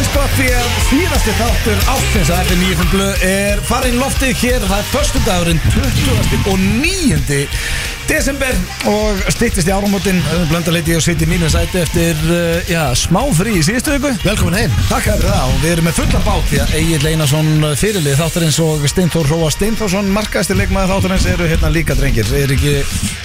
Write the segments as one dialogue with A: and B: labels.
A: sko því að síðasti þáttur ástins að FM 9 fyrir blöð er farin í loftið hér það er föstudagurinn 29. desember og styttist í áramótin blöndarleiti og sitt í mínu sæti eftir uh, já, smá frí í síðustu viku
B: Velkomin heim
A: Takk fyrir það og við erum með fulla bát því að Egil Einarsson eh, fyrirlið þáttarins og Steintor Róa Steintorsson markaðistir leikmaði þáttarins eru hérna líka drengir er ekki,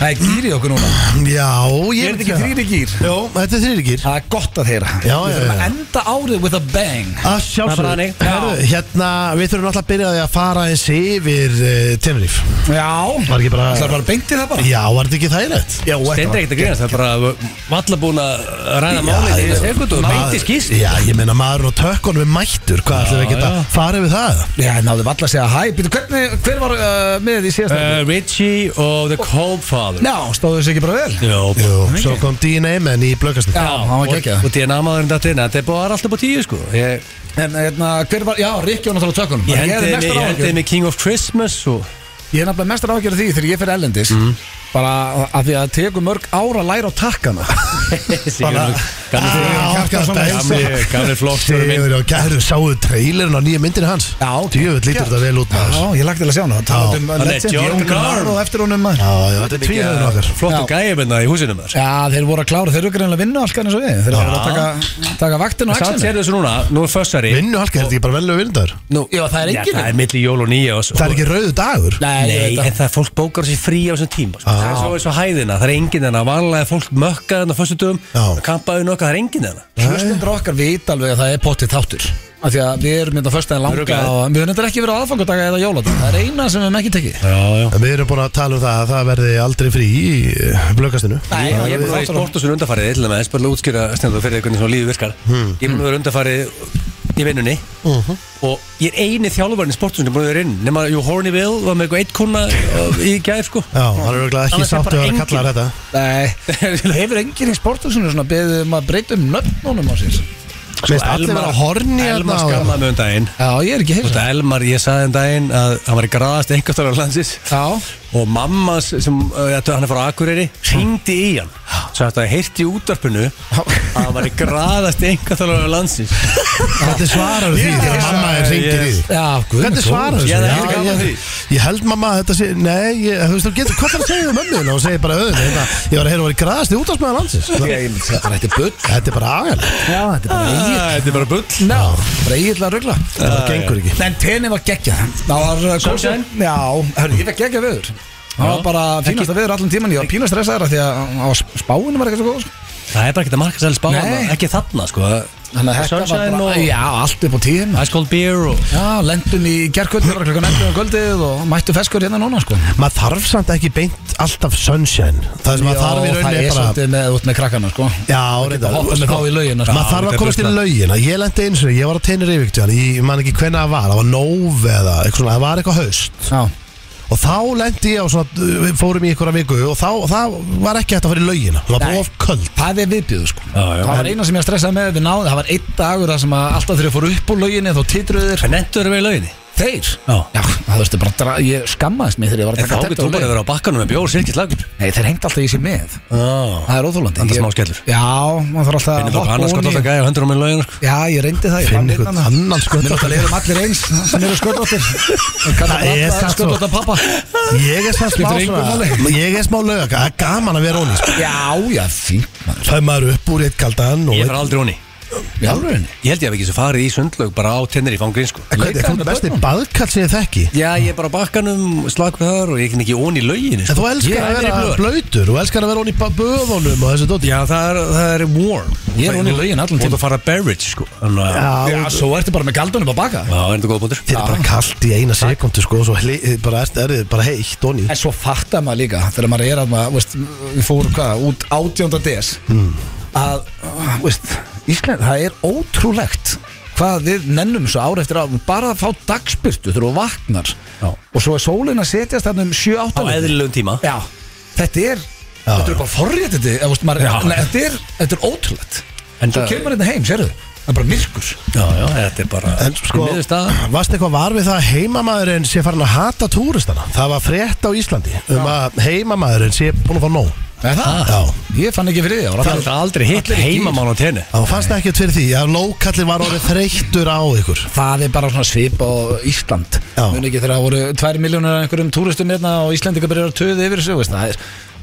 A: það er gýri okkur núna
B: Já, ég
A: er þetta ekki þrýri gýr
B: Jó, þetta er þrýri gýr
A: það er gott að heyra
B: Já,
A: við
B: já,
A: þurfum
B: já.
A: að enda árið with a bang
B: Að
C: Það er bara
B: sjálfsögðu
C: þannig.
B: Herru, Hérna, við þurfum alltaf að byrja á því að fara eins yfir uh, Teneriff
A: já
B: Var ekki bara-
A: það er bara beintið það bara
B: Já, var þetta ekki þægilegt?
A: já,
C: Stendur ekkert að grínast, það er bara valla búin að ræða málið í sekundu og
B: maður-
C: beinti skýst
B: Já, ég meina maður og tökkunum er mættur Hvað ætlum við ekki að fara yfir það?
A: já, náðu valla að segja hæ Býtu, hvernig, hver var uh, með í síðasta uh,
C: uh, Richie og The Coldfather
A: já, stóðu þessu ekki bara vel
C: Jó,
B: Jú, svo kom DNA menn í blökastin
A: já, hann var
C: og,
A: geggjað
C: og DNA maðurinn datt inn þetta er bara allt upp á tíu sko ég,
A: En hérna, hver var, já, Rikki var náttúrulega á tökunum
C: ég
A: En ég er mestar
C: hendiði mig, ég
A: áhyggjur-
C: hendiði mig King of Christmas og
A: Ég er nefnilega mestar ágjörð því þegar ég fyrir ellendis
C: Mhm.
A: bara af því að það tekur mörg ára að læra á takkana
C: Sigurður-
A: Sigurður Kjartansson.
B: Gamli
C: gamli- gamli flokkstóri minn
B: Sigur og gæru, sáu trailerin á nýja myndin hans
A: Já.
B: Djöfull lítur þetta vel út maður
A: Já, ég lagt til að sjá hana Það talaði um
C: Hann er
A: legend,
C: John
A: Jón
C: Garm.
A: Garm og eftir honum maður
B: Já, já, þetta er tvíhöfður okkar
C: flottu
A: Já.
C: gæði minna í húsinu maður
A: Já, þeir voru að klára, þeir eru greinlega að vinna allkan eins og við Þeir eru að taka, taka vaktin og
C: samt sér
A: axinu
C: þessu núna, nú er fössari
B: Vinnu halka, er þetta ekki bara vellega vinnundar?
C: nú,
A: Já, það er
C: Já,
A: enginn.
C: það er milli jól og nýja og svo-
B: Það er ekki rauðu dagur?
A: Nei, ég
C: Nei,
A: veit
C: en
A: það
C: það er fólk bókar sér frí á þessum tíma sko.
B: Já.
C: Það er svo eins og hæðina, það er enginn hennar Vanlega er fólk mökkað hennar fyrstu dögum
B: Já.
C: Kampaði nokkað, það er enginn hennar
A: Hlustundur okkar vita alveg að það er pottið þáttur af því að við erum hérna mynda fyrstaðin langa
C: Örugglega.
A: og við höfum þetta ekki verið á aðfangardaga eða jóladag það er eina sem við höfum ekki tekið
C: Já, já
B: En Við erum búin að tala um það að það verði aldrei frí í eh, blökastinu
A: Nei,
C: Ég er búin að vera í sportusun undarfarið til dæmis, bara útskýra stendur fyrir hvernig svona lífið virkar Ég er búin að vera undarfarið í vinnunni og ég er eini þjálfarinn í sportusun sem er búin að vera inn nema Jú Hornivill var með eitthvað eitt kuna uh, í gæð sko
B: Já, hann er auðvitað ekki
C: Annars er bara
B: sáttu að vera
C: engin-
B: kallar þetta
A: Nei, hefur enginn í sporthúsinu svona beðið um að breyta um nöfnunum á sér?
B: Meist allir vera horni
C: Sko,
B: hérna
C: Elmar
B: á
C: skammaði mig um daginn
A: Já, ég er ekki
C: Þú
A: heyrst
C: veist að Elmar, ég saði um daginn að hann var í graðast einhverstaðar á landsins
A: Já,
C: og mamma s- sem, uh, ja, hann er frá Akureyri hringdi í hann svo þetta heyrti í útvarpinu að hann var í graðast einhverstaðar á landsins
B: Hvernig svarar því þegar mamma er ringir í því?
A: já, guð minn
B: Hvernig
A: góður.
B: svarar
C: Ég hefði ekki gaman
B: því?
C: því.
B: Ég held mamma að þetta sé Nei, ég, þú veist, þú getur hvað það að segja um mömmuðina og segir bara öðun Ég var að heyra að vera í graðast í útastmaður landsins
A: Ég myndi segja bara, Þetta er bull
B: Þetta er bara agal
A: Já, þetta er bara eigið
C: Ah, Þetta er bara bull
A: Ná, bara eigið að ruggla
B: Það gengur ekki
A: En tenni var geggjað Það var uh,
C: Sunshine?
A: góð- Já, hörru, ég fekk geggjað veður Það var bara fínasta veður allan tíman Ég var pínu stressaður af því að á sp- spáinu var ekki svo góð sko.
C: Það er bara ekkert að marka sæli spána,
A: Nei.
C: ekki þarna sko
A: Þannig að þetta var
C: Sunshine
A: bara
C: og-
A: Já, allt upp á tíum
C: Ice Cold Beer og
A: Já, lendum í gerkvöld Það var klukkan 11 um kvöldið Og mættu feskur hérna núna sko
B: Maður þarf samt ekki beint alltaf sunshine Það sem maður þarf í
A: Já, það er
B: rauninni er bara
A: svolítið með, út með krakkana sko
B: Já,
A: geta
B: reynda
A: hoppað smá í laugina, sko.
B: Maður þarf að
C: þetta er
B: komast í
C: bullað.
B: laugina Ég lendi eins og ég var að teina reyvíktu Ég man ekki hvenna það var, það var nóv eða eitthvað svona, það var eitthvað haust
A: Já
B: Og þá lendi ég á svona, við fórum í einhverja viku Og þá, það var ekki hægt að fara í laugina Það var
A: Nei.
B: bara of köld
A: Það er viðbjöðu sko
C: Já, já.
A: Það var eina sem ég stressaði með Við náðum, það var einn dagur Það sem að alltaf þegar ég fór upp úr lauginni Þá titruðu þeir
C: En endur erum við í lauginni
A: Þeir?
C: Já.
A: Já, það veist bara dra- Ég skammaðist mig þegar ég var að
C: En þá
A: taka
C: getur þú
A: tetta úr
C: bara að
A: laugin
C: vera á bakkanum með bjór, sirkist lagur
A: Nei, þeir hengt alltaf í sér með Það er óþólandi
C: Anda
A: Ég-
C: smá skellur.
A: Já, maður þarf alltaf
C: En
A: að
C: þú
A: hoppa
C: annars
A: ofan
C: gott
A: í-
C: alltaf gæja og hendur um í laugina sko
A: Já, ég reyndi það, ég
B: Finn
A: fann
B: einhvern
A: einhvern
B: annan
A: Mér
B: sköllóttan.
A: náttúrulega erum allir eins sem eru sköldóttir
B: Það er satt svo.
A: Sköldóttan pappa
B: Ég er smá smá
A: Skiptir engu
B: svona Ég er smá lauga, það er gaman að vera óni sko.
A: Já, já, fínt maður
B: Það er maður upp úr eitt kaldan og
C: Ég fer aldrei honni
A: Í alvegni
C: Ég held ég hef ekki svo farið í sundlaug bara á tennir í fangrin sko
B: En Hvað er
A: leikaði
B: það
A: með
B: besti
A: börnunum.
B: baðkall sem ég þekki?
C: Já, ég er bara á bakkanum, slagur þar og ég er ekki honni í lauginu
B: En þú elskar
C: Ég
B: að
C: er
B: vera
C: í blöð.
B: blöytur og elskar að vera óni í ba- böðunum og þessu dóti
C: Já, það er, það er warm
A: Ég er ofan í laugina allan
C: tíma
A: tímann.
C: Og þú fara beverage sko Þannig að-
B: Já,
A: Já, svo ertu bara með galdunum að baka
C: Já, er þetta góð búndur
B: Þið er bara kallt í eina sekundu sko og svo hli, bara er, er þið bara heitt og nýtt
A: En svo fattar maður líka þegar maður er að maður, veist, við fórum hvað, út 18. des
C: Hmm.
A: að, uh, veist, Ísland, það er ótrúlegt hvað við nennum svo ára eftir að bara að fá dagspyrtu þegar þú vaknar
C: Já.
A: og svo er sólin að setjast þarna um 7-8
C: Á eðlilegum tíma
A: Já, þetta er Þetta er eitthvað forréttindi eða, veist, maður,
C: Já.
A: nei, þetta, er, þetta er ótrúlegt
C: En
A: Svo
C: það-
A: kemur þetta heim, sérðu Það er bara myrkur
C: Já, já, þetta er bara
B: En sko,
C: Niðurstaða.
B: varst eitthvað var við það að heimamaðurinn sé farin að hata túristana? Það var frétt á Íslandi um að heimamaðurinn sé búin að fá nóg
A: Er það?
B: Já.
A: Ég fann ekki fyrir því, Ah, það var
C: Það er aldrei hitlir heimamán á tenni
B: Þá fannst það ekkert fyrir því að lókallin var orðið þreyttur á ykkur
A: Það er bara svona svip á Ísland
B: Já.
A: Muni ekki þegar það voru 2 miljónur af einhverjum túristum hérna og Íslandingar byrjar að töðu yfir þessu veist,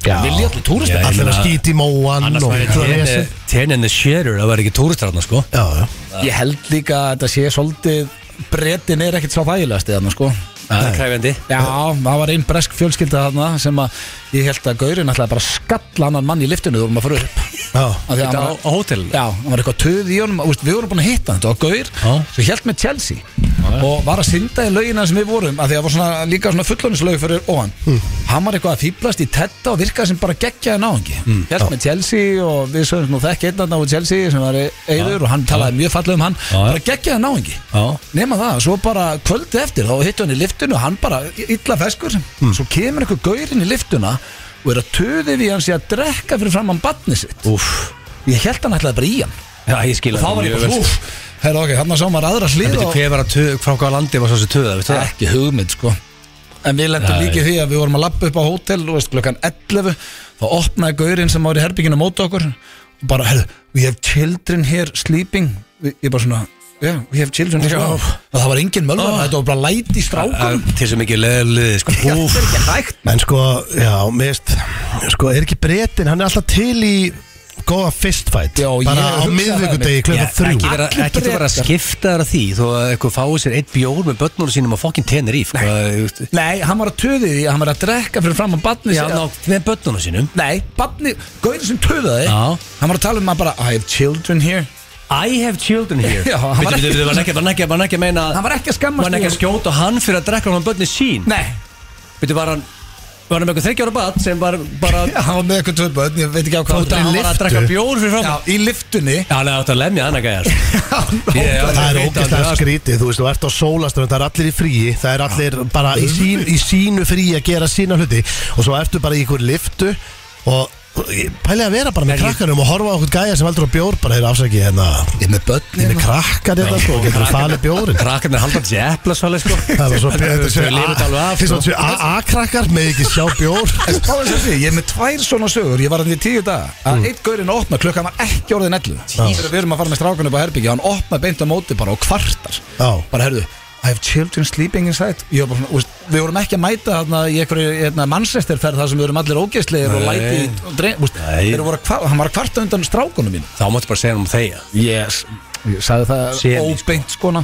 A: Það er, vilja allir túristum
C: Já, ég
B: Allir að
C: meina-
B: skýti í móan
C: Annars
B: og
C: væri eh,
B: eitthvað
C: tenni-
B: vesen.
C: tenni en the sharer Það var ekki túristarna sko
B: Já, já
A: Ég held líka að þetta sé svolítið Bretin er ekkert svo þægilegast í þarna sko
C: Það er kræfjandi
A: Já, það var einn bresk fjölskylda þarna sem að ég held að Gaurin ætlaði bara að skalla annan mann í liftinu þegar maður fyrir upp
B: Já,
A: Af því að hann
C: Þetta á,
A: var-
C: á hótel
A: Já, hann var eitthvað töð í honum úst, Við vorum búin að hitta hann, þetta var Gaur
C: Já.
A: sem held með Chelsea og var að synda í laugina sem við vorum af því að það var svona, líka svona fullonislaug fyrir ofan Hann var eitthvað að fýblast í tetta og virkaði sem bara geggjaði náðingi
C: Hmm.
A: mm. Hjælt með Chelsea og við sögum nú þekk einn á Chelsea sem var eigður og hann talaði mjög fallega um hann bara geggjaði náðingi
C: Já.
A: Nefna það, svo bara kvöldi eftir þá hittu hann í liftinu og hann bara illa feskur svo kemur einhver gaurinn í liftuna og er að töði við hann sé að drekka fyrir fram hann sitt
C: Úff
A: Ég held hann ætlaði bara í hann
C: Já, ég skil
A: Og þá var ég bara úf Herra ok, hann sá maður aðra
C: En
A: hlið
C: veitir,
A: og
C: hver var að töða, frá hvaða landi var svo þessi töða, veistu það?
A: ekki hugmynd sko En við lendum
C: Nei.
A: líka í því að við vorum að lappa upp á hótel og veist, klukkan 11 þá opnaði gaurinn sem var í herbygginu á móti okkur og bara, herru, we have children here sleeping Vi- Ég bara svona, yeah, we have children here
C: Já. Ah.
A: sleeping Og það var engin mölvan, þetta var bara læti í
C: Það
A: strákum
C: er Til sem ekki leðlið, sko Úff,
A: er ekki hægt
B: menn sko, já, mist Sko, er ekki bretin, hann er alltaf til í góða fistfight
A: Já, ég
B: Bara á
A: hugsaði það
B: miðvikudegi
A: einmitt.
B: klukka
C: ekki
B: þrjú
C: vera,
A: Allir
C: ekki vera að
A: Bretar.
C: skipta þar að því þó að eitthvað fái sér eitt bjór með börnunum sínum á fokkin Teneríf Já,
A: Nei, hann var að töði því, hann var að drekka fyrir fram á badni
C: ná, með börnunum sínum
A: Nei, badni, gaurinn sem töðaði
C: Já.
A: Hann var að tala um að bara, I have children here
C: I have children here
A: Já, hann var
C: Veitu,
A: ekki-
C: veitu, var ekki, var ekki, var ekki að meina
A: Hann var ekki að skammast
C: Var ekki að
A: sín.
C: skjóta hann fyrir að drekka hann börni sín
A: Nei,
C: Veitu, var hann Var hann með eitthvað 30 ára bad sem var bara
A: Já, hann var með eitthvað tvö börn, ég veit ekki á hvað
C: Þótt að hann var að drekka bjór fyrir fram
A: Já, í liftunni
C: Já, hann átt að lemja hann að gæja
B: Það er ógeðslega skrítið, þú veist, þú ert á sólastöfum, það er allir í fríi, það er allir bara í, sín, í sínu fríi að gera sína hluti og svo ertu bara í ykkur liftu og pæli að vera bara með krakkanum og horfa á okkur gæja sem heldur á bjór bara þeirra afsaki hérna,
A: Ég er með börn
B: þetta er krakkar þetta sko, getur þú falið bjórin
C: Krakkarnir halda þessi eplasvalið sko
B: Það var svo
C: Þau lifa þetta alveg af, sko.
B: bjór A-krakkar með ekki sjá bjór
A: Hvað er þessi? Ég er með tvær svona sögur, ég var hann í tíu dag að mm. eitt gaurinn opna, klukkan var ekki orðin 11 Þegar við erum að fara með strákan upp á herbyggja hann opna beint á móti bara og kvartar
B: Já.
A: bara herðu, I have children sleeping inside Ég var bara, svona, úst, við vorum ekki að mæta þarna, í einhverju mannsreistirferð þar sem við erum allir ógeðslegir og
C: Nei.
A: læti og drein, úst,
C: Nei.
A: þeir voru að kvar, hann var að kvarta undan strákunum mín
C: Þá máttu bara segja hann um þeia
A: yes. ég sagði það
C: Semi, sko.
A: óbeint skona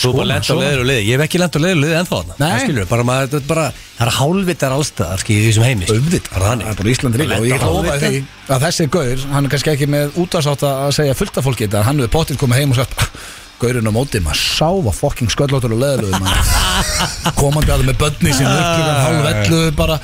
C: Svo bara lent á leiður og leiði Ég hef ekki lent á leiður og leiði ennþá þarna
A: Nei.
C: Það skilur, bara maður, þetta er bara Það er hálfvitar allstaðar, skilur, í þessum heimis
A: Auðvitað.
C: Það er þannig
A: Það er bara Íslandi líka og ég lofa því að þessi gaur, hann er kannski ekki með útvarsátt að segja fullt af fólki þetta, en hann hefur pottir komið heim og sagt "Ah, gaurinn á móti, maður sáfa fokking sköllóttur og leðluðu maður komandi að það með bönni sem örglugan hálfellu bara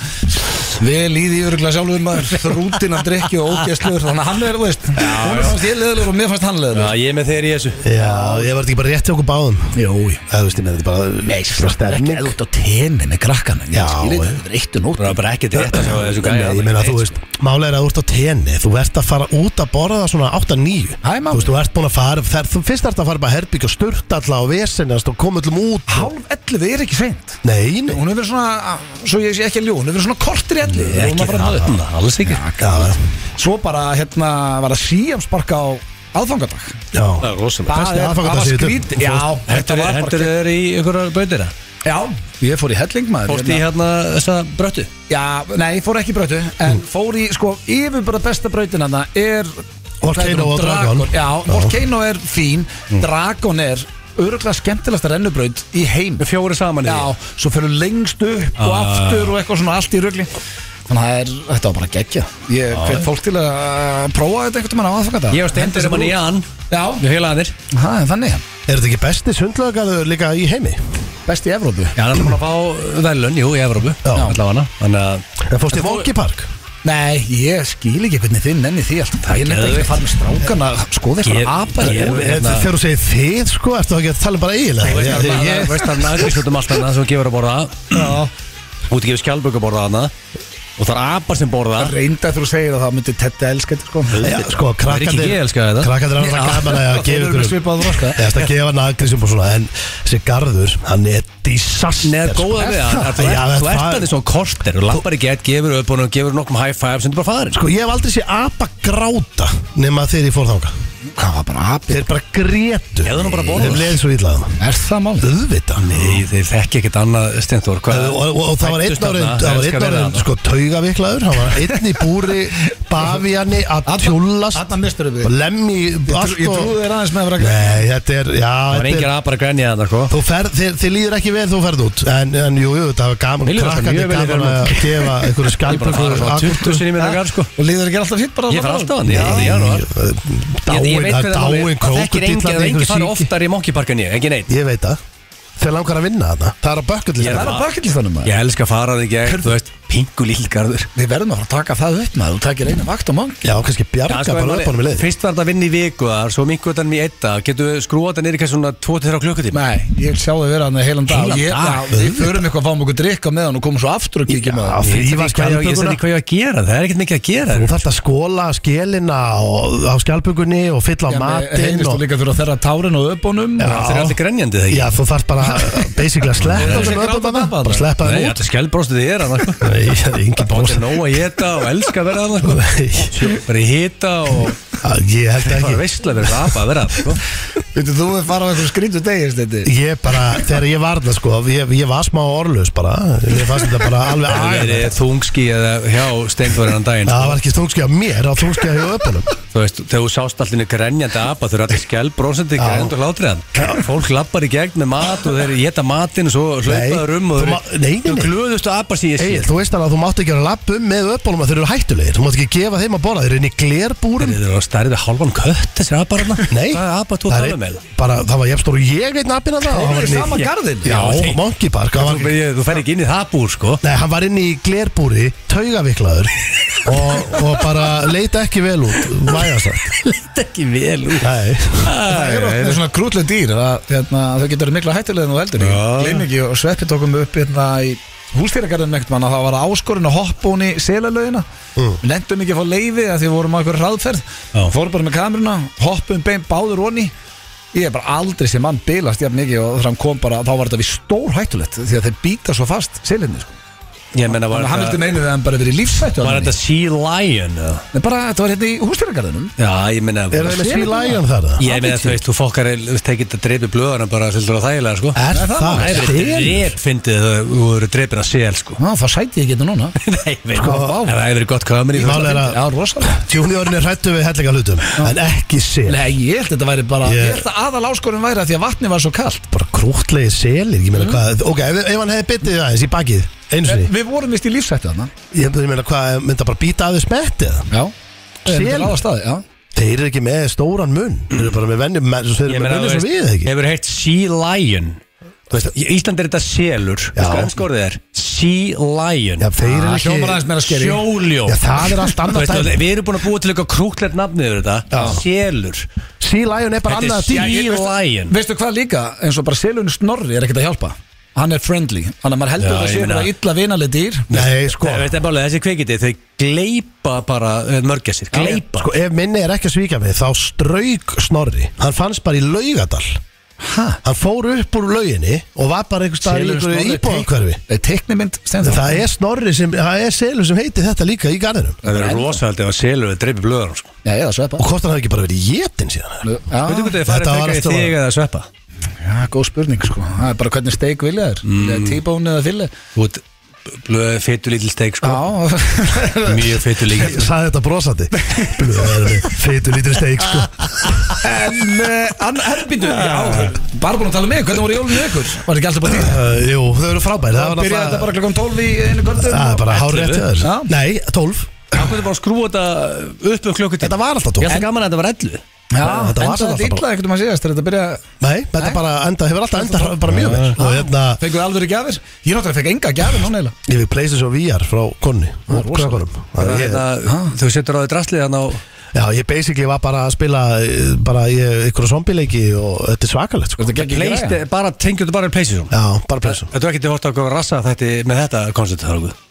A: vel í því örgla sjálfur maður þrútin að drikki og ógeðsluður þannig að hann er, þú veist, hún fannst ég leðluður og mér fannst hann
C: Já,
A: leðluður
C: ég er með þeir í þessu
B: Já, ég var þetta ekki bara rétt hjá okkur báðum
A: Jó, jú.
B: Það þú veist, ég með þetta bara
A: Nei,
B: svona
A: það er ekki
B: stemning.
A: út á tenni með krakkanum
B: Já,
A: ég skilur
B: já.
A: þetta, þetta er eitt og
C: Það er bara ekkert rétt að sjá þessu gæja
B: Nei, ég meina, þú veist,
C: sko.
B: málega er að þú ert á tenni Þú ert að fara út að borða svona 8-9
A: Hæ, mamma.
B: Þú veist, þú ert búin að fara þar, Þú fyrst ert að fara bara að herbyggja og sturta alla og vesennast og koma öllum út og-
A: Hálf ellu, er ekki seint
B: Nei, nei
A: Hún hefur verið svona, svo ég sé ekki að ljó, hún hefur verið svona kortir í elli Við vorum
C: Ekki
A: að fara
C: það,
A: að ná upp.
C: alls ekki
B: Já,
A: Svo bara, hérna, var að síjum sparka á aðfangadag
B: já
C: Það er rosalega
B: Fannst þér
A: er-
B: aðfangadag
A: var
B: síðan?
A: skrítið Já, þetta var
C: Hendur
A: bara
C: þeir í einhverjar bautir
A: Já, ég fór í helling maður
C: Fórst í
A: hérna.
C: hérna þessa bröttu
A: Já, nei, fór ekki í brautu
C: Mm.
A: En fór í, sko, yfir bara besta brautin hana er
B: Volcano og Dragon.
A: Já,
B: Já.
A: Volcano er fín
C: Mm.
A: Dragon er öruglega skemmtilegasta rennubraut í heim
C: Við fjóri saman í
A: Já, svo fyrir lengst upp og
C: Ah.
A: aftur og eitthvað svona allt í rugli Þannig að það er, þetta var bara geggja Ég hvet fólk til að prófa þetta einhvern veginn á aðfangata
C: Ah. Ég var stendur sem hann í Jan
A: Já,
C: Við heilaðanir
A: það er þannig
B: Er þetta ekki besti sundlögarður líka í heimi?
A: Best í Evrópu
C: Já, hann er búin að fá velun, jú, í Evrópu Allavega Þannig að
B: En fórst í Vongi Park?
A: Nei, ég skil ekki hvernig þinn nenni því allt Það er nefnir ekki að fara með strákana Skoði
C: Ég-
A: eitthvað apa
C: ég-
A: ég,
B: Þegar
C: hérna-
B: þú segir þið, sko, ertu þá ekki að tala bara eiginlega?
C: Þú
B: Ég- ég-
C: veist hann aðgrískutum allt annað sem hún gefur að borða Hún gefur skjálböku að borða hana og það er apar sem borða
A: Reynda þú segir að það myndi Teddi elska þetta sko
B: Já, sko,
C: Það er ekki ég
B: krakkandir
C: elska þetta.
B: Krakkandir er
C: Já.
B: alltaf gaman að
A: Þeir
B: gefa
A: eru með
B: ykkur
A: svipað þroska.
B: Ég ætla að gefa hann að grísum og svona En þessi garður, hann er disaster
C: Nei, það er
B: sko.
C: góða við það Þú
B: Já,
C: ert- þú ert
B: það-
C: að þessu korter og lappar í gett, gefur upp og gefur nokkrum high five sem þú bara faðir
B: Sko, ég hef aldrei sé apa gráta Nefn að þeir ég fór þanga
A: Hvað var bara apið?
B: Þeir bara grétu
C: Hefðu nú bara borðað.
B: Þeim leðið svo illa það
A: Er það mál?
B: Öðvita
C: Nei, þeir þekki ekkert annað Stenþór
B: Og, og, og það var einn árið, það var einn árið, sko, taugaviklaður, hann var einn í búri, bavíani, að tjúllast,
A: Þarna mistur við
B: og lemmi, allt
A: Ég
B: og...
A: trúi þér aðeins með að vera
B: Nei, þetta er, já,
C: Það var
B: þetta er,
C: engin apar að grenja þarna, sko
B: Þú ferð, þið, þið líður ekki vel þú ferð út En, en jú, jú, það var gaman
C: Mér líður alltaf
B: krakkandi
C: mjög vel í
B: gaman
C: ferðum
B: að gefa einhverju
C: Ég bara
B: skalpur
C: fara svona 20 sinni í minna gar, sko
A: Og líður ekki alltaf fýtt bara
C: Ég fara alltaf hann, ég er í janúar Ég
B: Dáin,
C: veit
B: það er
C: hvernig það er,
B: dáin
C: það þekkir engin Það er engin fara
B: krókur
C: oftar í monkeypark en ég, ekki neitt
B: Ég veit það Þeir langar að vinna þarna Það er að bökka til
C: Ég
A: Það
C: er
A: er
B: þetta
A: að bakið til þannig maður
C: Ég elska að fara þig gegn, þú veist, pingu lillgarður
A: Við verðum að fara að taka það upp maður Þú takir eina vakt á mangi
B: Já, kannski bjarga bara löpunum í leið
C: sko, Fyrst var þetta að vinna í viku þar, svo mingu þetta í eitt dag Getur við skrúa þetta niður í kannski svona 2-3 klukkutíma
A: Nei, ég sjá þau vera hann heilan dag
C: Heilan
A: Ég-
C: dag?
A: Já, Við förum eitthvað að fáum okkur drikka með hann og komum svo aftur og kíkja með
B: Já,
A: hann
C: Ég
B: þrýfa
C: veit ekki hvað
B: skjálpuguna
C: ég- ég veit ekki hvað ég á að gera, það er ekkert mikið að gera
B: Þú þarft að skóla skélina og- á skjálpugunni og fylla á
A: Já, með
B: matinn
A: Heimist og
B: og
A: líka þurfa að þerra tárin og öpunum
B: Já.
C: Það er allir grenjandi þegar
B: Já, þú þarft bara basically að sleppa
A: Þú þarft að
B: þessum
A: gráta
B: öllum þarna.
A: pappa
B: Bara
A: þarna.
B: sleppa
C: Nei,
B: þeim út
C: allir skjálbróstu þið er hann Það
B: Nei, það er engin
C: er
B: bósa
C: nóg að geta og elska að vera hann sko. Bara í hita og
B: Ég held
C: Það
B: ekki
C: er veistla að vera apa að vera sko.
A: Veitu, þú er farað eitthvað skrítu degi stendi
B: Ég bara, þegar ég var það sko ég, ég var smá orðlaus bara Ég fannst þetta bara alveg
C: Það er
B: aðeins
C: verið þungski eða hjá steindvörðan daginn
B: Það
C: sko.
B: var ekki þungskja mér, það var þungskja hjá öpunum
C: Þú veist, þegar þú sást allir grenjandi apa Þau eru allir skjálbrósandi grenjandi og hlátriðan Fólk lappar í gegn með mat og þeir geta matinn og svo hlaupaður um og
B: þú
C: þeir-
B: ma- nei, nei,
C: Þau
B: nei.
C: glöðustu apa sem ég sé
B: Egil, þú veist alveg að þú mátt ekki vera lapp um með öpunum að þeir eru hættulegir Þú mátt ekki gefa þeim að borða, þeir eru inn í glerbúrum
C: Þeir eru á stærð við halvan kött þessir apar hann
B: Nei,
C: Hvað er apa þú
B: það
C: að
B: er
C: tala
B: einn-
C: með?
B: Bara, það var jafnstóru ég einn appina það og hann var
A: Í
B: inn í-
A: sama garðin
B: Já,
C: Já,
B: Monkey Park hann var-
C: Þú, þú fer ekki inn í það búr sko
B: Nei, hann var inn í glerbúri, taugaviklaður og, og bara leita ekki vel út, vægast það
C: Þetta er ekki vel út
B: Nei,
A: Það eru oft með svona krútlega dýr að hérna, þau getur verið mikla hættulegðin og eldur
C: Já.
A: Gleim ekki og sveppi tókum upp hérna í hústýragarðin ekkert mann að það var áskorun að hoppa hún í selalögina mm. Við lendum ekki að fá leifi að því við vorum á einhver hraðferð
C: Já.
A: Fórum bara með kameruna, hoppum bein báður honni Ég er bara aldrei sem mann bilast jafn mikið og þannig kom bara, þá var þetta við stór hættulegt því að þeir býta svo fast selinni sko.
C: Ég menna var
A: Þannig að hann vildi
C: þetta
A: meina við að hann bara verið í lífsættu
C: Var þetta Sea Lion eða?
A: Nei, bara, þetta var hérna í hústýragarðinum
C: Já, ég menna
B: er það með
A: Sér
B: sí
A: þetta?
B: lægjan þar það?
C: Ég meina þú veist, þú fokkar tekið þetta dreipi blöðana bara sildur á þægilega sko
B: Er
A: Er það
B: það?
C: Það er verið dreip fyndið þau þú eru dreipin að sel sko
A: Ná, það sæti ég ekki þetta núna
C: Nei, ég veit
B: Sko,
C: það
B: vá.
C: Það er verið gott kamer í
B: Mál er að
A: Já, rosalega
B: Júniorinn er hrættu við hellinga hlutum En ekki sel
A: Nei, ég held að þetta væri bara
B: Ég-
A: Ég held að aðal áskorun væri að því að vatni var svo kallt
B: Bara krútlegi selir Ég meina hvað Ok, ef, ef hann hefði bitið aðeins í bakið Einu sinni
A: Við vorum vist í lífsættu þarna
B: Ég ég meina hvað Mynda bara býta aðeins metti eða
A: Já
B: Sel?
A: Sel staði, já.
B: Þeir eru ekki með stóran mun Þeir eru bara með venni með- Þeir
C: Ég
B: eru með
C: meina
B: munni
C: þú
B: sem við
C: veist,
B: ekki
C: hefur heitt Sea Lion Þú veist, í Ísland er þetta selur
B: Já.
C: Skanskórið er Sea Lion
B: Já, þeir eru
A: Ah,
B: ekki
A: hljómar aðeins meira skeri
C: Sjóljó
B: Já, það er allt annað dæmi.
C: Við erum búin að búa til eitthvað krúklegt nafni yfir þetta
B: Já.
C: Selur
B: Sea Lion er bara
C: Þetta er
B: annað dýr
C: Sea Lion
A: Veistu hvað líka, eins og bara selun snorri er ekkert að hjálpa Hann er friendly Þannig að maður heldur
C: Já,
A: það
C: ég
A: sé
C: meina-
A: bara illa vinali dýr
B: Nei, sko
C: Nei, Þetta er málega, þessi kveikiti, þau gleipa bara eh, mörgessir, gleipa
B: Sko, ef minni er ekki að svíka mig Þá strauk Snorri Hann fannst bara í laugadal
A: Hæ?
B: Hann fór upp úr lauginni Og var bara einhvers staðar í einhverju íbúðakverfi
A: Nei, teiknimynd stendur
B: Það er Snorri sem Það er selur sem heitir þetta líka í garðinum
C: Það verður rosalega að selur að dreipi blöðar sko.
A: Já, eða sveppa
B: Og hvort hann hafði ekki bara verið jétin síðan
C: Veitu
A: Já,
C: hvað þau farið
B: þetta
C: að
B: var
C: teka í
B: alltaf
C: þig eða sveppa?
A: já, góð spurning sko Það er bara hvernig steik vilja þér mm. T-bone eða fylli
C: Þú ert blöð feitu lítil steik sko.
A: Já,
C: Mjög feitu lítil
B: Ég Saði þetta brosandi Blöðurni, feitu lítur steik sko
A: En, uh, herrbyndu, já, bara búin að tala með, hvernig voru jólunni ykkur? Var ekki alltaf bara því?
B: uh, Jú, þau eru frábæri Það var
A: Byrjaði þetta
B: náttúrulega
A: bara klokkan 12 í einu kvöldum
B: Það er bara hár rétt hjá þér
A: Já.
B: Nei, 12
C: Það hvernig bara að skrúa þetta upp um klukkutíð
B: Þetta var alltaf 12
C: Ég ætla gaman að þetta var ellu
A: Já,
B: þetta var
A: enda
B: alltaf
A: þetta illa ekkert um að síðast Þetta byrja,
B: Nei, þetta bara enda, hefur alltaf enda bara mjög vel Og hérna,
A: fengur Ah, alvöru gjafir Ég náttúrulega fekk enga gjafir núna eila
B: ég við pleysið svo VR frá konni
A: rosalegt.
B: Krökkunum Það er-
C: hérna- Þú setur á því drastlið hann á
B: Já, ég basically var bara að spila eh, bara í einhverju zombileiki og þetta er svakalegt sko
A: Þetta gekk ekki
C: Pleist-
A: græja.
C: Bara tengjum þetta bara í pleysið
B: Já, bara pleysum
C: Þetta var ekki til að horta okkur að rassa þetta með þetta koncept þar okkur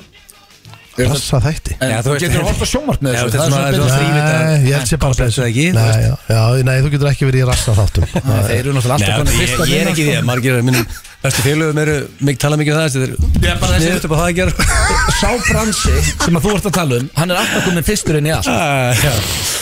B: Passa þætti
A: En
C: Já, þú
A: þú
C: veist,
A: getur
C: heyrðu.
A: að horfa sjómart með
C: Já,
A: þessu
C: þetta er
A: það
C: svona-
A: er
C: þetta
A: svona
C: er svona-
B: Nei, ég held sér bara
C: Komplex eða ekki, þú
B: Nei, já, já, nei, þú getur ekki verið í rasta þáttum
A: betri Þeir eru náttúrulega alltaf
C: Nei,
A: komin
C: ég,
A: fyrst að
C: ég er
A: vinna,
C: ekki því
A: sko.
C: að margir af mínum bestu félögum eru mikið tala mikið um það þetta er
A: bara þessi-
C: sniðut upp á það að gera
A: Sá fransi sem að þú ert að tala um Hann er alltaf komin fyrstur inn í allt
C: Ah, já.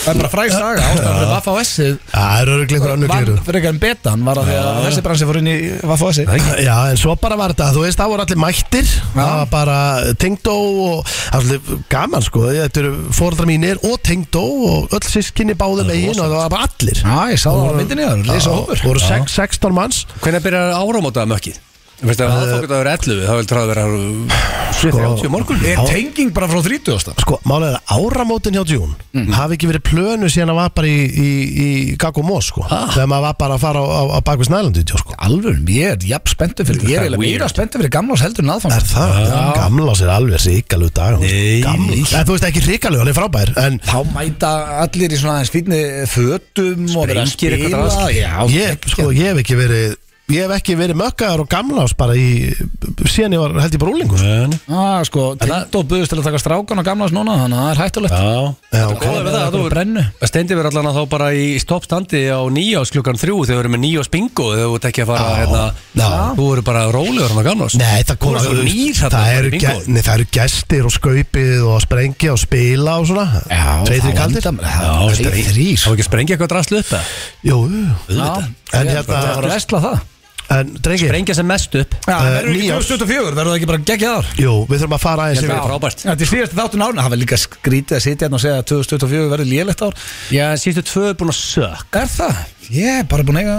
A: Það er bara fræg saga ástæðan fyrir Vaffa-OS-ið
B: Það eru öruglega einhver annu
A: Vann
B: gleru
A: frekar en betan var að því að þessi bransi fór inn í Vaffa-OS-ið
B: Já, en svo bara var þetta, þú veist, það voru allir mættir Það var bara tengdó og það var allir gaman, sko Þetta eru fóreldrar mínir og tengdó og öll sískinni báðum eigin og það var bara allir
A: Já, ég sá það á myndinni það Lýsa hópur
B: voru sex- 16 manns
C: Hvenær byrjar áramótaða mökkið? Þú veist, ef aðfokkutaður 11, þá vil það vera 7.30 morgun
A: Er tenging bara frá 30
B: Sko, málega er að áramótin hjá Djún hafi ekki verið plönu síðan að var bara í, í, í Gagg og Mós, sko þegar maður var bara að fara á, á, á bakvið snælandi Djún, sko
A: Alveg, ég er jafn spenntu fyrir Ég er eiginlega meira spenntu fyrir gamla heldur en aðfang
B: Er það? Gamla sér alveg ríkalug dag
C: Nei.
B: Gamla, en, þú veist ekki ríkalug, hann er frábær En
A: Þá mæta allir í svona aðeins fínni fötum og vera að
C: Sprengir eitthvað
A: spila
C: drasl.
A: Já,
B: ég, sko, ég hef ekki verið Ég hef ekki verið mökkaðar og gamla ás bara í Síðan ég var held ég bara úlingur sko.
C: En,
A: Ah, sko, Tindó buðist til að taka strákan og gamla núna, þannig að það er hættulegt
C: Já
B: Já, sko.
C: Og hvað er það, þú er
A: brennu
C: að steindi verið allan að þá bara í stoppstandi á nýjás klukkan þrjú þegar við erum með nýjás bingo þegar þú ert ekki að fara hérna,
B: já.
C: þú eru bara rólegur hann á gamlás
B: Nei, það kom
C: Þú varst nýr þarna
B: það
C: bara
B: eru,
C: í
B: ge
C: bingo.
B: nei, það eru gestir og skaupið og sprengja og spila og svona Tveir, þrír kaldir
A: Já,
C: það
A: tveir,
C: er
A: þrý
C: ekki að sprengja eitthvað drastlu upp það
B: Jú, jú. En
A: En
B: hérna-
A: hérna Það var að vesla það
B: en drengi
C: sprengja sem mest upp
A: Já,
B: Eh,
A: verður ekki
B: nýárs.
A: 2024, verður það ekki bara geggjað ár
B: Jú, við þurfum að fara aðeins
C: Ég held
B: yfir
C: að- frábært.
A: Þetta er síðast þáttun árna, það var líka skrítið að sitja hérna og segja að 2024 verður lélegt ár
C: já, síðustu tvö er búin að sök
A: Er það? Ég er bara búin að eiga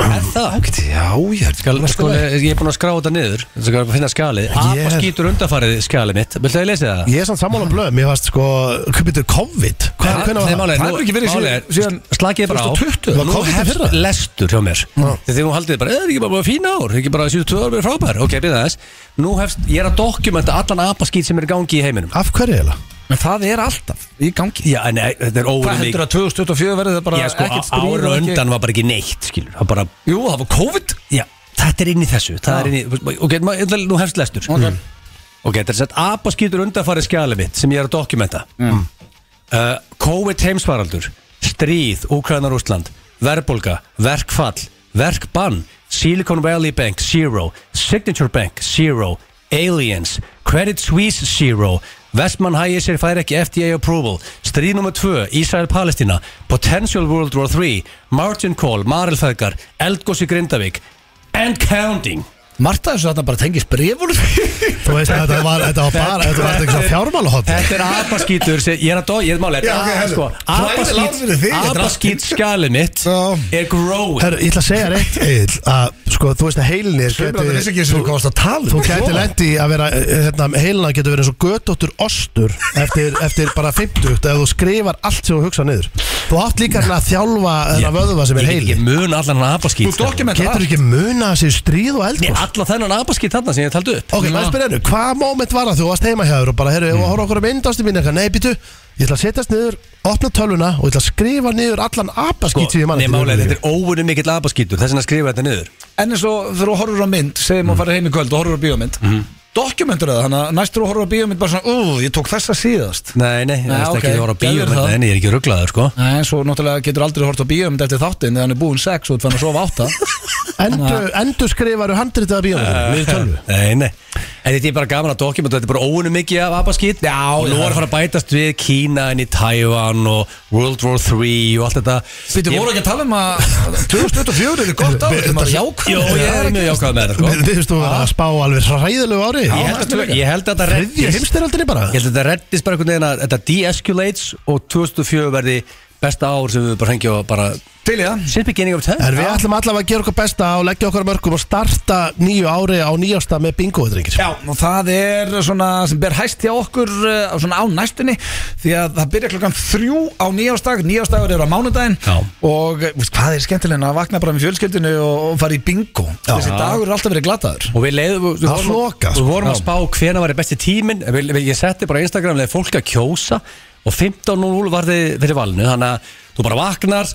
C: er það?
A: Ágætt, já, ég er
C: Skal, sko, ég er búin að skrá þetta niður Þetta skal finna skalið Apa
B: Ég-
C: skýtur undanfarið skalið mitt Viltu að ég lesi það?
B: Ég er samt sammála um blöðum, ég varst sko Hvað betur COVID? Hvað,
C: Nei,
B: hvernig
C: nei,
B: var það?
C: málið er,
A: Það
C: nú-
A: hefur ekki verið
C: málið
A: síðan-
C: er,
A: síðan
C: Slakið bara á
A: 2020.
B: Var
C: Nú
B: COVID í fyrra?
C: hefst lestur hjá mér Þegar þú haldið bara, "Eh, það er ekki bara búið fín ár Það er ekki bara 72 ár verið frábær Ok, byrða þess Nú hefst, ég er að dokumenta allan apaskýt sem er í gangi í heiminum
B: Af hverju eiginlega?
A: En það er alltaf í gangi
C: Já, en eh, þetta er
A: Hvað
C: óverið
A: heldur að 2024 verður það bara
C: Já, sko,
A: ekkert stríð
C: ára
A: og ekki-
C: undan var bara ekki neitt Skilur, það bara
A: Jú, það var COVID
C: Já, þetta er inn í þessu Það er inn í, ok, ma- nú hefst lestur
A: Ok.
C: Ok, þetta er sett apaskýtur undanfarið skjalið mitt sem ég er að dokumenta mm. uh, COVID heimsfaraldur stríð, Úkraina Rústland verðbólga, verkfall, verkbann Silicon Valley Bank, zero Signature Bank, zero Aliens, Credit Suisse, zero Vestmann Hægisir fær ekki FDA approval Stríð nr. 2, Ísrael-Palestina Potential World War 3 Margin Call, Marilfæðgar Eldgós í Grindavík And counting
A: Marta þessu þarna bara tengist brefur
B: Þú veist að þetta var, þetta var bara, þetta var eitthvað fjármálahot
C: Þetta er apaskítur sem, ég er að dó, ég er málið
B: Já, ok, herðu.
C: sko,
B: Klæðið lát fyrir þig, þetta er
C: Apaskít skalið mitt
A: Já.
C: er growing
B: Herru, ég ætla að segja þér eitt Egill, að, sko, þú veist að heilinir geti,
A: ekki sem þú komast að
C: um.
A: tala
B: þú geti lendi að vera, eh, hérna, heilina getur verið eins og götóttur ostur eftir, eftir bara 50, ef þú skrifar allt sem þú hugsa niður. Þú átt líka hérna að þjálfa þennan vöðva sem er
C: Ég, ég
B: heilin
C: mun allan hann
A: Þú
C: apaskít
A: dokkjum þetta
B: Getur ekki muna þessi stríð og eldgóð
C: Alla þennan apaskít þarna sem ég taldi upp
B: Ok, maður spyrir hennu, hvaða móment var það þú varst heima hjá þér og bara, herru, mm. horfa okkur að myndast í mín eitthvað, nei, býtu, ég ætla að setjast niður, opna tölvuna og ég ætla að skrifa niður allan apaskýt sem ég mann
C: Sko, Nei, málið, þetta er óvunni mikill apaskítur Þess vegna skrifa þetta niður
A: En eins og þegar þú horfur á mynd, segjum
C: Mm.
A: að fara heim í kvöld og horfur á bíómynd mm.
C: Mhm.
A: Dokumentur það, þannig að næstur þú horfur á bíómynd bara svona, ú, ég tók þessa síðast
C: Nei, nei, það er
A: ok,
C: ekki að voru á
A: gerðu
C: bíum
A: það.
C: En ég er ekki rugglaður, sko
A: Nei, en svo náttúrulega getur aldrei hort á bíómynd eftir þáttinn þegar hann er búinn sex og þannig að sofa átta
B: Endu, endu skrifaru handritaða bíómyndinu niður tölvu
C: Nei, nei En þetta er bara gaman að dokumenta Þetta er bara óvunni mikið af apaskít Já, og nú er að fara að bætast við Kína en í Taiwan og World War 3 og allt þetta
A: Býttu,
C: Ég-
A: voru ekki að tala um að 2024 er gott ár, þetta er maður
C: Jó,
A: jákvæður
C: ég er mjög jákvæð með þetta, sko
B: Þið finnst þú vera að spá alveg hræðilegu ári
C: Ég held að- Ég held að þetta
B: Þriðja
C: reddist
B: heimstyraldinni bara
C: Ég held að þetta reddist bara einhvern veginn að þetta de-escalates og 2004 verði besta ár sem við bara hengjum að bara
A: Til í það
C: Since beginning of time
B: En við ætlum allavega að gera okkur besta og leggja okkur að mörgum og starta nýju ári á nýjasta með bingo, drengir
A: Já, og það er svona sem ber hæst hjá okkur uh, svona á næstunni því að það byrja klokkan þrjú á nýjástag nýjástagur eru á mánudaginn
C: Já.
A: og uh, veist, hvað er skemmtilegna að vakna bara með fjölskyldinu og, og fara í bingo þessi dagur er alltaf verið glataður
C: Og við leiðum við- við
B: Það
C: vorum-
B: flokar, sko.
C: Við vorum að
B: Já.
C: spá hvena var í besti tíminn En við- við- Ég setti bara á Instagram leið fólk að kjósa Og 15.0 var þið fyrir valinu Þannig að þú bara vaknar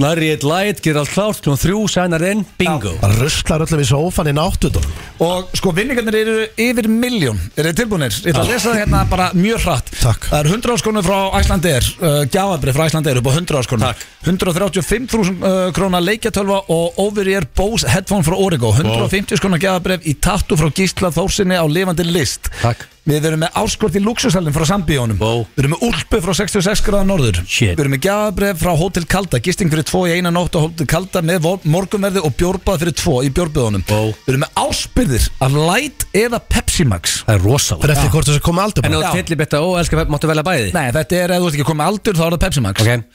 C: Larry eitt light, gerir allt klárt Klón þrjú, sænar inn, bingo
B: Bara ruslar öllum í sófan í náttutunum
A: Og sko vinningarnir eru yfir miljón Eru þið tilbúinir? Ég ætla að lesa það hérna bara mjög hratt
B: Takk.
A: Það er 100 áskonu frá Æslandeir uh, Gjafabrið frá Æslandeir upp á 100 áskonu 135.000 uh, króna leikjatölva Og Overear Bose headphone frá Origo 150 skona gjafabrið í tattu frá Gísla Þórsinni á lifandi list
C: Takk.
A: Við erum með áskort í luxusalinn frá Sambíónum
C: Vó.
A: Við erum með úlpu frá 66 gráða norður
C: Shit.
A: Við erum með gjafabref frá Hotel Kalda Gisting fyrir 2 í eina nótt á Hotel Kalda með vor- morgunverði og bjórbað fyrir 2 í bjórböðunum
C: Vó.
A: Við erum með áspyrðir af Light eða Pepsi Max
C: Það er rosalega
B: Fyrir eftir hvort þess að koma aldrei
C: En
B: bara
C: á
A: Já.
C: fyllibetta og elskar máttu velja bæði
A: Nei, þetta er ef þú ert ekki komið aldur þá er það Pepsi Max
C: Ok.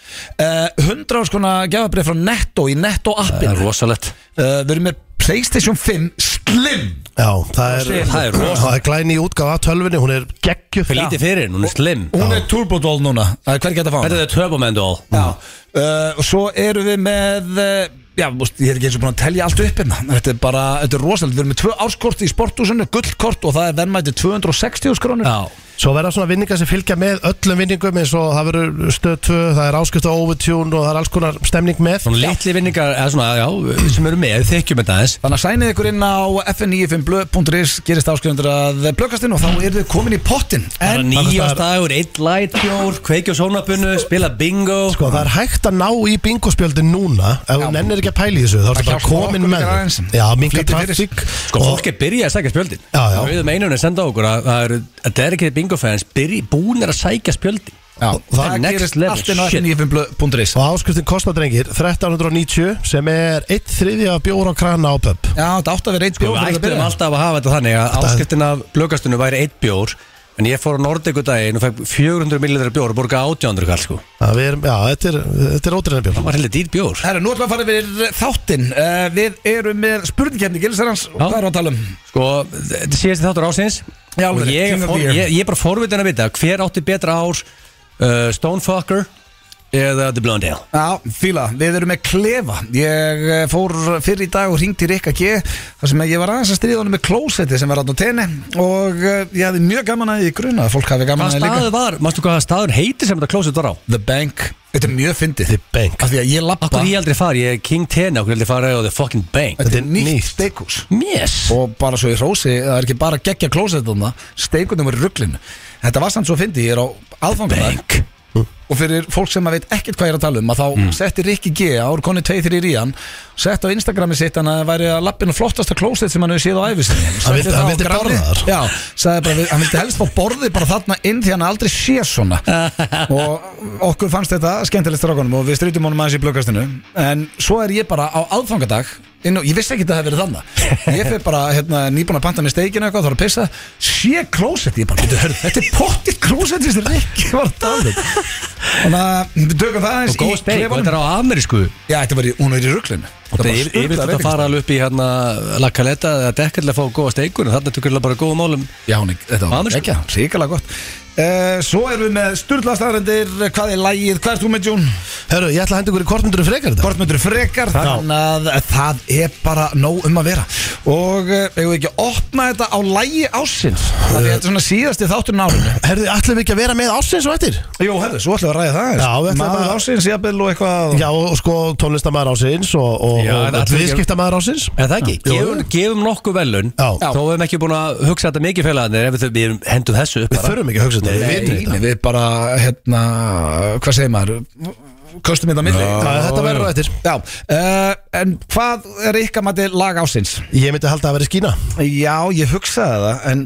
A: Eh, 100 árs konar gjafabref frá Netto í Netto
C: Það
A: appin
C: er rosalegt
A: uh, Við erum með Playstation 5 Slim
B: Já, það er,
C: Það er rosa.
B: það er glæni í útgáfa af tölvunni, hún er geggjöf
C: Fyrir lítið fyrir, hún er slim
A: Hún er Turbo Doll núna, það er hver geta að fá hana
C: Þetta er turbomendol
A: Já, uh, og svo eru við með uh, Já, múst, ég er ekki eins og búin að telja allt upp hérna Þetta er bara, þetta er rosalega Við erum með tvö árskort í sporthúsinu, gullkort og það er verðmæti 260 skrónur
C: Já
B: Svo verða svona vinningar sem fylgja með öllum vinningum eins og það verður stöð 2, það er áskrift á overtune og það er alls konar stemning með
C: Svona litli vinningar, eða svona, já, við sem eru með, þekkjum þetta aðeins
A: Þannig að sænið ykkur inn á fn95blö.is gerist áskrifundur að blökastinn og þá eru þið komin í pottin
C: Bara
A: En
C: nýjast dagur, eitt lightbjór, kveikja á sónabunnu, spila bingo
B: Sko það er hægt að ná í bingospjöldin núna ef
A: Já.
B: hún ennir ekki að pæli þessu þá
A: Það
B: er bara
A: hjálpar
B: komin
A: okkur
B: með
A: líka
B: þau.
A: aðeins.
B: Já, minga
A: Flýtir fyrir.
B: trafík
C: Sko, fólk er byrjað að sækja spjöldin
B: Já, já.
C: Við um einunni að senda okkur að það eru að derikið bingo-fans byrji- búnir að sækja spjöldin
A: Já,
B: Það
A: það
C: er next
A: gerist
C: level
A: allt inn á
C: shit.
A: fn95blö.is
B: Og áskriftin kostar drengir 1390 sem er 1 þriðja bjóra á krana á pub
A: Já, þetta átt að vera eitt
C: Við
A: bjóð
C: ættum alltaf að hafa þetta þannig að áskiptin af blökastunum væri eitt bjór En ég fór á Nordiku daginn og fekk 400 millilitra bjór og borga 800 kall sko
B: Já, við erum, já þetta er, þetta er ótreyna
C: Það
B: bjór
C: var heldur dýr bjór
A: Herra, nú ætlum við að fara yfir þáttinn uh, Við erum með spurningkefni Gilsarans, hvað er að tala um?
C: Sko, þetta síðast þáttur ásins
A: Já,
C: Og
A: alveg,
C: ég,
A: King of
C: for,
A: the Year.
C: ég, ég er bara forvitin að vita hver átti betra ár uh, Stonefucker eða The Blondale
A: Já, fíla, við erum með klefa Ég eh, fór fyrr í dag og hringdi í Rikka G þar sem ég var aðeins að stríða honum með klósetti sem var átt á tenni og eh, ég hafði mjög gaman að því í gruna að fólk hafi gaman að
C: Hvað
A: því líka
C: staður var, mástu hvað staður heiti sem þetta klósið var á?
A: The Bank, þetta er mjög fyndið
B: The Bank.
A: Af því að ég lappa,
C: Hvað ég aldrei fari, ég er King Tena og ég aldrei fari á The fucking Bank
A: þetta er nýtt,
B: nýtt.
A: nýtt. steikús
C: Yes
A: og bara svo í rósi, það er ekki bara geggja klósettum það, steikunum er rugglinu Þetta var samt svo fyndið, ég er á aðfangunar
C: Bank
A: og fyrir fólk sem að veit ekkert hvað ég er að tala um að þá
B: Mm.
A: setti Rikki G ár koni 2-3 í hann setti á Instagrami sitt hann að það væri að lappinu flottasta klósett sem hann hefur séð á æfisinni
B: Hann vildi- hann vildi borða þar.
A: Já, sagði bara, við- hann vildi helst fá borðið bara þarna inn því hann aldrei sé svona
B: Eh,
A: og okkur fannst þetta skemmtilegt strákunum og við strítum honum aðeins í blöggastinu en svo er ég bara á aðfangadag inn og ég vissi ekki að það hefði verið þannig ég fyrir bara hérna, nýbúin að panta með steikinu eitthvað þá er að pissa, sé klósett ég bara, "Bíddu, hörðu, þetta er pottitt klósett þessi Rikki var að tala um." þannig að við tökum það
C: Og góð
A: aðeins í
C: steik, og þetta
A: klefanum
C: er á amerísku
A: já, þetta var í, hún er í rugglinu
C: Og það er yfirleitt að fara alveg upp í hérna La Caleta eða Dekkerl að fá góða steikun en þarna tökur bara góða málum
A: já, hún er, þetta var
C: Amerísku.
A: ekki, ríkala gott uh, svo erum við með styrlaðstæðarendir hvað er lægið, hvað er þú með Jún?
B: Herru, ég ætla að henda ykkur í kortmynduru frekar þetta
A: Kortmyndur frekar Þannig að það er bara nóg um að vera Og eh, eigum við ekki að opna þetta á lægi ásins Það er þetta er svona síðasti þátturinn á árinu
B: Herru, ætlum við ekki að vera með ásins og eftir?
A: Jú, herðu, svo ætlum við að ræða það
B: Já, við ætlum
A: Maður
B: að-
A: ásins, jafnvel og eitthvað
B: Já, og sko tónlistamæður ásins og, og,
C: Já, en
B: og
C: ætlum við ekki-
B: viðskiptamæður ásins
C: En það ekki,
B: Jú,
C: gefum, gefum nokkuð velun
B: Já.
C: Þó við erum ekki búin að hugsa þetta mikið félagarnir ef við, við hendum þessu upp
B: Við
C: bara
B: þurfum ekki að hugsa þetta, við vitum
A: Nei,
B: þetta
A: nei, við bara, hérna, hvað segir maður Köstum þetta á milli
B: Já, Þetta verður á eftir
A: Já, uh, en hvað er ykkar mati lag ásins?
B: Ég myndi halda að vera skína
A: Já, ég hugsaði það En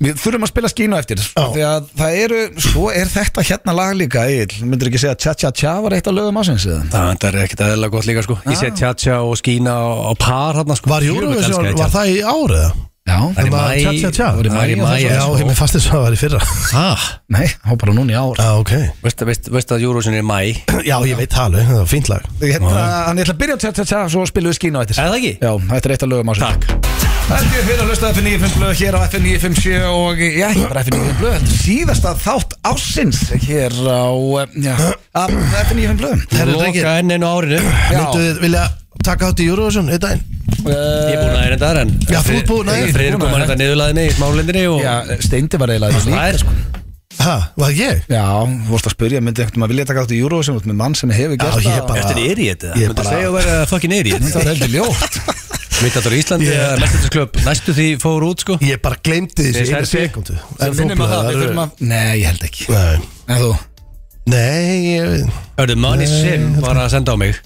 A: við þurfum að spila skínu eftir af Því að það eru, svo er þetta hérna lag líka Egil, myndir ekki segja Tja Tja Tja var eitt af lögum ásins eða?
C: Það það er ekkert aðeinslega gott líka sko Ég set tjatja og skína á par hérna sko
B: Ah. Var Eurovision, var það í árið?
A: Já,
C: Það er í
B: Hérna,
C: maí
B: tja, tja, tja.
C: Það er í maí sko.
A: Já,
C: og
B: Já,
C: það
B: ég með fastið svo að það var í fyrra
C: er svo
A: nei, þá bara núna í ár
C: Ah,
B: Já, ok
C: Veist veist- veist að Eurovision er í maí Er
B: Já, ég veit það alveg, það var fínt lag
A: Hérna, Þannig ég ætla að byrja á Tja Tja Tja Svo spilum við skínu á eftir
C: það ekki?
A: Já, þetta er eitt af lögum ásins
C: Takk
A: Þetta er fyrir að hlusta FN95 blöð hér á FN957 og já, ekki bara FN95 blöð heldur síðasta þátt ásins hér á já, af FN95 blöðum
B: Herru, drengir.
C: Loka enn einu árinu
A: Já.
B: Myndu þið vilja taka átt í Eurovision einn daginn?
C: Ég er búin að erenda þar en
B: Já, þú ert búin að-
C: Freyr kom að þetta niðurlaðinni í smálendinni og
A: Já, Steindi var eiginlega í þessu líka,
C: Það er sko
B: Hæ, var það ég?
A: Já, þú vorst að spyrja, myndi ekkert maður vilja taka átt í Eurovision út með mann sem hefur
B: Já,
A: gert
B: ég er bara
C: Ertu en idiot eða?
B: Ég
C: Myndu
B: bara-
C: segja að vera fucking idiot
A: Það er heldur ljótt
C: Myndatur í Íslandi
B: Ég-
C: eða Mestarklub Næstu því fór út sko
B: Ég bara gleymdi því
C: Nei,
B: sem einu
C: Serbi,
B: sekundu
A: Við minnum að það, við þurfum að Nei, ég held ekki
B: Nei,
A: En þú?
B: nei ég,
C: Hörðu, Money Sim var að senda á mig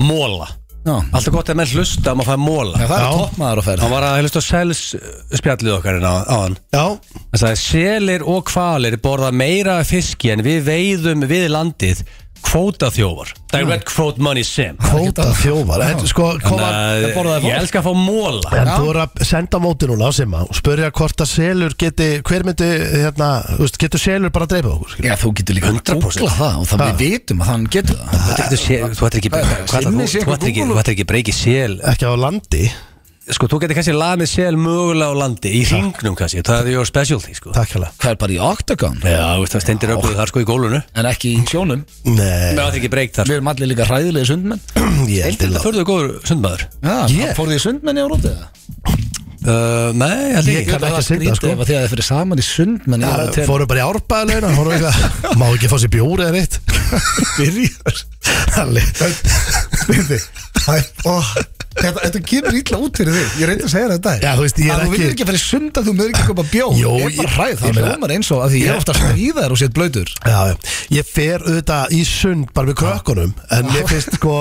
C: Móla
A: Já
C: Alltaf gott að menn hlusta að maður fæði móla
A: Já, það er
B: Já.
A: toppmaður að ferð
C: Hann var að hlusta á sels uh, spjallið okkar hérna á, á hann
B: Já,
C: Það sagði selir og kvalir borða meira af fiski en við veiðum við landið kvótaþjófar Direct quote money sim
B: kóta þjófar En sko, kom að
C: Þannig
A: það borðaði
C: að ég
A: fólk.
C: elska að fá móla
B: En þú voru að senda á móti núna á Simma og spurja hvort að selur geti, hver myndi, hérna, þú veist, getur selur bara að dreipa okkur, skilur?
A: Já, þú getur líka
C: 100%.
A: googlað það og það
B: Ha.
A: við vitum að hann getur það
C: Þú ættir ekki- þú ættir ekki hvað
A: Simmi
C: ætlar þú-
A: sé
C: þú ættir ekki- þú ættir ekki breykið sel
B: Ekki á landi,
C: Sko, þú getur kannski lamið sel mögulega á landi Í hringnum kannski, það er your specialty sko
B: takk hérlega
A: Það er bara í Octagon
C: Já, veist, það stendir öfluð þar sko í gólunu
A: En ekki í sjónum
B: Nei,
C: Mér ætlir ekki breykt þar sko.
A: Við erum allir líka hræðilegi sundmenn
B: ég held
C: Þetta
B: að
C: förðu góður sundmaður
A: Já,
B: Ég?
A: yeah. fór því sundmenn í Európa
C: uh, Nei, allir
B: Ég
C: ekki
A: Það
B: kann- ekki
A: var
B: að synda,
A: skrítið
B: sko.
A: ef að því að þið fyrir saman í sundmenn í
B: Það
A: Európa
B: fórum bara í árbæðalögina, fórum eitthvað Má ekki fá sér bjóri eða eitt Byrjar Halli
A: Bindi, þetta, þetta kemur illa út fyrir þig Ég reyndi að segja þetta
B: Já, þú veist, ég
A: Að
B: er
A: Ah, Þú
B: ekki-
A: vinnir ekki að fyrir sund að þú mögur ekki að köpa bjór
B: Jó,
A: Ég er bara
B: ég-
A: hræð,
B: ég
A: það
B: meina-
A: hljómar eins og að því ég er ofta að stríða þér og sétt blöytur
B: Já, já. ég fer auðvitað í sund bara með krökkunum En mér finnst sko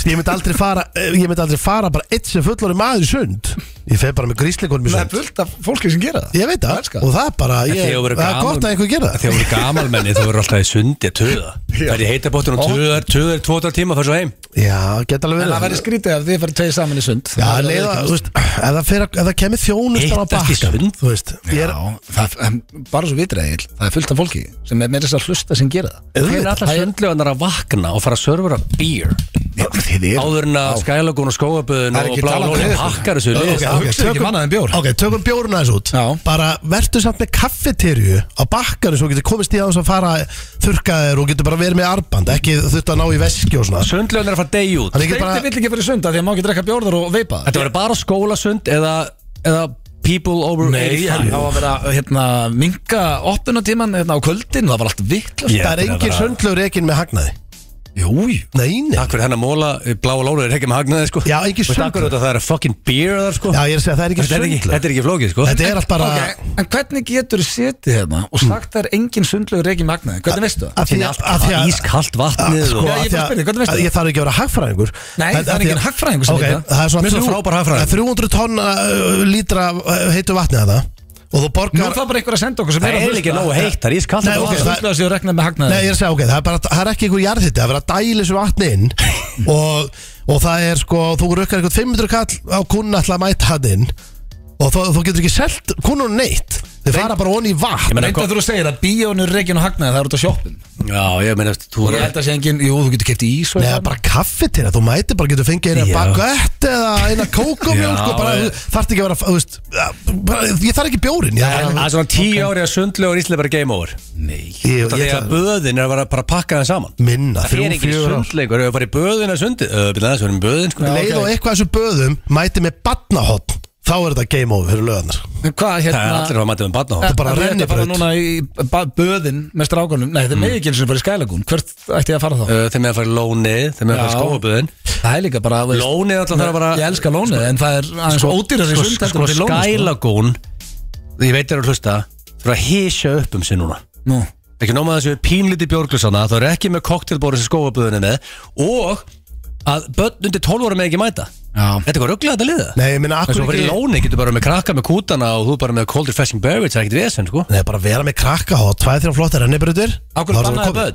B: Ég myndi aldrei fara eh, Ég myndi aldrei fara bara eitt sem fullori maður í sund Ég fer bara með grísleikunum í
A: Það er
B: sund
A: fullt af fólki sem gera það
B: Ég veit það,
A: elska
B: og það er bara ég,
C: Þegar þú verður
B: Það er
C: gamal-
B: gott að einhver gera það
C: Þegar þú verður gamalmenni þú verður alltaf í sundi að töða Það er í heitabóttun og töðar, töðar, tvoðar tíma og fær svo heim
B: Já, geta
A: En
B: alveg verið
A: það verður skrítið ef þið fyrir tveið saman í sund
B: Já,
A: Það er
B: leiða,
A: ekki-
B: þú veist, ef það, fer, að- ef það kemur þjónustan á
C: Hittast í
B: bakkan
C: sund?
B: Þú veist, ég er,
A: Já, það, en bara svo vitrið Egill, það er fullt af fólki sem er með þess að hlusta sem gera það
C: Það er alltaf sundleganar að vakna og fara að servera beer
A: Þið er
C: Áður en að skælagun og skóaböðun
A: Það er
C: og
A: ekki
C: blá
A: talað um
C: lóli
A: þetta.
C: pakkar þessu
B: Ok,
C: lið
A: Það hugsa ekki mannað en bjór.
B: Ok, tökum bjórna þessu út
A: Já.
B: Bara verður samt með kaffeterju á bakkanu svo getur komist í aðeins að fara þurrka þér og getur bara verið með arband ekki þurft að ná í veski og svona
C: Sundleganar að fara degi út
B: Hann er ekki
A: Steindi
B: bara
A: vill ekki fyrir sund af því að má ekki drekka bjórður og veipa
C: Þetta verður bara skólasund eða, eða people over
A: Nei, það
C: 85
A: á að vera hérna, minka oppunatíman hérna, á kvöldin það var allt vittlust
C: Ég-
B: Það er
C: þetta er
B: engin
C: bara-
B: sundlögur ekki með hagnaði
A: Jú, jú.
B: Nei, nei
C: Takk fyrir hennar móla, bláa lóla er ekki með hagnaði sko
B: Já, ekki
C: Veist af hverju
B: sundlaug.
C: þetta- Það er fucking beer þar sko
B: Já, ég er að segja það er ekki
C: Þetta er ekki,
B: sundlög
C: þetta er ekki flókið sko
B: Þetta er allt bara
A: Ok, En hvernig getur þú setið hérna og sagt það er engin sundlegur reiki magnaði hvernig veistu það?
B: af því Mm. að- af því að-
C: Ískalt
B: að-
C: vatnið og-
B: sko,
A: Já, ég
B: af því
A: bara spurði, hvernig veistu
B: að-
A: það?
B: Ég þarf ekki að vera hagfræðingur
A: Nei, það
B: En
A: er
B: af því
A: enginn
B: að-
A: hagfræðingur sem
B: Ok,
A: veit það.
B: Það er svona
C: Mér er svo
B: þrjú-
C: frábær hagfræðingur.
B: það er 300 tonna uh, lítra uh, heitu vatni að það Og þú
A: Nú er
B: borgar
A: það bara einhver að senda okkur sem
C: Það
A: er að
C: er ekki nógu heitt, það er ískalt
B: Nei,
A: Ok,
B: ok,
C: vatn.
B: það-
A: sundlegur séu regnað með
B: Nei,
A: magnaði
B: ég er að segja, ok, það er, bara, það er ekki einhver jarðhitti, það er verið að dæla þessu vatni inn og, og það er sko, þú rukkar eitthvað 500 kall á kunna alltaf að mæta hann inn og þú, þú getur ekki selt kunnun neitt þau fara bara onni í
C: Ég
B: vatn
C: meina,
A: Reynda
C: hvað-
A: þú að segja það, bíónur reikin og hagnaði það er út á sjoppin
C: Já, ég meina, þú
A: Ég
C: er
A: held að segja engin, jú, þú getur keft í ís og
B: Nei, það
A: eitthvað.
B: er bara kaffi til það, þú mæti bara getur fengið
C: Já.
B: eina bagett eða eina kókomjólk
C: Já,
B: og bara,
C: ég-
B: þú þarft ekki að vera, þú veist, bara, ég þarf ekki bjórin, ég þarf
C: Það
B: bara,
C: er svona tíu ári að sundlegur Ísli bara game over
A: Nei
B: ég, ég,
C: Þegar
B: ég,
C: böðin er að vera bara að pakka það saman
B: minna,
C: Það er
B: þrjú,
C: ekki
B: fjögur ár.
C: sundlegur, ef við farið í böðin að sundi Það er þess að við erum í böðin sko
B: leið og eitthvað af þessum böðum mæti með badnahotn, þá er þetta game over fyrir sko. löðanar.
A: En Hvað
C: Það er allir
A: hérna
C: að mæta um með barna
B: er bara
A: En þið ættu að fara
B: rennibraut.
A: núna í ba- böðin með strákunum Nei, þeir megi ekki eins og bara í skælagún Hvert ætti ég að fara þá?
C: Þeim er að fara í lónið, þeim er að fara
A: Já.
C: skóaböðin
A: Það er líka bara þú veist-
C: Lónið er alltaf það að bara
A: Ég elska lónið, en það er aðeins sko, ódýrar í
C: Sko,
A: sund
C: sko,
A: heldur
C: sko
A: en fyrir lónið,
C: skælagún Ég veit þér að hlusta Þurfa að hysja upp um sig núna
A: Nú,
C: ekki nóma þessu pínliti bjórglusana það er ekki með koktelbóri sem skóaböðunni með og að börn undir 12 ára með ekki mæta
A: Já.
C: Þetta er hvað rugglega þetta liða
B: Nei, ég minna,
C: Þess
B: akkur
C: að fyrir lóni getur bara með krakka með kútana og þú bara með cold refreshing beverage það er ekkert vesen sko
B: Nei, bara vera með krakka og tvæð þrjá flottar rennibröður
A: á hverju bannaði börn?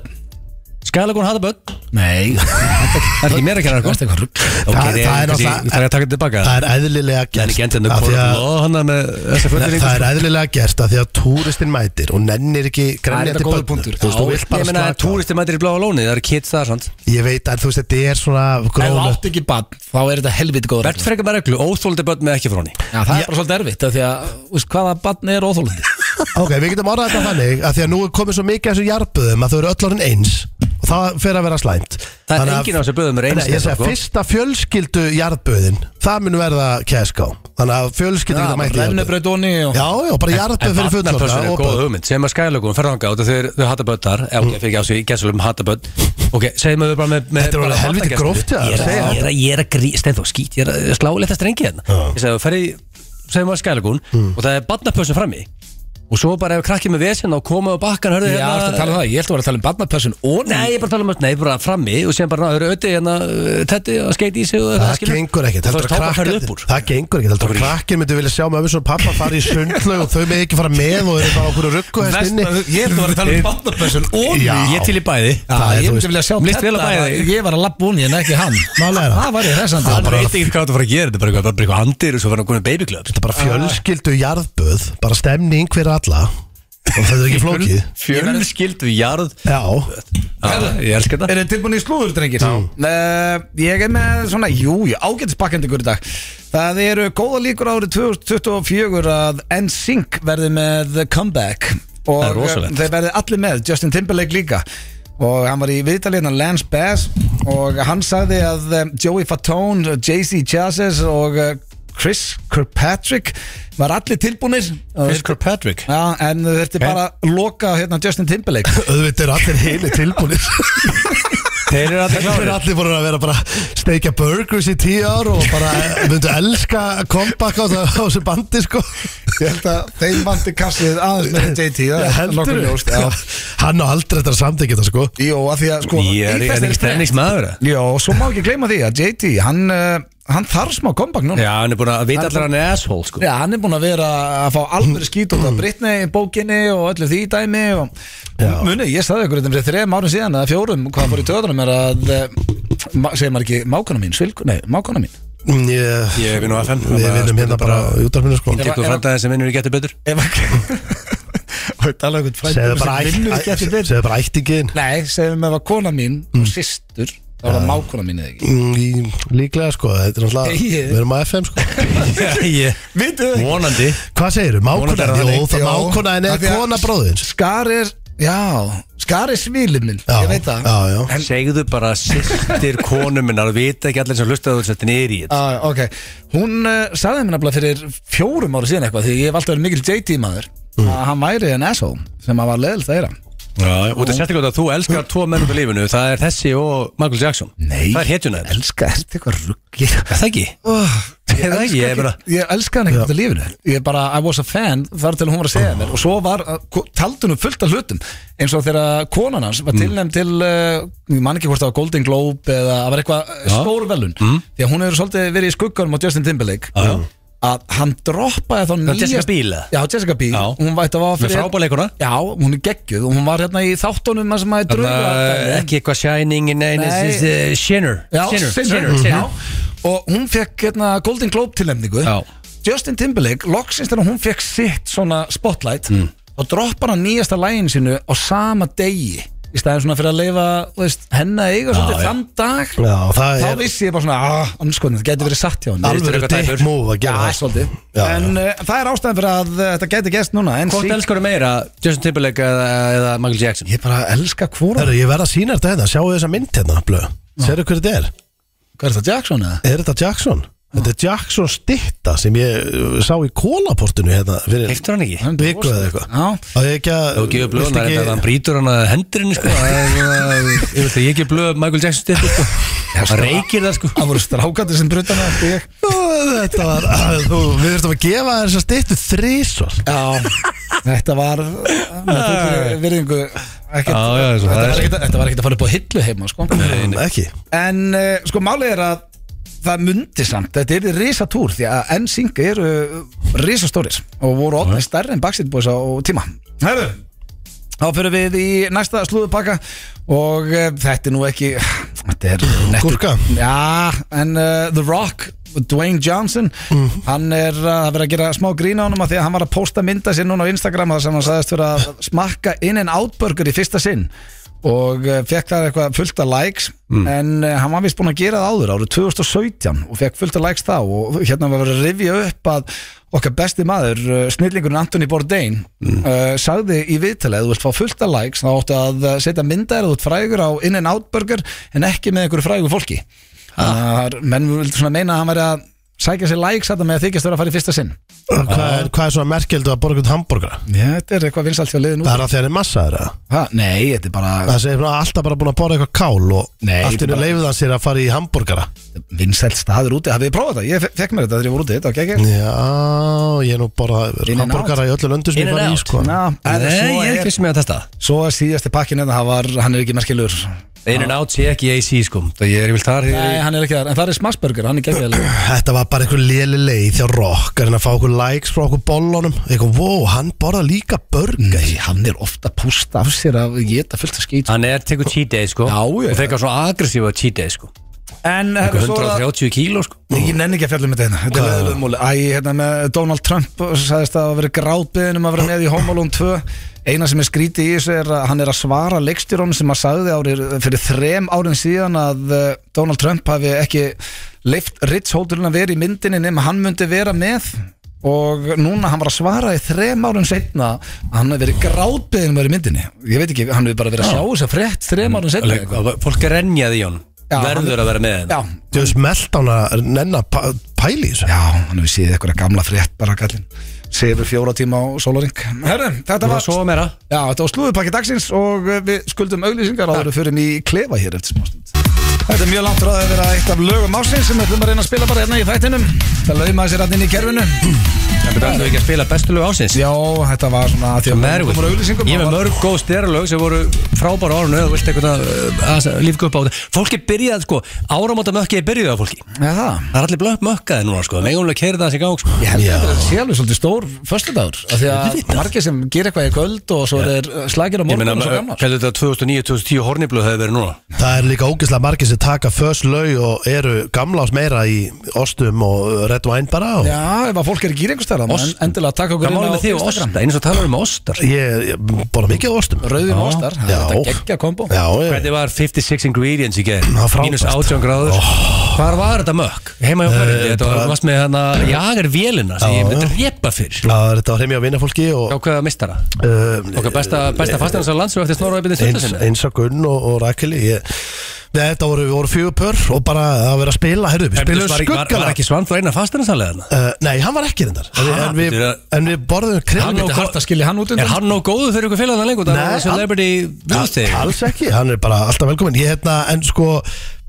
C: Skælagun hata börn
A: Nei,
C: Það er ekki mér að kenna
A: Þetta er
C: sko
A: eitthvað rugg
B: það-
C: Ok,
B: það
C: það
B: er
C: er kannski-
B: náttúrulega-
C: það er að taka þetta tilbaka
B: Það er eðlilega
C: Það er
B: gert
C: ekki endin
B: af
C: að
B: því
C: kóla
B: að-
C: blóð hana með þessa
B: Nei,
C: fulleringu
B: Það er eðlilega gert að því að túristinn mætir og nennir ekki
A: þetta
B: grænjandi
A: góður
B: börnum.
A: punktur.
B: Þú veist, þú
A: Já,
B: vilt bara
C: Ég meina að
B: slaka á.
C: túristi mætir í bláa lóni það eru kids það sant
B: Ég veit að þú veist, þetta er svona
A: Ef þú
B: grónu
A: átt ekki bann, þá er þetta helviti góð
C: Bert
A: regla
C: frekar með reglu óþóldi börn með ekki frá henni
A: Já, það er bara svolítið erfitt, af því að, þú veist, hvaða bann er óþólandi
B: Ok, við getum orðað þetta þannig að því að nú er komið svo mikið af þessu jarbuðum að þau eru öll orðin eins og það fer að vera slæmt
C: Það Það er
B: Þannig að-
C: engin á þessu blöðum er
B: Nei, ég
C: einstæð
B: segi að fyrsta fjölskyldu jarðböðin Það mun verða KSK Þannig að fjölskyldu
D: Já,
B: getur mætt í jarðböð
D: Rennebraut onni og
B: Já, já, bara jarðböð fyrir
C: Vatnapössun er góð
B: fullorðna
C: hugmynd Segðu maður skælögum, ferðanga út og þeir, þau hata böttar eh, Ok, fyrir ekki á sig, gæsum hata bött Ok, segðu maður bara með, með
B: Mm. Þetta er
C: bara
B: alveg helviti
C: hata
B: gróft,
C: gesti.
B: ja,
C: Ég er
B: segja
C: að- ég er að- ég er að grí, stein þó skít Ég er að sláleita strengi hérna
B: Já. Mm.
C: Ég segðu, ferði, segðu maður skælögum Og það er vatnapössun frammi Og svo bara ef krakkið með vesinn og koma á bakkan Hörðu
A: Já, ertu að tala um það, ég ætla að vera að tala um barnapössun og
C: Nei, ég er bara að tala um að, nei, bara frammi og síðan bara, ná, þau eru öti hérna, uh, tetti að skeiti í sig og
B: Það
C: skilur.
B: gengur ekkert
C: Og
B: heldur
C: þá
B: að
C: er stápa ferðið
B: krakkarnir-
C: upp úr.
B: Það gengur ekkert Heldur að krakkir myndu vilja sjá með öfis og pappa fara í sundlaug og þau með ekki fara með og eru bara okkur að ruggu
D: Vest-
B: þess inni
D: Ég ætla að vera að tala um bandabessun onni
B: Já.
A: Ég til í bæði
D: Já,
B: Það er, þú
D: ég myndi
B: veist-
D: vilja sjá
C: Mér líst vel á
D: Tedda,
C: bæði.
D: Ég var að lappa hún, ég en ekki hann
B: Málega er það.
D: Það var ég hressandi
B: Það er bara-
C: Ég veit ekki hvað þú fara að gera, þetta er bara eitthvað, bara eitthvað andir og svo verður að koma í baby club.
B: Þetta er bara fjölskyldu jarðböð Bara stemning fyrir alla Og það er ekki flókið
C: Ah, Fjölskyldu, jarð
B: Já,
C: ah, Ég elska þetta
D: Er þið tilbúin í slúður, drengir? Uh, ég er með svona, jú, ég ágætis bakkendingur í dag Það eru góða líkur árið 2024 að NSYNC verði með comeback Og
C: Það er rosalegt.
D: þeir verði allir með, Justin Timberlake líka Og hann var í viðtalina Lance Bass Og hann sagði að eh, Joey Fatone, Jay-Z Chazes og eh, Chris Kirkpatrick Var allir tilbúinir
C: Chris Kirkpatrick
D: Já, en þau þurfti bara að loka hérna Justin Timberlake
B: auðvitað er allir heili tilbúinir
C: Þeir eru allir
B: Þeir eru
C: klárir
B: allir voru að vera bara að steikja burgers í tíu ár og bara eh, myndu elska comeback á það- á þessu bandi sko
D: Ég held að þeim vandi kassið aðeins með JT Það er nokkuð ljóst já.
B: Hann á aldrei þetta samþykja þetta sko
D: Jó, að því að sko
C: Ég er
D: í
C: er
D: þessari
C: ekki stemningsmaður eða?
D: frétt- Jó, svo má ekki gleyma því að JT Hann, uh, hann þarf smá comeback núna
C: Já, hann er búin að vita allir að hann er asshole sko.
D: Já, hann er búin að vera að fá alveg skýt út af Britney, bókinni og öllu því dæmi og muni, ég sagði ykkur þetta fyrir þrejum árum síðan eða fjórum, hvað fór í töðunum er að eh, ma- segir maður ekki, mákona mín, svilku, nei, mákona mín
B: Mm, Ég
C: Ég vinn á FM
B: Við vinnum hérna bara í útarfinu sko
D: Ég-
C: Tikkur frændaði sem vinnur í getur betur
D: Ef ekki Og ég tala um einhvern frændum
B: Segðu
D: sem
B: bara ætt-
D: vinnur ekki
B: ætt-
D: eftir betur
B: segðu bara ættingin
D: Nei, segjum ef að kona mín og systur, þá var það mákona mín eða ekki
B: Líklega sko, þetta er náttúrulega
D: Ég-
B: Við erum á FM sko
D: Vitið þið
C: Vonandi
B: Hvað segirðu? Mákona?
D: Vonandi er það
B: Jó,
D: þannig.
B: það
D: Jó.
B: mákona en
D: Af
B: er
D: því að-
B: kona bróðins
D: Skar er, já, skar er svílið minn
B: Já,
D: Ég veit það
B: já, já.
D: En,
C: Segðu bara sýstir konum minnar og vita ekki allir sem hlustaðu þess að þetta er í þetta
D: á, Ah, ok, hún uh, sagði mér nefnilega fyrir fjórum ára síðan eitthvað Því ég hef alltaf verið mikil JT maður Að hann væri en asshole sem að var leðilt þeirra
C: Og það sérstaklega að þú elskar tvo mennum í lífinu Það er þessi og Michael Jackson
D: Nei.
C: Það er hetjuna þeir
D: Elska, er þetta eitthvað ruggli?
C: Það ekki
D: Ég
C: Það ekki, ég er
D: elska,
C: bara
D: ekki- ég elska hann ekkert í lífinu Ég bara, I was a fan þar til hún var að segja mér Og svo var, uh, taldunum um fullt af hlutum Eins og þegar uh, konan hans
C: Mm.
D: var tilnæm til uh, Ég man ekki hvort það var Golden Globe Eða það var eitthvað uh,
C: Já. Mm.
D: stór velun Því að hún hefur svolítið verið í skugganum á Justin Timberlake
C: Já.
D: Að hann droppaði þá nýjast
C: Jessica Biel, eða?
D: Já, Jessica Biel
C: Já.
D: Hún vætti að
C: Með frábæleikuna
D: Já, hún er geggjuð og hún var hérna í þáttunum þar sem að
C: Þarna, eh,
D: drauga-
C: Ekki eitthvað Shining Nei,
D: Nei.
C: this is uh, Shinner
D: Já, Mm.
C: Shinner,
D: Sinner,
C: Shinner,
D: já.
C: Shinner.
D: Og hún fekk hérna, Golden Globe tilnefningu
C: Já.
D: Justin Timberlake, loksins þegar hún fekk sitt svona spotlight og droppar hann nýjasta lægin sinu á sama degi í staðin svona fyrir að leifa veist, henni að eiga svolítið
C: já.
D: þann dag
B: Já, það
D: þá
B: er
D: vissi ég bara svona ah, anskotin, það gæti verið satt hjá hann
C: Al-
B: alveg
C: eitthvað tæpur.
B: dick move að
D: Já,
B: gera það sko.
D: svolítið
B: Já, já.
D: En uh, það er ástæðan fyrir að uh, þetta gæti gæst núna En
C: Hvort
D: sí-
C: elskar þú meira, Justin Timberlake eða, eða Michael Jackson?
D: Ég bara elska hvora
B: Herru, ég verð að sína þetta hérna, sjáu þessa mynd hérna blöð Serðu hver þetta er?
D: Hvað er það, Jackson eða?
B: Er þetta Jackson? Þetta er Jackson stitta sem ég uh, sá í kólaportinu hérna fyrir
C: Heftur hann ekki?
B: viku eða eitthvað
D: Já,
B: Það er ekki að
C: Þú gefur
B: viltu
C: blöðunar
D: hérna,
B: ekki-
C: þetta, hann brýtur hann að hendurinn sko Það er svona- Ég veist að ég gef blöð Michael Jackson styrku sko Hann reykir það sko
D: það voru strákandi sem brutan að ég
B: Ó, Þetta var, að, þú, við þurfum að gefa þér þessa stittu þrísvar
D: Já, þetta var með fullri virðingu ekkert,
C: Já, já, svo
D: þetta,
C: það er-
D: var ekkert, þetta var ekkert að fara upp á hillu heima sko.
B: Ekki
D: En uh, sko málið er að það mundi samt, þetta er risatúr því að NSYNC eru uh, risastórir og voru ofnir stærri en Backstreet Boys á tíma Herru Þá fyrir við í næsta slúðupakka og uh, þetta er nú ekki Þetta er nettur
B: Gúrka.
D: Já, en uh, The Rock Dwayne Johnson hann er uh, að vera að gera smá grín á honum að því að hann var að posta mynda sér núna á Instagram þar sem hann sagðist fyrir að smakka in and out burger í fyrsta sinn og uh, fekk það eitthvað fullt af likes en uh, hann var vist búinn að gera það áður árið 2017 og fekk fullt af likes þá og hérna var verið að rifja upp að okkar besti maður, uh, snillingurinn Anthony Bourdain uh, sagði í viðtalið að þú vilt fá fullt af likes þá áttu að uh, setja myndaðir út frægur á In and Out Burger en ekki með einhverju frægu fólki Ah. Þar, menn vildi svona meina að hann væri að sækja sér likes að það með að þykjast vera að fara í fyrsta sinn
B: Hvað er, hvað er svona merkjöldu að borga út hambúrgara?
D: Já, þetta er eitthvað vinsalt hjá liðin
B: Það
D: út
B: er að þeir eru massaður eða?
D: ha, Nei, þetta er bara
B: Það segir bara alltaf bara búin að borða eitthvað kál og
D: Nei,
B: allt í hennu
D: bara-
B: leifið hann sér að fara í hambúrgara
D: vinsælt staður úti hafið þið prófað það, ég fe- fekk mér þetta þegar ég voru úti þetta var geggjað.
B: Já, ég er nú bara
D: In and
B: hambúrgara í öllu löndu sem
C: In
B: ég
C: and
B: fara í
C: out.
B: sko
D: Ná, en
C: Nei,
D: svo
C: ég er
D: er
C: ekki sem ég að testa það.
D: svo er síðasti pakkin en það var, hann er ekki merkilegur nei,
C: In and out sé ekki í AC sko Það ég er vilt þar ég-
D: hann er ekki þar, en það er smagsburger, hann er geggjæðileg
B: Þetta var bara einhver léli leið hjá rock en að fá okkur likes frá okkur bollunum eitthvað, wow, hann borða líka börga
D: nei, hann er ofta að pústa af sér að geta fullt af skýt
C: Hann er tekur cheat day sko
D: Já, já.
C: Og fekar svona aggressífa cheat day sko
D: en
C: Einhver
D: herru, svo er það
C: 130 kíló sko
D: Ég nenni ekki að fjalla með þetta hérna, þetta er leðilegum múli Æ, hérna með Donald Trump sagðist að hafa verið grátbyðin um að vera með í Home Alone 2 Eina sem er skrítið í þessu er að hann er að svara leikstjórónum sem að sagði árir, fyrir þrem árin síðan að eh, Donald Trump hafi ekki leift Ritzholdurinn að vera í myndinni nema hann myndi vera með og núna hann var að svara í þrem árum setna að hann hefur verið grátbyðin um að vera í myndinni ég veit ekki, hann hefur bara verið að sjá þess að frétt þrem árum setna
C: Alveg, og Fólk er renjað í hann
D: Já,
C: Verður að vera með hann
D: Já,
B: Þú veist, meld hann að nenn að pa- pæli í þessu
D: Já, hann hefur séð eitthvað gamla frétt bara gallin Sefur fjóra tíma á sólaring Herru, þetta
C: Það
D: var
C: var svo meira
D: Já, þetta var slúðupakki dagsins og eh, við skuldum auglýsingar áður en við förum í klefa hér eftir smástund Þetta er mjög langt ráð að vera eitt af lögum ásins sem við ætlum að reyna að spila bara hérna í þættinum Það lauma sér allir inn í kerfinu
C: Það betur alltaf ekki að spila bestu lög ásins
D: Já, þetta var svona að því að
C: Matter with
D: komur
C: you.
D: auglýsingum
C: Ég er með
D: var-
C: mörg góð styrralög sem voru frábæra árunu og vilt eitthvað uh, að lífgu upp á þetta Fólki byrjaði sko, áramóta mökkið er byrjuð á fólki
D: Já, það
C: Það er allir blökk mökkaði núna sko, meðgumlega keiri það sig gang sko
D: Ég held að þetta sé alveg svolítið stór föstudagur af því að margir sem gerir eitthvað í kvöld og svo er slagir á
C: Ég
D: morgun
C: meina,
D: og svo gamlar
C: hvernig þetta 2009-2010 horniblöð hefur verið núna
B: Það er líka ógeðslega margir sem taka first lög og eru gamla ás meira í ostum og red wine bara og
D: Já, ef að fólk er ekki í einhverstaðar
C: Ost.
D: Endilega taka okkur
C: Hvað málum
D: inn á
C: við þig og
D: Instagram
C: ostar? Einu svo talar um ostar
B: ég, ég borða mikið af ostum
D: Rauðin og ostar, það
B: Já.
D: er þetta geggja kombo
B: Já, ég,
C: sko. Hvernig var 56 ingredients í gerð?
B: Það var frábært.
C: Mínus 18 gráður
D: Oh.
C: Hvar var þetta mökk? Heima hjá Harry Þetta var, varst með hana Jager vélina sem ég myndi drepa fyrir
B: það er þetta á heimja vinnafólki og
C: Á hvaða mistara?
B: um,
C: Okkar besta, besta fasteins á landsum eftir snorra ebbinni stölda
B: eins,
C: sinni
B: eins og Gunn og, og Rakeli ég, Nei, Þetta voru, voru fjögur pör og bara að vera að spila, herðu, við
C: Var,
B: spilum
C: var, var
B: skuggala
C: ekki Svanþór eina fasteinsanlega
B: Uh, nei, hann var ekki reyndar En,
C: Ha,
B: en, við,
C: betur að-
B: en við borðum
C: Hann
B: krem
C: og-
D: Þetta er hægt að skilja hann út
C: Er
D: undan
C: hann nóg góðu fyrir ykkur félagna lengur? Það
B: Nei,
C: er celebrity viðstig
B: Alls ekki, hann er bara alltaf velkominn Ég hérna, en sko,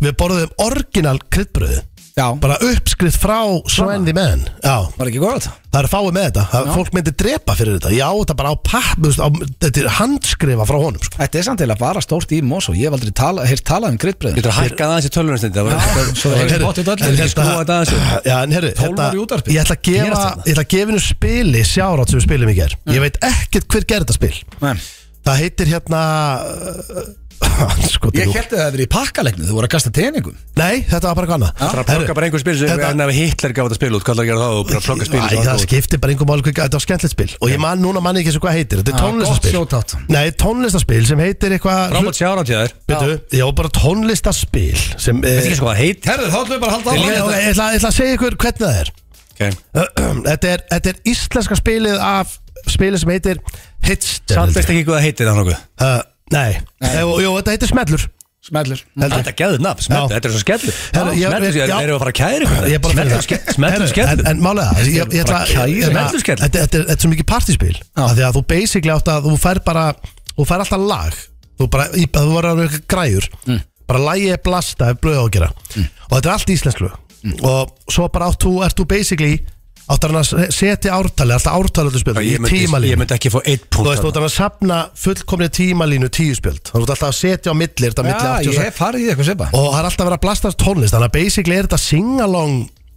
B: við borðum orginal kryddbröði
D: Já,
B: Bara uppskrift frá Svendy menn Já,
D: var ekki góð
B: það er fáið með þetta það, Fólk myndi drepa fyrir þetta Já, þetta bara á papp, þú veist, á, þetta er handskrifa frá honum sko.
D: Þetta er samt eða bara stórt í Mosó Ég hef aldrei tala, heyrt talað um kryddbreið
C: Getur að hækka það aðeins í tölvunarstundi Það var
D: svo er
C: ekki
D: þetta-
C: bótt í
D: þetta-
C: döllu Skúa þetta aðeins upp.
B: hérna- Já, en herru,
D: Tólf
B: þetta-
D: ára í útvarpi.
B: ég ætla að gefa
C: Gerast þetta.
B: Ég ætla að gefa hennu spili sjárátt sem við spilum í ger Ég veit ekkert hver gerði þetta spil Það heitir hérna sko,
D: Ég held að það hefði verið í pakkalegnu, þú voru að kasta teningum
B: Nei, þetta var bara
C: Það
B: eitthvað
C: er að plugga
B: annað
C: bara einhver spil sem
B: Þetta-
C: en ef Hitler gaf þetta spil út, hvað það að gera þá og bara plugga spil
B: Æ, það skiptir bara einhver mál hvað- Þetta var skemmtilegt spil Og ég man núna manni ekki eins og hvað heitir Þetta er
D: Já, gott
B: tónlistaspil
D: shoutout.
B: Nei, tónlistaspil sem heitir eitthvað
C: Frábært sjára til þér
B: Býtu, já, bara tónlistaspil sem
C: Þetta er ekki
B: eh,
C: sko hvað það heitir
D: Herðu, þá ætlum við bara að halda
B: Ég
D: áfram.
B: ég- ég ætla ég ætla að segja ykkur hvernig það er Þetta er, þetta er íslenska spilið af spilið sem heitir
C: Samt
B: Hitster
C: veist ekki hvað það heitir það nokkuð
B: uh, Nei, Jú, jú, þetta heitir Smellur
D: Smellur
B: Heldur.
C: Þetta er gæður
B: Já.
C: nafn, smettur, þetta er svo skellur
B: Herra, ég-
C: Smettur,
B: ég-
C: þeir
B: já.
C: eru að fara að kæri
B: Ég er bara að finna
C: Smettur,
B: það.
C: skellur Smettur,
B: Herru,
C: skellur
B: en- En málega, ég, ég, ég ætla
C: Bara kæri.
B: hérna,
C: Smeltur skell.
B: Þetta þetta er þetta er svo mikið partyspil af Því að þú basically átt að þú fær bara Þú fær alltaf lag Þú bara, í- þú voru alveg eitthvað græjur
C: Mm.
B: Bara lagi er blasta ef blöð á að gera Og þetta er allt íslensk lög
C: Mm.
B: Og svo bara átt þú, ert þú basically Átt að hann að setja ártali Alltaf ártali öllu spil
C: Ég
B: í
C: myndi- ég
B: tímalínu
C: myndi ekki fá eitt
B: Þú
C: punkt
B: veist, þú ert að safna fullkomni tímalínu tíu spjöld Þannig þú ert alltaf að setja á milli, er þetta milli
D: Já,
B: 80 og
D: ég hef farið í eitthvað sepa
B: og það er alltaf verið að blasta tónlist þannig að basically er þetta sing-along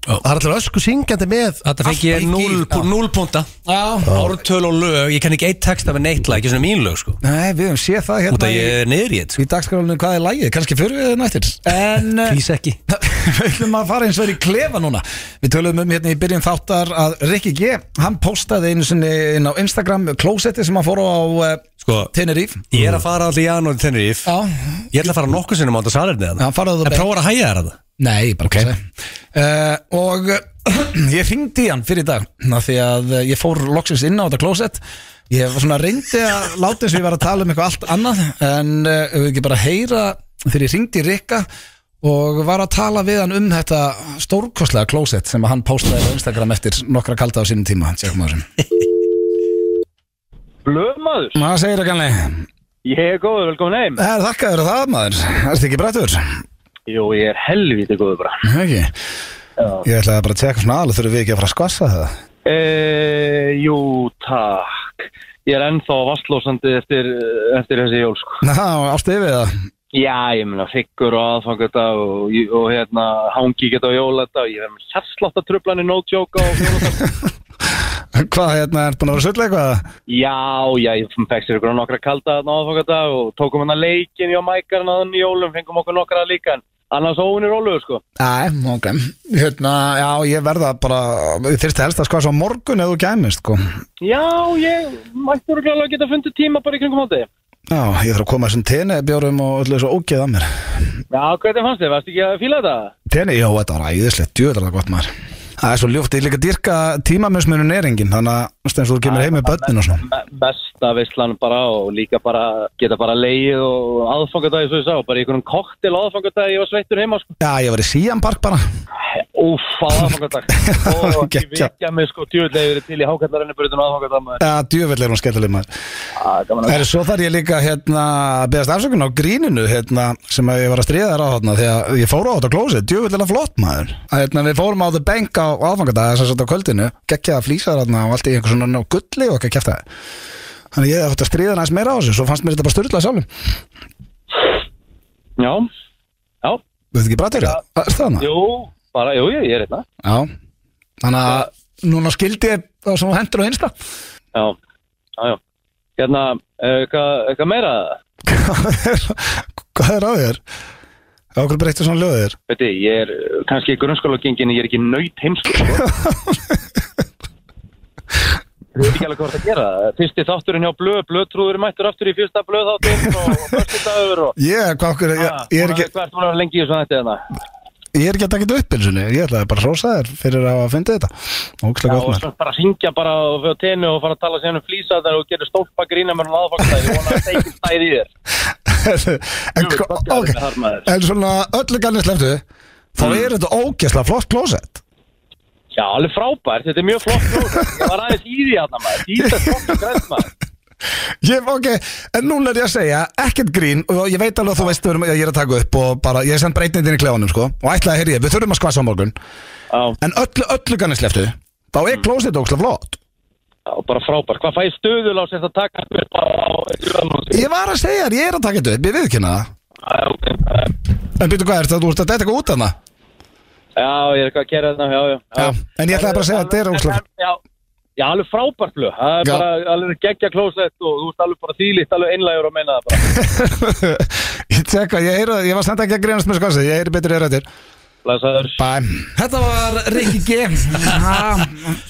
B: það er alltaf ösku syngjandi með
C: Þetta fengi ég 0 punta Ártöl og lög, ég kann ekki eitt texta með neitt lag, ekki svona mín lög sko
D: Nei, við höfum séð það
C: Út
D: hérna
C: að
D: í,
C: ég er niður í sko. þetta
D: í dagskrálinu hvað er lægið, kannski fyrir við nættir En eh,
C: Kvís ekki
D: við ætlum að fara eins og er í klefa núna við töluðum um hérna í byrjun þáttar að Rikki G, hann postaði einu sinni inn á Instagram klósetti sem hann fór á eh,
C: Sko,
A: Sko,
D: Tenerife
A: ég er að fara alltaf í janúar til Tenerife
D: Já,
A: Ég ætla að fara nokkuð sinnum á þetta salerni
D: já,
A: þarna.
D: farðu
A: En
D: það
A: prófa að hæja þér að það
D: Nei, ég bara okay. uh, Og ég hringdi í hann fyrir í dag af Því að eh, ég fór loksins inn á þetta klósett Ég var svona reyndi að láta eins og ég var að tala um eitthvað allt annað En uh, við ekki bara heyra Þegar ég hringdi í Rikka Og var að tala við hann um þetta stórkostlega klósett Sem að hann postaði á Instagram eftir nokkra kalda á sínum tíma Sjáum að þessum
C: Blöfmaður,
D: Maður segir ekki hann
C: ég er góður, velkomin heim
D: Þakkaður að það maður, ertu ekki brettur?
C: Jú, ég er helvítið góður bara
D: Nei, ekki Ég ætlaði bara að tjekka svona aðlega Þurfum við ekki að fara að skvassa það?
C: e, Jú, takk Ég er ennþá vastlósandi eftir, eftir þessi jól sko.
D: Ná, ástu yfir það
C: Já, ég meina figgur og aðfangadag og, og hérna hangi geta á jóladag og ég verð með hérslátt að trublanir no joke á jóladag
D: Hvað, hérna, er búin að vera sull eitthvað?
C: Já, já, ég fekk sér ykkur á nokkra kalda þarna á aðfangadag og tókum hérna leikin í á mækarna þannig í jólum, fengum okkur nokkra líka en annars óunir ólugur sko
D: Æ, ok Hérna, já, ég verða bara Þyrst helst að skvassa á morgun eða þú gæmist, sko
C: Já, ég mætti örgulega að geta fundið tíma bara í kringum hátti
D: Já, ég þarf að koma þessum teni bjórum og öllu þessu ógeð að mér
C: Já, hvernig fannst þið? Varst ekki að fíla þetta?
D: Teni, já, þetta var æðislegt, djöður það gott maður Það er svo ljóft, ég líka dyrka tímamismunum er engin Þannig að, þú veist, eins og þú kemur heim með börnin og svona
C: Me besta veistlan bara og líka bara geta bara leið og aðfangadagi svo ég sá, bara í einhvern koktel aðfangadagi ég var sveittur heima sko.
D: Já, ég var í Sian Park bara
C: Úf, aðfangadag. Og ekki
D: Geggjað.
C: vikja mig sko djúðlega verið til í hákallarinnu brutun aðfangadag maður.
D: Já, djöfull er hún skemmtileg maður
C: Ah, gaman að-
D: Það er svo þar ég líka hérna að beðast afsökun á gríninu hérna sem að ég var að stríða þér á hérna þegar ég fór á þetta klósið, djúvillilega flott maður að hérna við fórum á The Bank á aðfangadag þess að þetta á kvöldinu, gekkja að flýsa þér hérna og allt í einhver svona ná gulli og ekki að kæfta þér Þannig ég átti að stríða næst meira á þessu svo fannst mér þetta bara styrlað sjálfum
C: Já, já,
D: Þú veit ekki brættur það? Er það hana?
C: jú, bara, jú, ég, ég er hérna.
D: Já Þannig að núna skildi ég það sem þú hendur á hinsta
C: Já, já, já. Hérna, eh, hvað hvað meira?
D: Hvað er á þér? Ákveð breyttu svona löðir
C: Veit ég, ég er eh, kannski grunnskóla gengin, ég er ekki nöyt heimsku sko. Ég veit ekki alveg hvað það er að gera. Fyrsti þátturinn hjá blöð, blöðtrúður er mættur aftur í fyrsta blöðþáttinn og fyrsti dagur og...
D: yeah, hvað okkur, ég,
C: Ah,
D: ég er ekki
C: Hvað ert búin að vera lengi í hérna? þessu þetta þarna?
D: Ég er ekki að taka þetta upp eins og niður, ég ætlaði bara að rosa þér fyrir að hafa fundið þetta Ógæslega
C: Já,
D: gott
C: og
D: maður
C: svo bara hringja bara og fyrir tennu og fara að tala síðan um flýsa þar og gera stólpa grína með hún aðfangstæði og vona að steikir stæði í þér.
D: En,
C: Jú, þetta er
D: hva- ok,
C: alveg þar, maður. Mm.
D: en svona öllu ganni sleftu Þá er þetta ógæslega flott klósett
C: Já, alveg frábært, þetta er mjög flott klósett. Ég var aðeins í því þarna maður, dýta flott og grænt maður.
D: Ég, ok, en núna er ég að segja ekkert grín og ég veit alveg að þú veist um að ég er að taka upp og bara, ég er send breytnindin í klefanum sko og ætlaði að heyri ég, við þurfum að skvassa á morgun
C: Já, Mm.
D: en öllu, öllu ganni sleftu þá er klósett ógæslega flott
C: já, bara frábært. Hvað fæ ég stöðul á sem það taka upp á sjöðanúti?
D: Ég var að segja þér, ég er að taka þetta upp, ég viðkynna það En býttu hvað er þetta, þú ert að detta eitthvað út hana
C: Já, ég er eitthvað að gera
A: hérna,
C: þetta, já, já.
D: Já, en ég ætlaði bara að segja að þetta er ógæslega
C: Já, já, alveg frábært blöð Það er
D: Já.
C: bara alveg geggja klósett og þú veist alveg bara þýlitt, alveg einlægur að meina það bara
D: ég tek að ég heyra, ég var senda ekki að grínast með skoðsig, ég heyri betur í rættir
C: Læsaður
D: Bæ Þetta var Rikki G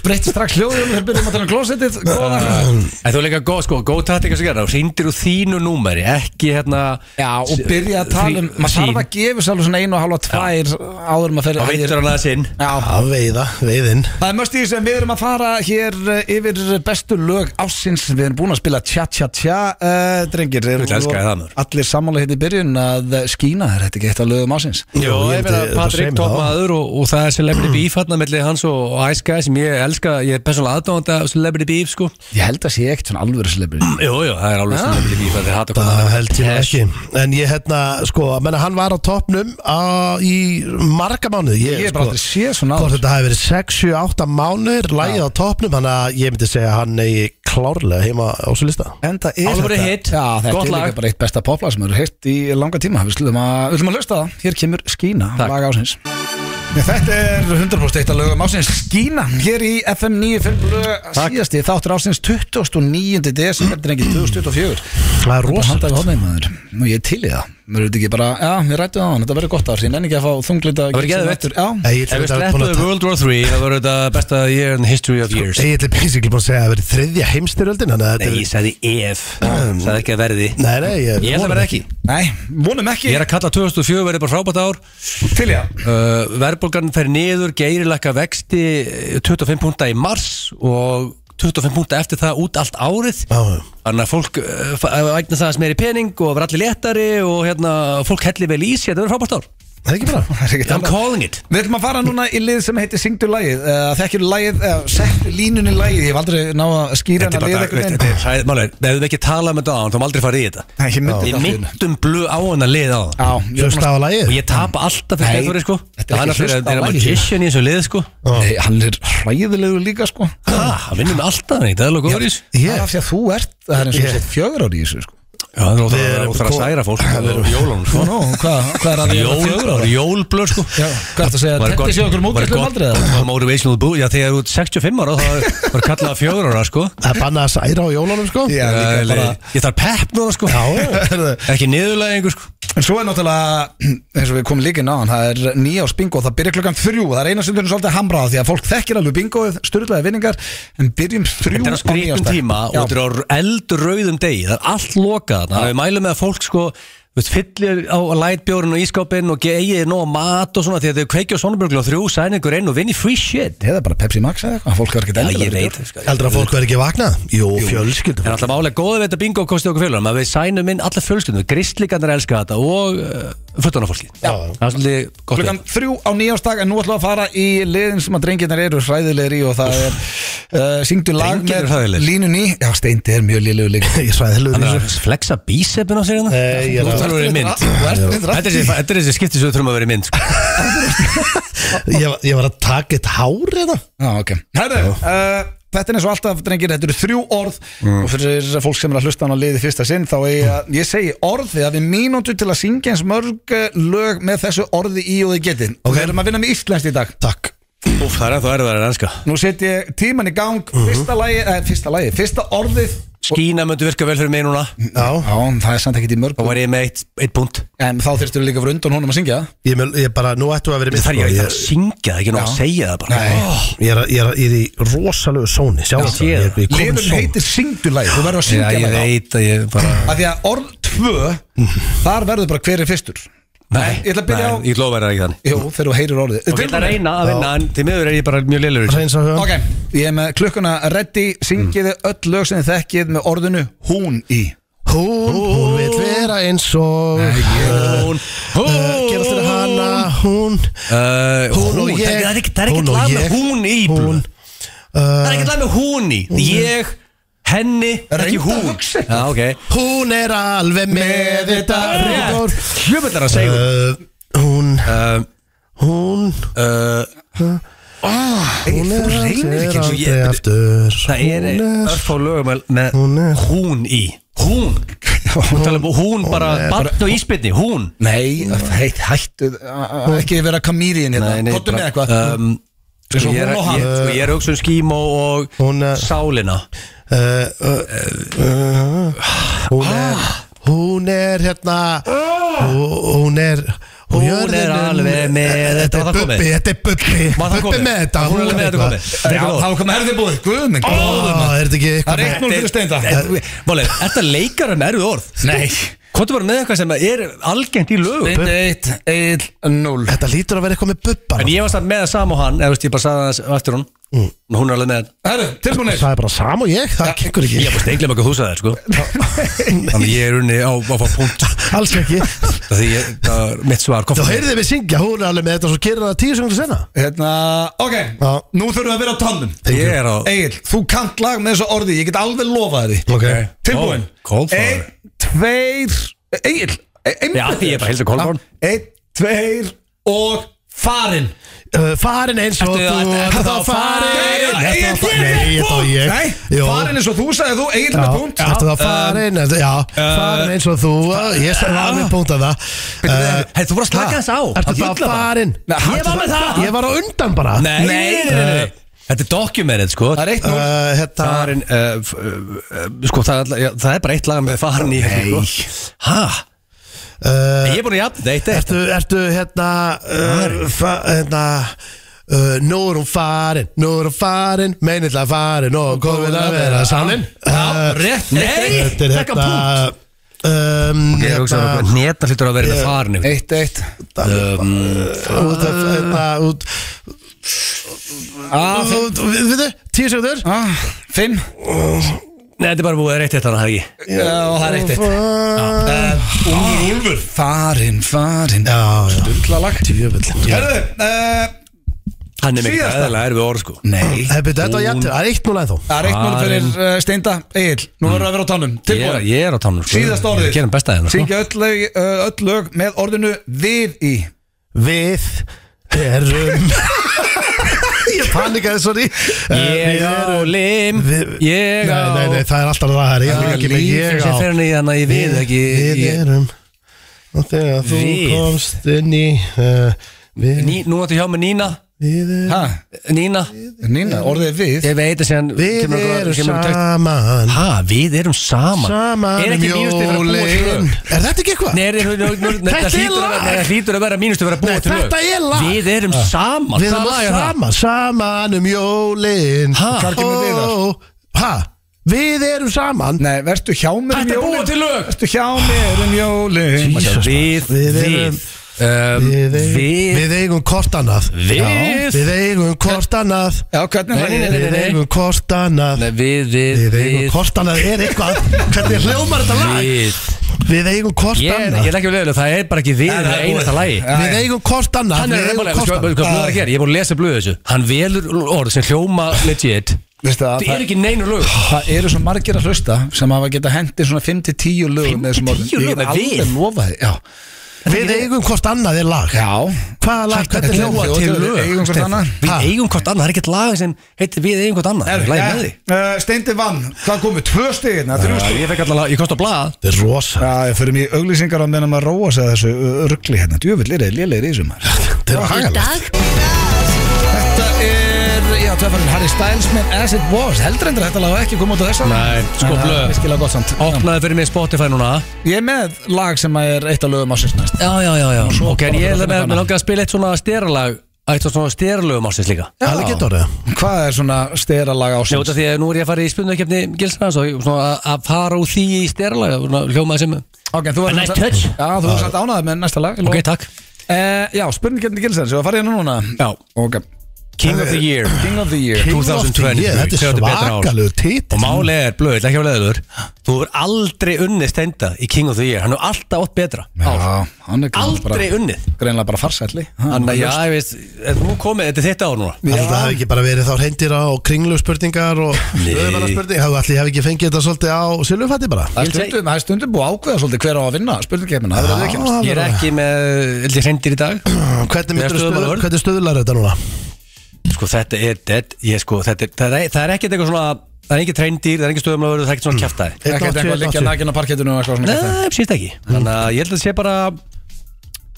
D: Breytti strax hljóðum, þegar byrjum að tala um klósettið Góða
A: En þú er líka góð, sko, góð taktika sem gerða og sýndir úr þínu númeri, ekki hérna
D: Já, og byrja að tala um, maður þarf að gefa sér alveg svona einu og halva tvær áður en maður
A: Og
D: fyrir
A: veitur hann að sinn
D: Já,
B: Að veiða, veiðinn
D: það er mörst í sem við erum að fara hér eh, yfir bestu lög ásins Við erum búin að spila tja tja tja uh, Drengir, erum
A: Ég elska það, maður.
D: allir sammála hérna í byrjun að skína er þetta ekki eitt af lögum ásins
A: Jó,
B: ég
A: ég meina
B: myndi-
A: Patrik
B: þetta segir mér
A: topp
B: það.
A: maður og, og það er celebrity beef hérna melli hans og, og Ice Guy sem ég elska, ég er persónulega aðdóðanda af celebrity beef sko
D: Ég held að sé ekkert svona alvöru sleipur
A: Jú, jú, það er alveg celebrity beef það er hægt að koma
B: Það
A: þarna.
B: held ég nú ekki En ég hérna, sko, menna, hann var á toppnum á, í marga mánuði
D: Ég er bara
B: sko,
D: aldrei séð svona
B: Hvort
D: áður.
B: þetta hafi verið 6-7-8 mánuðir Lægið á toppnum, þannig að ég myndi segja að hann eigi klárlega heima á svo lista
D: En það er
A: Alvöru hit,
D: Já, þetta
A: gott
D: er
A: lag.
D: líka bara eitt besta poplag sem eru heilt í langa tíma Við slum að, við slum að hlusta það Hér kemur Skína,
A: Takk.
D: lag ásins Nei, Þetta er 100% eitt að lögum ásins Skína, hér í FM 95 síðasti þáttur ásins 29. desember en ekki 2024
B: Það er
D: Þetta
B: rosalegt
D: handaði hóðneim maður Nú ég er til í það Mér veit ekki bara, já, við rættum það á hann, þetta verður gott ár sín En ekki að fá þunglita
C: Það verður
D: giggsið
C: geðveikt.
D: aftur. Já,
B: Nei, ég
C: Ef
B: ætla
C: við
B: þetta búin að
C: sleppuðu
B: ta-
C: World War 3 Það voru þetta besta year in the history of years
B: Ég ætla basically búin að segja að það verið þriðja heimstyrjöldin Þannig að
C: Sko, Nei,
B: þetta
C: ég sagði ef Það er ekki að verði
B: Nei, nei, ég
C: Ég held að verði ekki
D: nei, vonum ekki
C: Ég er að kalla 2004 verði bara frábært ár
D: til ég
C: uh, Verðbólgan fer niður Geirilækka vexti eh, 25 púnta í mars Og 25 púnta eftir það út allt árið
B: Já,
C: Þannig að fólk ægna það sem er í pening og verður allir léttari og hérna, fólk hellir vel í sér, þetta verður frábært ár
B: það er ekki bara
D: Það er ekkert
C: I'm
D: annað.
C: calling it
D: Við ætlum að fara núna í lið sem heitir Syngdu lagið uh, Þekkjur lagið, uh, settu línunni lagið Ég hef aldrei náð að skýra
C: Þetta er
D: hana lið
C: bara,
D: einhvern veginn.
C: þetta er sæðmálega, við hefum ekki talað með þetta á hann, þá erum aldrei farið í þetta
D: Nei, ég myndi
C: Við
D: þetta allt í einu.
C: myndum blöð á hann að lið á hann
D: Já, ég er
B: Sjöfst á
D: búin að-
B: að lagið
C: Og ég tapa alltaf fyrir
D: Nei,
C: Geirþóri sko
D: þetta er
C: Hann
D: ekki
C: er fyrir
D: hlustað
C: að
D: á
C: vera
D: lagið.
C: magician í þessu lið sko
D: Nei, hann er hræðilegu líka sko
C: Ha, Hann vinnur með alltaf neitt, það er alveg góður í þessu
D: Það er af því að þú ert, það er eins og
B: Ég-
D: yeah. sett fjögur ári í þessu sko
C: Já, það
B: Við
C: er óþarf að-
B: erum
C: óþarf að
B: kom-
C: særa fólk og Jólun sko
D: Nú, hvað, hvað er að því að vera fjögur
C: Jólblöð,
D: ári?
C: jólblöð sko
D: Já, hvað er það að segja,
C: Var
D: þetta
C: gott-
D: sé okkur
C: var
D: mótið
C: gott-
D: aldrei eða?
C: var Motivational bú, já þegar þú ert 65 ára þá var kallað fjögur ára sko
B: Það er bannað að særa á jólunum sko
D: Já,
C: Já,
D: líka bara
C: le- Ég þarf pepp núna sko
D: Heyrðu,
C: Ekki niðurlega einhver sko
D: En svo er náttúrulega, eins og við komum líka inn á hann Það er nýjárs bingo, það byrja klukkan þrjú Það er eina sundurinn svolítið hamrað Því að fólk þekkir alveg bingoið, styrlaði vinningar En byrjum þrjú
C: Þetta er á skrifum
D: nýársdag.
C: tíma og
D: Já.
C: þetta er á eldur rauðum degi Það er allt lokað þarna Við mælum með að fólk sko þú veist, fyllir á lightbjórn og ískápinn og eigið nóg mat og svona því að þau kveikja á sonubjörglu og þrjú sæn ykkur inn og vinni free shit
D: Eða bara Pepsi Max eða eitthvað, fólk er ekkert
C: Já,
D: endilega
C: ég
D: verið
C: veit
D: bjór.
C: sko.
B: Heldur að fólk verður ekki vakna? Jú, fjölskyldur
C: En alltaf málega góða við þetta bingo kosti okkur fjölurum að við sænum inn alla fjölskyldum, gristlíkarnar elska þetta og uh, fötunarfólki
B: Já.
C: Það er svolítið gott
D: Klukkan þrjú á nýjársdag en nú ætlum við að fara í liðin sem að drengirnar eru hræðilegir í og það er uh, syngdu lag
C: Drengirnir eru
D: með
C: hræðilegir?
D: línunni Já, Steindi er mjög liðlegu líka
B: Ég svæði helur
C: Hann er að flexa bísepin á sig hérna
B: Nei, ég er
C: Þú
B: að-
C: þarf að vera í mynd Þetta er þessi- þetta er þessi skipti sem við þurfum að vera í mynd sko.
B: Ég var- ég var að taka eitt hár hérna
D: Já, ok Herðu, uh, þetta er eins og alltaf drengir, þetta eru þrjú orð og fyrir fólk sem er að hlusta hann á liði fyrsta sinn þá er ég að, ég segi orð því að við mínútu til að syngja eins mörg eh, lög með þessu orði í og þið getið og við erum að vinna með íslenskt í dag
B: Takk
C: Úf, það er ennþá erfiðar en ennska
D: Nú set ég tíman í gang, fyrsta lagi, eh, fyrsta lagi, fyrsta orðið
C: Skína myndi virka vel fyrir mig núna
B: Já
D: Já, en það er samt ekkert í mörg
C: Þá væri ég með eitt, eitt punkt
D: En þá þurftum við líka að vera undan honum að syngja það.
B: Ég, mun- ég bara, nú ættu að vera í mynd
C: Það er
B: sko.
C: ég
B: Ég-
C: ekki að syngja það, ekki ná að segja það bara
D: Nei.
C: oh,
B: Ég er, að- ég er, að- ég er í rosalegu sóni Sjá
C: Já,
B: þetta
C: sé
B: Ég er-
C: það.
B: ég er komin
D: Liðun
B: sóni.
D: heitir syngdulæg Þú verður að
C: Já,
D: syngja
C: ég
D: það
C: veit að ég bara
D: Af því að orð tvö Þar verður bara hver er fyrstur
C: Nei,
D: Ég ætla að byrja á-
C: Ég lofa þér það ekki þannig
D: Jú, þegar þú heyrir orðið
C: Ég ætla að
D: Tilbúnir?
C: reyna að vinna, en til miður er ég bara mjög lélur
B: Hreins á hugan
D: Ok, ég er með klukkuna ready Syngiði öll lög sem þið þekkið með orðinu hún í
B: Hún, hún vil vera eins og
C: Hún,
B: uh, Gerast þér hana Hún,
C: Uh,
B: Hún og
C: það
B: ég.
C: er ekkert- það er
B: Hún
C: ekkert
B: og
C: lag með
B: ég.
C: hún í
B: hún
C: blöð. Það er ekkert lag með hún í Ég, henni, ekki
D: Reyndu að
C: hún
D: hugsa
C: Já, ok
B: Hún er alveg með þetta Ríkór
C: Hjöfnveldar að segja
B: uh, Hún,
C: uh,
B: hún
C: uh,
B: Hún er
C: reynir
B: aldrei
C: ekki eins og ég-
B: aldrei aftur
C: Það er
B: Hún
C: örf á lögum með- með
B: Hún er-
C: hún í Hún Hún, um hún, hún bara Barn og íspilni, hún
D: Nei, heit, hættu a- a- uh, Ekki vera kamýriðin hérna Kottu með eitthvað
C: um,
D: Eins og
C: Ég er
D: hún
C: ég-
D: og hann.
C: sko, ég er hugsun skím og,
B: Hún
C: og
B: er-
C: sálina
B: Uh, uh, uh, Hún er
C: Ah.
B: Hún er hérna hú- Hún er Eh,
C: Hún er alveg með-
B: Þetta er
C: Var það komið?
B: Bubbi, þetta er Bubbi
C: Var það
B: Bubbi
C: komið?
B: með þetta
C: Hún er alveg með þetta komið.
B: Ó,
D: Já, þá kom herðið búið Guð minn góður maður.
B: Er þetta ekki
D: Það
B: eitthvað
D: er eitt núl fyrir steinda
C: Máli, er þetta leikara með erfið orð?
D: Nei
C: Hvað er bara með eitthvað sem er algengt í lögum?
D: Steindi 1, 1, 0
B: Þetta lítur að vera eitthvað með Bubba Mm.
C: En ég var samt með það sam og hann eða veist ég bara sagði það eftir hún og hún er alveg með þetta
D: Herru, tilbúinir
B: Það er bara sam og ég, það kekkur
C: Ég
B: ekki
C: er bara steinglega með hvað þú sagði það sko Þannig að ég er unni á að fá punkt
B: Alls ekki
C: Það því ég, það er mitt svar kom
B: Þá
C: frá mér.
B: heyrðið við syngja, hún er alveg með þetta Svo gerir það tíu sekundur senna
D: Hérna, ok
B: Já.
D: Nú þurfum við að vera á tannum
C: Ég er á
D: Egil, þú kant lag með þessu orði Ég get alveg lofað því
B: Ok
D: Tilbúin
C: Ó, Kolfár.
D: Einn, tveir Egil
C: Já, því ég er bara heldur kolfarn
D: Einn, tveir Ah, og farin
B: Uh, Farin eins og
C: Ertu-
B: þú
C: ertu- ertu
B: Þá
C: þá
B: farin
C: farin?
B: Ertu
D: Egill,
B: þá farin?
D: ég er
B: Nei, þetta var ég
D: Nei,
B: Jú.
D: farin eins og þú sagði þú Egil
B: Já,
D: með punkt
B: ertu þá farin, ertu, já,
C: Uh,
B: farin eins og þú Ég sagði það með punkt að það Uh,
C: Hei, þú voru að slaka þess á
B: Ertu þá
C: Hann fílar það.
B: farin
D: Nei, hann
B: Ég var
D: ætlar
B: með
D: það.
B: það Ég var á undan bara
C: Nei, nei, nei, nei. Þetta er dokumentin sko
D: Það er eitt nú
B: Uh, Hérna
C: Farin, uh, eh, f- uh, uh, sko það, er all- já, það er bara eitt lag með farin í Nei Hæ?
B: uh,
C: Ég er búin að jafna þetta sko. eitt eitt
B: Ertu, ertu hérna, uh, fa, hérna uh, Nú er hún farin, nú er hún farin Meinill að farin og komin að vera saman
C: Já, rétt Nei,
B: Þetta er
C: taka
B: hérna
C: punkt
B: um,
C: Ég er hugsað
B: Hérna
C: að neta hlutur að vera yeah. farin yfir.
A: Eitt, eitt
C: Um,
B: út af hérna út út- við- Við þau, tíu sekundur
A: ah, Fimm
C: Nei, þetta er bara búið að reytta þetta hana, hef
A: Já, það er eitt, eitt Úlfur, úlfur Farin, farin
B: Já, já,
A: Ullalagt
B: djöfull
D: Herðu, uh,
C: ég Hann er mikið
D: Síðasta.
C: aðeins erfið orð, sko
A: Nei
B: Það er byrjað, þetta var jættir, það er eitt núna ennþá
D: það er eitt mál fyrir uh, Steinda Egil, nú verður að vera á tánum
C: Ég er,
D: Tilbúin,
C: ég er á tánum, sko
D: Síðasta orðið.
C: Ég er að gera besta þeirna, sko
D: syngja öll, lög- uh, öll lög með orðinu við í
B: Við erum Ég panikaði, sorry Eh,
C: Ég á lim
B: við-
C: Ég á
B: Nei, nei, nei, það er alltaf það her Ég er ekki með
C: Líf
B: ég
C: sem
B: á
C: fer hann í hana í við ekki
B: Við
C: í-
B: erum Og þegar þú
C: Við.
B: komst inn í uh, Við,
C: Ný- Nú áttu hjá með Nína
B: við, erum-
D: ha,
C: Nína,
D: Nína, orðið er við
C: ég veit að sé hann
B: við erum saman
C: Hæ, við erum saman Er
B: Saman um
C: ekki mínustu fyrir að búa til lög?
B: jólin Er þetta ekki eitthvað?
C: Nei, er, er, er, er,
B: Þetta
C: þetta
B: er
C: hlýtur að
B: lag.
C: vera- nei, það hlýtur að vera mínustu fyrir að búa
B: Nei,
C: til lög
B: þetta er lag. Ah.
C: Við erum saman
B: Við erum
C: Hvaða lag er það?
B: saman, saman um jólin
C: Ha? Hvar
D: kemur við þar?
B: Hæ? Við erum saman
D: Nei, verðstu hjá mér um
C: Þetta er búa
D: jólin
C: til lög
D: Verðstu hjá mér um jólin
B: Jesus, maður.
C: Við,
B: Við
C: við
B: erum-
C: um,
B: Við eigum,
C: Við
B: við eigum hvort annað
C: Við-
B: Já, Við eigum hvort annað
D: Já, hvernig
C: Nei, nei, nei,
B: Við eigum hvort annað
C: Nei, Við, við,
B: Við eigum
C: við
B: hvort annað er eitthvað Hvernig hljómar þetta lag?
C: Við
B: Við eigum hvort
C: Ég er, ég
B: annað
C: er ekki leðilega, það er bara ekki við
D: Nei,
C: Það
D: það
C: er
D: er
C: einasta
D: búið.
C: lagi
D: Já,
B: Við eigum hvort annað
C: Hann
B: Við
C: er
B: eigum
C: reymalega,
B: hvort
C: sko, hvað
B: annað.
C: blöð er að gera? Ég er búin að lesa blöð þessu Hann velur orð sem hljóma legit
D: Veistu að
C: Það
D: það,
C: er ekki neinu lög
D: það eru svo margir að hlusta sem hafa geta hendi svona 5-10 lög með þessum
C: 5-10
D: orðum.
C: lög
D: Ég
C: með
D: er alveg
C: við?
D: lofaði Já,
B: Við eigum hvort annað er lag
D: já.
B: Hvaða lag?
D: Þetta
B: Hvernig
D: er
B: hljómar
D: hljóð
B: þetta?
D: til lög.
C: Við
D: Eigum hvort annað.
C: Við
B: Ha?
C: eigum hvort annað, það er ekkert lag sem heitir við eigum hvort annað Það er lagið með því
D: uh, Steindi vann, hvað komu? Tvö stigirna, þrjú
C: Já,
D: stig
C: Ég fekk allavega, ég kosti á blað
B: Þetta er rosa
D: Já, ég fyrir mér auglýsingar á meðan maður róa sig að þessu uh, ruggli hérna Djöfull er þið lélegir í þessum
B: Þetta er hagalegt
D: Þetta er, já, tvefarinn Harry Styles með As It Was Heldur endur þetta lag var ekki koma út á þess
C: Nei, sko, blöð.
D: Virkilega gott samt Já.
C: Opnaði fyrir mig Spotify núna
D: Ég er með lag sem er eitt af lögum ásins næst
C: Já, já, já, já Ok, en ég
D: bara
C: er
D: fyrir
C: með,
D: hana.
C: með langar að spila eitt svona steralag Eitt svona steralögum ásins líka
D: Já.
B: Það er getur orðið
D: Hvað er svona stera lag
C: Nei, út
D: ásins?
C: af því að nú er ég að fara í spilnökefni Gilsnæðans og ég- svona að- að fara úr því í steralag Hljómaði sem
D: Ok, þú
C: A
D: varst
C: nice
D: samt-
C: touch.
D: Já, þú varst samt ánæðið með næsta lag ég
C: Ok,
D: lofa.
C: takk
D: Eh, Já, spurningkjöndin gilsar, svo að fara hérna núna
C: Já.
D: Ok,
C: Eh, King of the Year
D: King of the Year
B: King of the
C: 2023.
B: Year, Þetta er
C: Sjáðu betra ár.
B: svakalegu tít
C: Og málið er, blöð, ekki að leðiður Þú er aldrei unnið stenda í King of the Year Hann er alltaf átt betra ár.
D: Já, hann er greinlega bara-
C: Aldrei unnið
D: Greinlega bara farsætli
C: Þannig að, já, ég veist, er nú komið, þetta er þetta ár núna
B: Það hefði ekki bara verið þá hreindýra og kringlu spurningar og öðvara spurningar Það allir hefði ekki fengið þetta svolítið á silfufatti bara
D: Það er stundum, það er stundum búið að ákveða svolítið hver á að vinna spurningkeppnina, það verður ekki náttúrulega
C: Ég er ekki með, held ég hreindir í dag
B: Hvernig
C: Ég er
B: myndirðu
C: stöðumaður.
B: stöðular- hvernig stöðular þetta núna?
C: Sko þetta er dead ég, sko, þetta er, það, er, það er ekkert eitthvað svona Það er ekki treyndir, það er ekki stöðumlöfur, það er ekki svona kjæftæði
D: Ekki eitthvað að liggja
B: 1.80.
D: nægina parkettinu og eitthvað svona
C: Nei, síðast ekki Þannig að ég held að þetta sé bara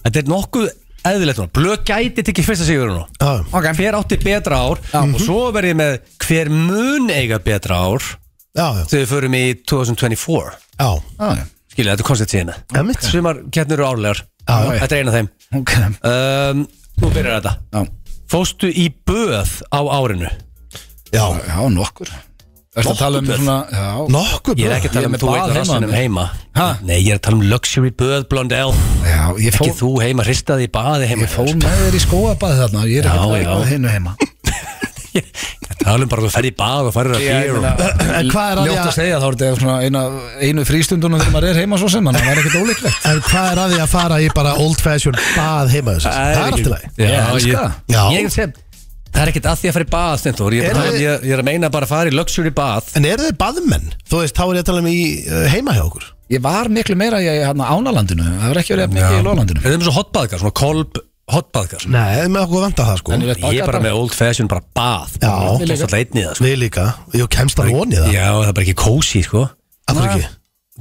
C: Þetta er nokkuð eðlilegt núna Blöð gæti tekið fyrsta sigur núna
B: Já,
D: Ok.
C: Hver átti betra ár
D: Mhm.
C: Og svo verð ég með hver mun eiga betra ár
B: já, já,
C: Þegar við förum í 2024
B: já
D: Já,
C: Skilja, þetta er koncept síðan
B: Emmitt.
C: Sumar kettnir eru árlegar
B: Já,
C: Þetta er eina af þeim
D: ok
C: um, Nú byrjar þetta
D: Já,
C: Fóstu í böð á árinu
B: Já,
D: já nokkur Ertu að tala um svona, já
B: nokkuð
C: Ég er
B: bra
C: ekki að tala
D: Ég er
C: um
D: með
C: þú
D: bað
C: einn
D: heima
C: rassinum
D: með.
C: heima
D: Ha?
C: Nei, ég er að tala um luxury böð Blondell
D: Já, ég
C: Ekki
D: fór
C: þú heima, hristaði í baði heima
D: Ég fór með þér í skóabæði þarna Ég er
C: Já,
D: ekki að
C: já.
D: tala um hinu heima
C: Ég tala um bara að þú ferði í bað og farir að fyrir og...
B: En hvað er að því
D: Ljótt að
B: að-
D: segja þá er þetta svona eina, einu frístundunum þegar maður er heima svo sem Þannig að það er ekkert ólíklegt
B: En hvað er að því að fara í bara old fashion bað heima þess Það er allt í lagi
C: Já,
D: Ég elska
C: ég,
D: það.
B: Já.
C: ég, ég sem, Það er ekkert að því að fara í bað Stenþór, ég, er bara,
B: Eru-
C: ég, ég er að meina bara að fara í luxury bað
B: En eru þið baðmenn? Þú veist, þá er ég að tala um í uh, heima hjá okkur
D: Ég var miklu meira í hérna, ánalandinu Það var ekki verið jafn mikið í
C: Er
D: lólandinu
C: það um svo hotbaðgar, svona kolb hotbaðgar
B: Nei, það er með okkur vanda það sko
D: En ég veit-
C: Ég er bara með old fashion, bara bað
B: Já.
C: Ég kemst alltaf einn í það sko.
B: Við líka, ég kemst að vonið það
C: Já, það er bara ekki kósi sko.
B: Af hverju ekki?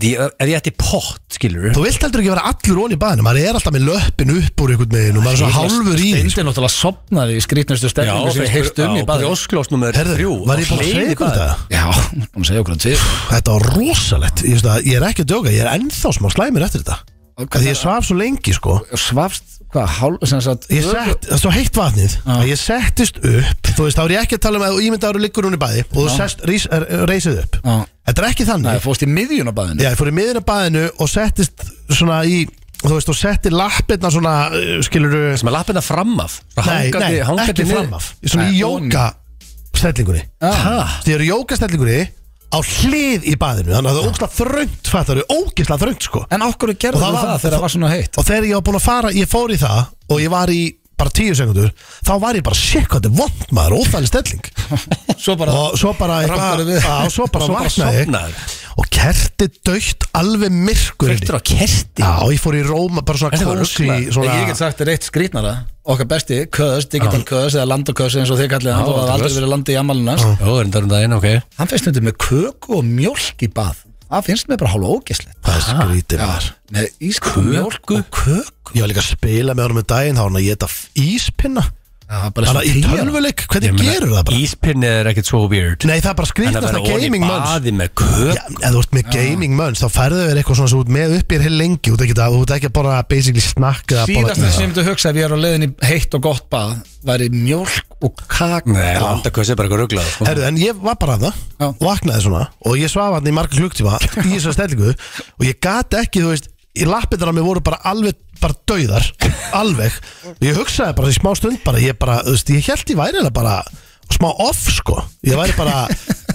C: Því, Ef ég ætti pott, skilur
B: Þú vilt heldur ekki vera allur onni í baðinu Maður er alltaf með löppin upp úr einhvern veginn Og maður er svo hálfur í því, sko.
D: Steindi náttúrulega sopnaði í skrýtnustu stefningu sem ég heyrst um í
C: Já,
D: baði
C: Ósklós nummer
B: Herðu,
C: þrjú
B: var ég búin að segja ykkur um þetta?
D: Já,
A: um
D: hún segja okkur hann til
B: Þetta var rosalegt Ég, veist að, ég er ekki að djóka, ég er ennþá smá slæmir eftir þetta Því ég svaf svo lengi sko
A: Svafst, hvað, hálf sem sagt,
B: Ég sett, það er svo heitt vatnið að Ég settist upp, þú veist, þá er ég ekki að tala um að Ímynda áru liggur hún í baði og þú sest, rís, er- reisið upp
A: Já.
B: Þetta er ekki
A: Nei,
B: þannig
A: fórst í miðjun á baðinu
B: Já, ég fór í miðin af baðinu og settist svona í Þú veist, þú setti lappirna svona, uh, skilurðu
C: sem að lappina fram af
B: Nei, nei, ekki fram af Svona í
A: Nei,
B: jóka stellingunni
A: Já.
B: Þið eru jóka stellingunni á hlið í baðinu Þannig að það er ógislega þröngt, fattar við, ógislega þröngt sko
A: En okkur gerðu
B: Og það
A: það,
B: var-
A: það þegar það var svona heitt
B: Og þegar ég var búin að fara, ég fór í það Og ég var í bara tíu sekundur Þá var ég bara, shit, hvað þetta er vond maður, óþægileg stelling
A: Svo bara,
B: Og svo bara,
A: Rambaði við.
B: á, svo bara
C: Svo bara
B: vaknaði ég.
C: sofnaði.
B: Og kerti dögt alveg myrkur
C: Kvektur á kerti
B: Já, ég fór í Róma, bara svona
C: Þetta var
B: kósi
C: ógeðslega-
B: svona,
A: ég get sagt þér eitt skrýtnara Okkar besti, köðs, digital köðs eða landaköðs eins og þið kallið hann
C: Já,
A: og það hafði aldrei
C: kös.
A: verið landi í amalinn hans
C: Jó, er þetta um daginn, ok
A: Hann finnst þetta með köku og mjólk í bað Það finnst mér bara hálfa ógeslegt
B: Það er skrítið maður
A: Með ísku, mjólk og köku
B: Ég var líka að spila með honum um daginn Þá var hann að geta íspinna
A: Það er bara
B: Þannig að í tölvuleik, hvernig gerur það bara?
C: Íspinni er ekkert svo weird
B: Nei, það er bara
C: En að
B: skrítnasta
C: vera ofan í
B: gaming mönns
C: baði með köp
B: Já, ef þú ert með gaming mönns, þá færðu þér eitthvað svona sem þú ert með upp í þér heil lengi Þú ert ekki að, þú ert ekki að bara basically snakka eða borða-
A: Síðast sem þú hugsa ef ég er á leiðin í heitt og gott bað væri mjólk og kaka
C: Nei, landaköss er bara eitthvað rugglað sko.
B: Herðu, en ég var bara að
A: Já.
B: það, vaknaði svona og ég svaf hann í marga klukktíma í þessar stellingu og ég gat ekki, þú veist, í lappinnar á mig voru bara alveg, bara dauðar, alveg og ég hugsaði bara í smá stund bara, ég bara, þú veist, ég held ég væri eiginlega bara smá off, sko, ég væri bara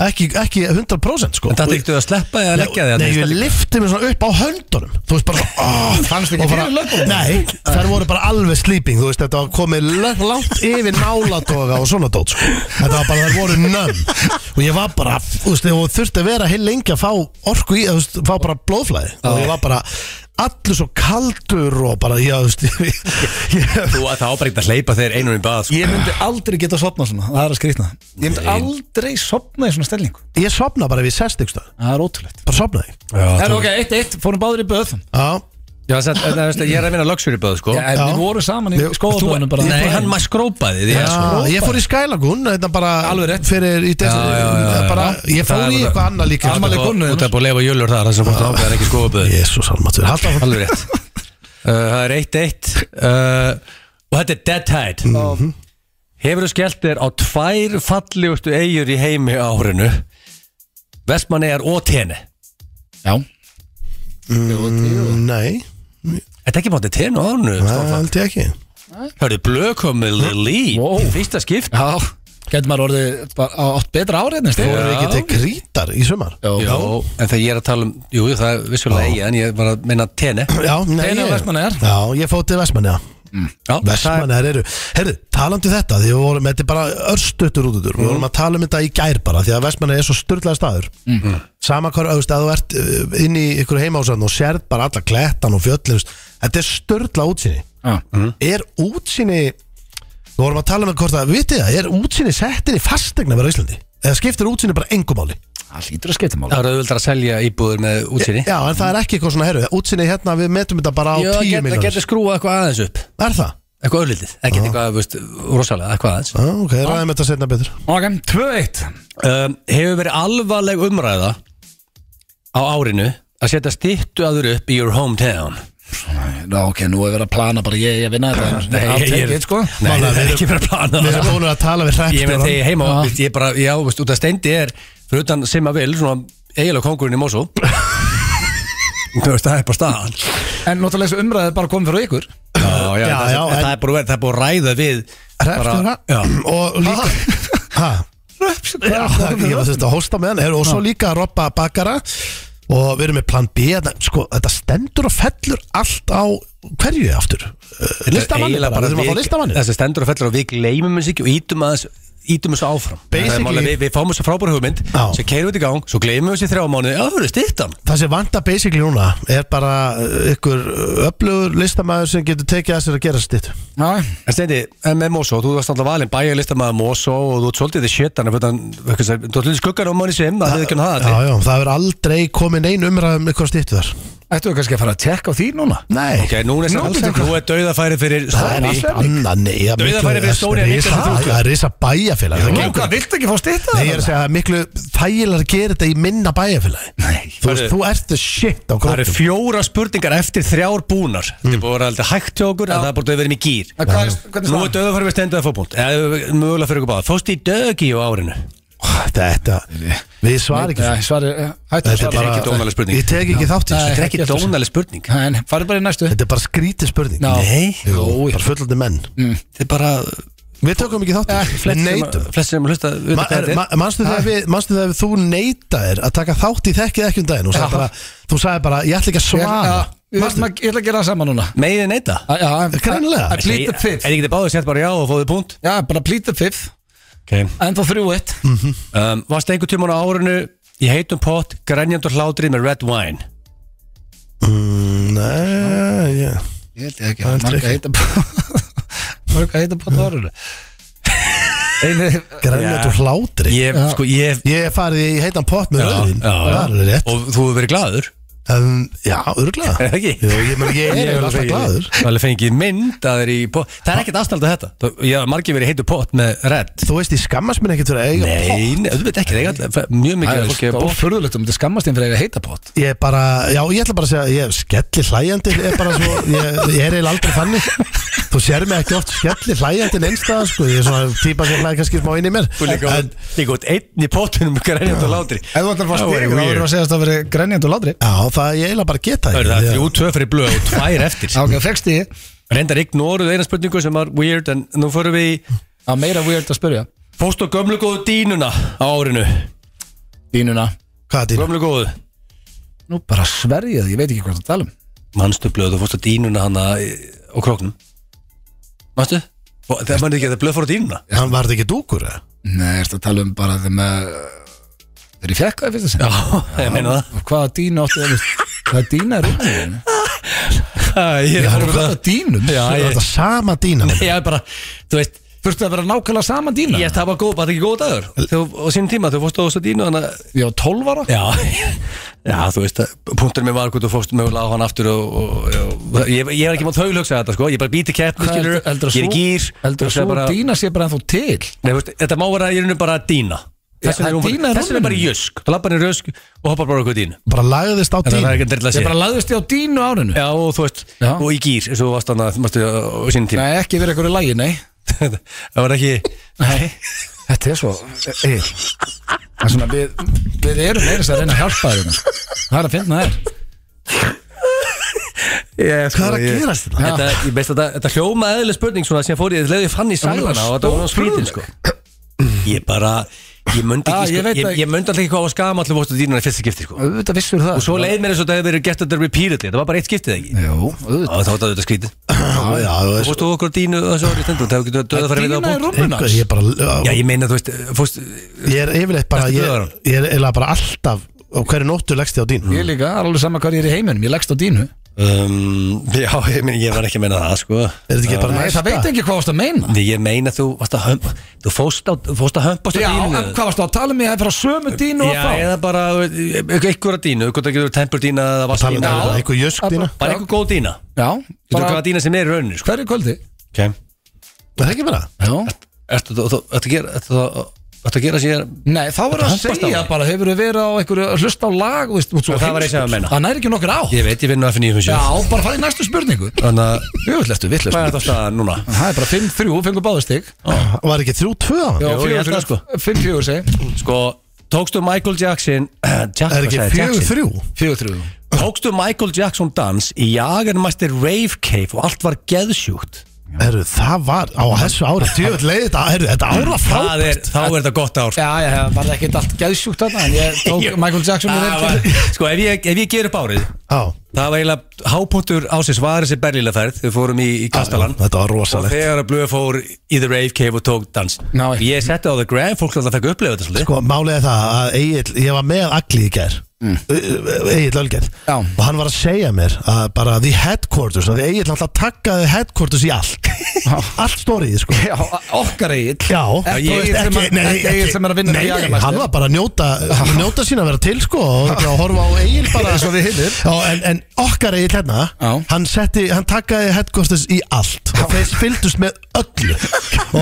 B: ekki, ekki 100% sko
C: En það þyktu að sleppa eða
B: Nei,
C: leggja þig
B: nei,
C: þarna í
B: ég
C: stellingu?
B: lifti mig svona upp á höndunum Þú veist bara oh,
A: Fannst ekki
B: og bara-
A: fyrir löggunum?
B: Nei, þær voru bara alveg sleeping Þú veist, þetta var komið lög- langt yfir nálatóga og svona dót sko. Þetta var bara, þær voru nönn Og ég var bara, þú veist, og þurfti að vera heil lengi að fá orku í, þú veist, fá bara blóðflæði Og ég var bara allur svo kaldur og bara, já, þú veist ég, ég,
C: Þú að það ábreykt að hleypa þeir einum í bað sko.
A: Ég myndi aldrei geta sopnað svona, það er að skrýtna Ég myndi aldrei sopnað í svona stellingu
B: ég sopna bara við sest ykkur
A: Það er ótrúlegt
B: Bara sopnaði
A: Það er
C: Já,
A: ok, eitt eitt, fórum báður í böð
B: Já,
C: Já, það- það- það- það- Ég er að vinna luxury bað sko.
A: Já, en
B: Já.
A: við vorum saman í
B: Við-
A: skóðabæðinu bara
C: Nei, hann maður skrópaði því
B: Já, ég fór í Skylagun þetta bara
A: Alveg rétt.
B: fyrir í desember
C: Já, já, já, já.
B: bara, ég fór
C: Það
B: í
C: er bara-
B: eitthvað annað líka
A: Afmæli konu
C: Út af búið að leifa jölur þar Það sem fórst ábæðið er ekki skóaböð
B: Jésús almatur halda áfram.
C: Alveg rétt uh, Það er 1-1 uh, Og þetta er Dead Tide Hefur þú skellt þér á tvær fallegustu eigur í heimi á árinu Vestmannegar og Tene
A: Já,
B: nei,
C: Þetta er ekki báttið Tene á árinu
B: það held ég ekki
C: Hörðu, blökomið Lili
A: Wow.
C: í Fyrsta skipt
A: já Getur maður orðið bara á- átt betra árið næst
B: voru ekki til grítar í sumar já,
C: Jó, en þegar ég er að tala um Jú, jú, það er vissulega eigi En ég var að minna Tene
B: nei,
A: Einu
B: ég-
A: Vestmannaeyjar.
B: já, ég fór til Vestmanna
C: Mm. Já, það-
B: Vestmanna eru, herru, talandi um þetta því við vorum, þetta er bara örstutur út
C: Mm.
B: við vorum að tala um þetta í gær bara því að Vestmanna er svo styrlaði staður
C: Mm-hmm.
B: mm. sama hvar, þú veist, að þú ert uh, inn í ykkur heimásan og sérð bara alla klettan og fjöllin þú veist, þetta er styrla útsinni er útsinni við vorum að tala með hvort að, vitið það, er útsinni settin í fastegna verið á Íslandi eða skiptir útsinni bara engum máli
A: Það hlýtur að skipta máli
C: það er auðvöldar að selja íbúður með útsinni
B: já, en það er ekki eitthvað svona, herru, útsinni hérna við metum þetta bara á
C: Jú, það
B: tíu
C: get- það
B: miljónir
C: getur skrúað eitthvað aðeins upp
B: er það?
C: Eitthvað auðlítið, ekki eitthvað, veist, rosalega, eitthvað aðeins
B: Já, ok, ræðum þetta setna betur
A: Ok, 2-1
C: um, hefur verið alvarleg umræða á árinu að setja stittu aður upp í your hometown
A: Ná, ok, nú er verið að plana bara ég, ég vinna þetta I'll take it, sko
C: Nei,
B: Mála,
C: það
B: við
C: er
B: erum-
C: ekki verið að plana
B: við erum
C: það
B: búin að tala við
C: Ég meina þegar
B: hreppstjóran
C: ég er heima, veist, ég bara, já, veist, út af steindi er fyrir utan sem að vil, svona eiginlega kongurinn í Mosó Þú veist, það er bara staðan
A: En náttúrulega þessu umræði er bara komið fyrir ykkur
B: Já,
C: Já, já, það,
B: já,
C: það,
B: en-
C: er bara, verið- það er búið að ræða við bara- Já,
B: hreppstjóran og líka ha, já, ég var þetta að hósta með hann Heyrðu, og svo líka að robba bakara og við erum með plan B þarna, sko, þetta stendur og fellur allt á hverju aftur Eh, listamanni
C: eiginlega
B: bara, við þurfum að
C: við-
B: fá listamanni
C: þessi stendur og fellur og við gleymum þessu ekki og ítum aðeins ítum þessu áfram
B: Basically-
C: Það er málið, við, við fáum þessu frábæra hugmynd
B: Já.
C: sem keirum við í gang, svo gleymum við þessu í þrjá mánu já, það verður stittan
B: Það sem vanda basically núna er bara uh, ykkur öflugur listamæður sem getur tekið að sér að gera stitt
A: Já,
C: En stendi, en með Mosó, þú varst alltaf valinn bæjarlistamaður Mosó og þú ert svolítið þið shitana þú ert svolítið skuggar á manni sem, það hefði ekki hann
B: Já, já, það er aldrei komin ein umræðum um ykkur stittu þar
D: Ættu við kannski að fara að tjekka á því núna?
B: Nei
C: Ok, núna er
D: Nú,
C: samt
D: betur hvað?
C: Nú er dauðafæri fyrir
B: Það er
C: Stóni
B: allt annað Nei, ja,
C: Dauðafæri
B: miklu-
C: fyrir Stóni er
B: risa-
C: miklu þrjú.
B: Það er risa bæjarfélag
D: Nú, hvað, viltu ekki fá stýta
B: Nei, ég er að segja að miklu þægilega að gera þetta í minna bæjarfélagi Nei Þú veist,
C: Farðu-
B: þú ert the shit á
C: Það eru
B: gróttum
C: fjóra spurningar eftir þrjár búnar Þetta er búið að vera alltaf hægt hjá okkur En það er búið að vera í gýr Nú Mm. er döðafæri við stenduð að fókbúnt Mögulega fyrir ykkur báða Fóst í dögi á árinu
B: Þetta, við svara ekki þessu.
D: Svari, hættu að
B: Þetta
D: svara
B: er
C: ekki dónaleg
B: bara,
C: spurning.
B: ég tek ekki þátt í
D: Nei.
B: þessu
C: Þetta er ekki
D: ekki eftir þessu.
C: dónaleg spurning
D: En farið bara í næstu
B: Þetta er bara skrítið spurning
D: Ná.
B: Nei,
D: Jú,
B: Jú,
D: já.
B: bara fullandi menn
C: Þetta er bara
B: Við tökum ekki þátt í þessu, við neytum
C: Flest sem hlusta vita
B: Ma-
C: hvað
B: er-
C: þetta
B: ma-
C: er.
B: Manstu þegar við- manstu þegar þú neytaðir að taka þátt í þekkið ekki um daginn og sagði bara, þú sagði bara, ég ætla ekki að
D: Ég
B: svara
D: ætla að gera það saman núna
C: Megið neita
D: Grænlega Plead the
C: Er
D: fifth
C: ekki báðið sett bara já og fóðið punkt
D: Já, bara plead the fifth
C: okay.
D: En þá þrjú eitt
C: um, Varst einhvern tímann á árinu Í heitum pott Grænjandur hlátri með red wine
B: Mm, Nei, já
D: Ég held ég ekki Marga heita Marga heita bótt orður Einu
B: Grænlegt og hlátri
C: Ég,
D: Já.
C: sko, ég
B: Ég hef farið í heitan pott með rauðin
C: já, já.
B: Það er alveg rétt
C: Og þú hefur verið glaður
B: um, Já, örglega
C: Er það ekki?
B: Ég, meni, ég er
C: alveg
B: alltaf
C: fengið-
B: glaður
C: alveg fengið mynd að þeir í pott Það er ekkert aðstæld að þetta Það- Ég hef margir verið í heitu pott með red
B: Þú veist, ég skammast mér ekkert fyrir að eiga pott.
C: Nei, nei, auðvitað ekki Það er ekki mjög mikið af
D: Það er
C: fólki að
D: stór
C: pott
D: furðulegt um þetta skammast einn fyrir að eiga heita bótt
B: Ég er bara, já, ég ætla bara að segja Ég er skelli hlæjandi er bara svo, ég, ég er eiginlega aldrei þannig Þú sér mig ekki oft skelli hlæjandi neinstað sko. Ég er svona típa sem hlæði kannski smá inn í mér
C: Þú líka
B: En-
C: líka út einn í pottunum með grænjandi og látri
D: Ef þú ætlar að fá
C: Það væri weird.
D: stig þá verður að segja að það verið grænjandi og ládri
B: Já, það ég eiginlega bara geta
C: Það
B: ekki.
C: eru það
B: Ég-
C: þrjú tvö fyrir blöð og tvær eftir
D: Ok, fegst því
C: Reyndar ignoruð eina spurningu sem var weird En nú förum við í
D: Það er meira weird að spyrja
C: Fóst og gömlu góðu dínuna á árinu
D: Dínuna
B: Hvað er þetta?
C: Gömlu góðu
D: Nú bara sverjið, ég veit ekki hvað það tala um
C: Manstu blöð og fóst að dínuna hana í- á króknum Manstu? Og Það mannir ekki að það blöð fór á dínuna
B: Hann var þetta ekki dúkur, eða?
D: Nei, ertu að tala um bara eh, þeim að Þeir eru fjekkaði fyrst að segja
C: Já, ég meina það
D: Hvaða dínu áttu það Hvaða dína er unnum
C: Æ, Ég er að fara með
D: Hvaða
C: það
D: dínum
C: Já,
B: Var
C: ég
B: þetta sama dýna?
C: Ég er bara, þú veist
D: Þurftu að vera nákvæmlega sama dína
C: Ég það var góð, var það ekki góð dagur Þú, á sínum tíma, þú fórst á þess að dínu hana
D: Ég var 12 ára
C: Já, já, þú veist að Punturinn mér var hvort þú fórst mögulega á hann aftur og, og, og ég, ég er ekki mátt höglöksa þetta sko Ég bara býti keppni, skilur
D: Heldur
C: Ég er í gýr
D: Heldur að
C: hugsaði
D: svo
C: bara-
D: dína sé bara ennþá til
C: Nei, veist, þetta má vera í rauninu bara að dína Þessi
D: það
C: er, hún-
D: dína er
C: þessi er
D: rúminu.
C: bara í jösk Það lappar henni rösk og hoppar bara okkur dínu
B: Bara lagðist á
C: Þannig að það
B: dýna?
C: er ekki endilega að
D: Ég bara
C: segja
D: lagðist ég á dínu árinu
C: Já, og þú veist,
D: Já.
C: og í gýr eins og þú varst hann að, mástu, á sínum tíma
D: Nei, ekki verið einhverju lagi, nei
C: Það var ekki
D: Nei, þetta er svo Egil, Það er svona, við, við erum meira þess að reyna að hjálpa þér hérna. Það er að finna þér
C: Ég, sko,
B: Hvað er að
C: ég-
B: gerast þetta?
C: Þetta, ég veist að þetta- þetta hljóma eðlileg spurning svona sem fór ég, leði ég fann í
D: hún var
C: sælana og þetta var spýtin sko Ég bara, ég myndi
D: Ah,
C: ekki
D: ég
C: sko,
D: veit
C: ég,
D: það.
C: ég myndi alltaf ekki hvað var skama allir fórstu dýnuna í fyrsta skipti sko
D: Auðvitað vissur það
C: Og svo leið mér eins og þetta hefur verið gert þetta repeatedly, það var bara eitt skiptið ekki
D: Jó, auðvitað
C: Og þá var þetta auðvitað skrítið
B: Já, já, þú
C: Og
B: veist.
C: fórstu okkur dínu og þessu orðið stendum, það hefur getur döða að fara við það á
D: Dína er
C: punkt
D: rúmuna
B: Eitthvað, Ég er
C: Já,
B: bara,
C: ég meina, þú veist, fórstu
B: ég er yfirleitt bara,
C: Ertu
B: ég
C: dauður?
B: ég er eiginlega bara alltaf á hverju nóttu leggst ég á dýna?
D: Ég líka, það er alveg sama hvað ég er í heiminum, ég leggst á dínu
C: um, Já, ég meina, ég var ekki að meina það sko
B: Er þetta ekki bara
D: Nei,
B: næsta?
D: það veit ekki hvað varst að meina
C: Því ég meina þú varst að hömpa, þú fórst á- þú fórst að hömpast á
D: Já,
C: dínu
D: en hvað varst að tala um ég að frá sömu dínu og
C: Já,
D: frá
C: eða bara e- einhverja dínu, hvort það getur tempur dína
B: Tala
C: eða
B: um
C: vassdína
B: þetta, einhver jösk dýna?
C: Bara einhver góð dína
D: Já,
C: Þú veit
D: bara
C: hvaða dína sem er í rauninu sko.
D: hverju kvöldi
C: okay.
B: Er það ekki bara?
D: Já
C: Ertu þú- þú- ertu að gera ertu að- ertu að gera sér
D: Nei, þá verður að
C: Þetta hampast á
D: segja
C: þig.
D: bara, hefur þú verið á einhverju að hlusta á lag og veist, út svo
C: Já, það var ég sem að
D: heimskt.
C: meina.
D: Það næri ekki nokkur á
C: Ég veit, ég vinn á
D: Já,
C: F957
D: bara farið næstu spurningu
C: Þannig að hvað
D: Jöfnlestu,
C: er
D: vitlestu
C: þetta staðan núna?
D: Það er bara 5-3, fengur báðastig
B: Var ekki þrjú tvö á hann?
C: Jú, ég held það, sko.
D: 5-4 segi
C: Sko, tókstu Michael Jackson Jack,
B: Er ekki
C: hvað sagði ég?
B: fjögur
C: Jackson.
B: þrjú?
D: 4-3
C: Tókstu Michael Jackson dans í Jagermæstir Rave Cave og allt var geðsjúkt
B: Herru, það var á þessu ári Tjöfell leið þetta, herru, þetta ára
C: Það
B: frábært
C: er, þá er þetta gott ár sko.
D: Já, já, það var ekkert allt geðsjúkt þarna En ég tók Michael Jackson í
C: Það
D: reynd
C: var- Sko, ef ég, ef ég ger upp árið
B: Já,
C: Það var eiginlega hápunktur ásins var þessi Berlílaferð, við fórum í, í Kastalan
B: þetta var
C: og
B: rosalegt
C: þegar að Blöð fór í The Rave Cave og tók dans
D: Ná, ekki.
C: Sko, Ég setti á The Grand, fólk alltaf fekk að upplifa þetta svolítið
B: Sko, málið er það að Egil, ég var með Agli í gær
C: Mm.
B: Egil Ölgerð
D: Já.
B: og hann var að segja mér að bara the headquarters að Egil alltaf takkaði headquarters í allt allt stórið sko
D: Já, okkar eigin
B: Já, þú
D: Ekki
B: veist,
D: Egill sem
B: ekki-
D: að-
B: nei,
D: ekki Egill sem er að vinna
B: nei,
D: með
B: nei,
D: Jagamaster.
B: Hann var bara að njóta, njóta sín að vera til sko og bara að horfa á Egil bara
D: Eins og við hinir.
B: Já, en, en okkar Egil hérna
D: Já.
B: hann, setti, hann takkaði headquarters í allt og þeir fylgdust með öllu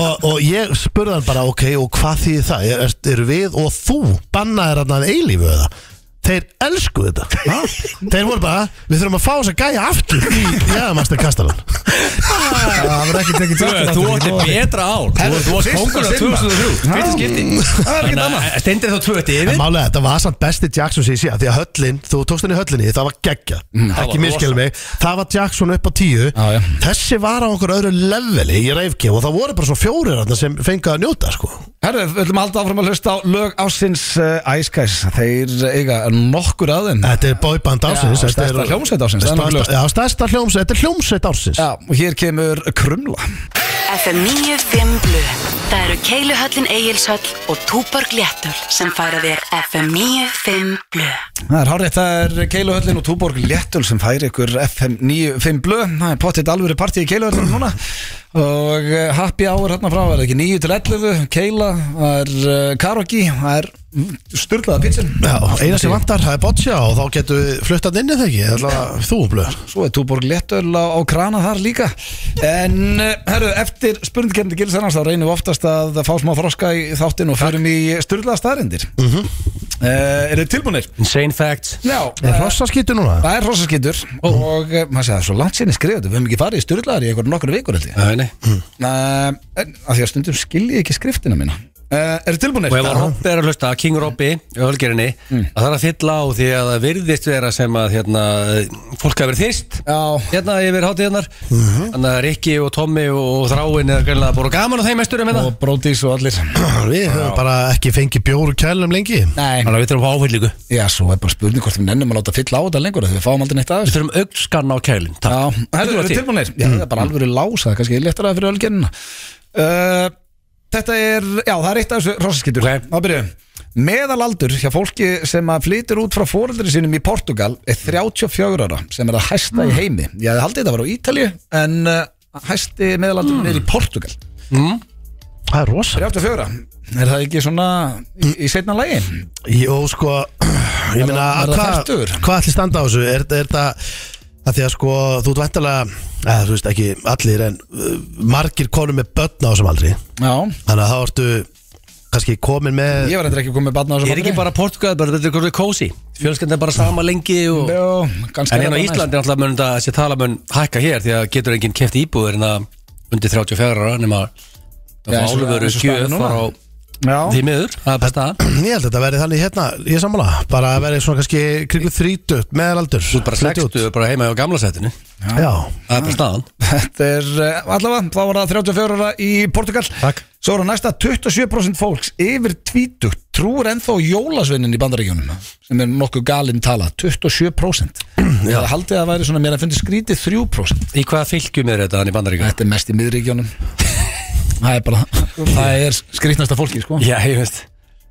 B: og, og ég spurði hann bara ok, og hvað þýðir það? Er, er, er við og þú bannaðir hann að eilífu eða? Þeir elskuðu þetta Þeir voru bara, við þurfum að fá þess að gæja aftur í Jæðamastur Kastalan
D: Það var ekki tekið
C: Þú- Þú ætti betra ár Þú- Þú varst
D: fyrsta
C: kongur á
D: sinna.
C: 2003 Fyrsta skipti
D: Það er ekkert
C: Þannig að Hérna, eh, Steindir þá tvö þetta
B: En
C: yfir
B: málega, þetta var samt besti Jackson sem ég sé að Því að höllin, þú tókst henni í höllinni, það var geggja
D: Mm,
C: það
B: Ekki
C: var
B: miskil
C: rosa.
B: mig, það var Jackson upp á tíu
D: Já, já.
B: Þessi var á einhverju öðru leveli í reyfki Og það voru bara svo fjórir þarna sem fengið að njóta sko.
D: Herru, við ætlum alltaf áfram að hlusta á lög ásins uh, Ice Guys Þeir eiga nokkur að þeim
B: Þetta er bóiband ársins
D: Já,
B: þetta er-
D: stærsta hljómsveit ársins, það er nokkuð ljóst.
B: Stærsta- Já, stærsta hljómsveit, þetta er hljómsveit ársins
D: Já, og hér kemur Krumla
E: FM 95 Blu Það eru Keiluhöllin Egilshöll og Túborg Léttul sem færa þér FM 95 Blu
D: Það er hárið, það er Keiluhöllin og Túborg Léttul sem fær ykkur FM 95 blö Það er pottitt alvöru partí í Keiluhöllin núna og uh, happy hour hérna frá það er ekki 9 til 11 Keila, það er uh, karaoke það er mm, styrlaða pítsin
B: Já, eina sem vantar, það er botja og þá getur við fluttat inn í það ekki allavega Þú, blöð
D: Svo er Túborg Léttöl á, á krana þar líka En, eh, herru, eftir spurningkemdi gilsennans þá reynum við oftast að fá smá þroska í þáttin og förum í styrlaða staðrindir mm Eru þið tilbúinir?
C: Insane facts
D: Já,
B: Er
D: eh,
B: hrossaskýttu núna?
D: það er hrossaskýtur og eh, maður segja, það er svo langt sinni skrifað við höfum ekki farið í styrlaðar í einhverjum nokkur vikur held ég
C: Nei, nei.
D: uh, En að því að stundum skil ég ekki skriftina mína uh, Eru þið tilbúinir?
C: Og ef að Robby er að hlusta, King Robby Ölgerinni, mm. að það er að fylla á því að það virðist vera sem að hérna, fólk hafi verið þýst
D: Já,
C: hérna yfir hátíðarnar Þannig að Rikki og Tommy og Þráin er greinlega að bóra gaman á þeim mesturum hérna
D: og Brodís og allir
B: Við höfum bara ekki fengið bjór og kælum lengi
D: Nei,
C: Þannig að við þurfum að fá áfyllingu
D: já, svo er bara spurning hvort við nennum að láta fylla á þetta lengur af því við fáum aldrei neitt aðeins
C: Við þurfum augskanna á kælinn takk.
D: Já,
C: Þetta
D: herru,
C: var
D: eru
C: til. Mm,
D: tilbúinir? Já, það er bara alvöru lása, það er kannski léttara fyrir ölgenina uh, Þetta er, já, það er eitt af þessu rosaskittur
C: Ok.
D: Þá byrjuðum Meðalaldur hjá fólki sem að flytur út frá fóreldri sínum í Portugal er 34 ára sem er að hæsta
C: Mm.
D: í heimi Ég hefði haldið þetta var á Ítalju en uh, hæsti meðalaldur er í
C: Mm.
D: Portugal
B: Það er rosa
D: 34 Er það ekki svona í, í setna lægin?
B: Jó, sko Ég meina,
D: það- er það
B: hvað
D: fertugur?
B: hva ætli standa á þessu? Er, er það að því að sko, þú ert vantilega eða þú veist ekki allir en uh, margir konum með börn á þessum aldri
D: Já,
B: þannig að þá ertu kannski komin með
D: ég var endur ekki komið með batna á
C: Ég
D: þessum
C: er ekki bara Portugal, bara þetta er hvernig kósi Fjölskyldin er bara sama lengi og...
D: Jó, kannski
C: En hérna
D: er
C: á
D: það næs.
C: Íslandi er alltaf mun þetta þessi talamönn hækka hér því að getur enginn keft íbúður en að undir 34 ára nema
D: Já,
C: það fá
D: eins og-
C: álveru
D: eins og staðan er
C: gjöf
D: núna.
C: frá
D: Já,
C: því miður, það er bara staðan
B: ég held að þetta verði þannig hérna, ég er sammála bara að verði svona kannski kringu 30 meðalaldur
C: Þú ert bara 60 bara heima á gamla setinu
B: já,
C: Það er bara staðan
D: Þetta er eh, allavega, þá var það 34 ára í Portugal
B: Takk.
D: Svo er það næsta 27% fólks yfir 20 trúur ennþá jólasveinin í bandaríkjónum sem er nokkuð galinn tala 27% Það haldið að það væri svona mér að fundi skrítið 3%
C: Í hvaða fylgjum er þetta hann í bandaríka?
D: Þetta er mest í miðríkjónum Það er bara, það er skrítnasta fólki sko
C: Já, ég veist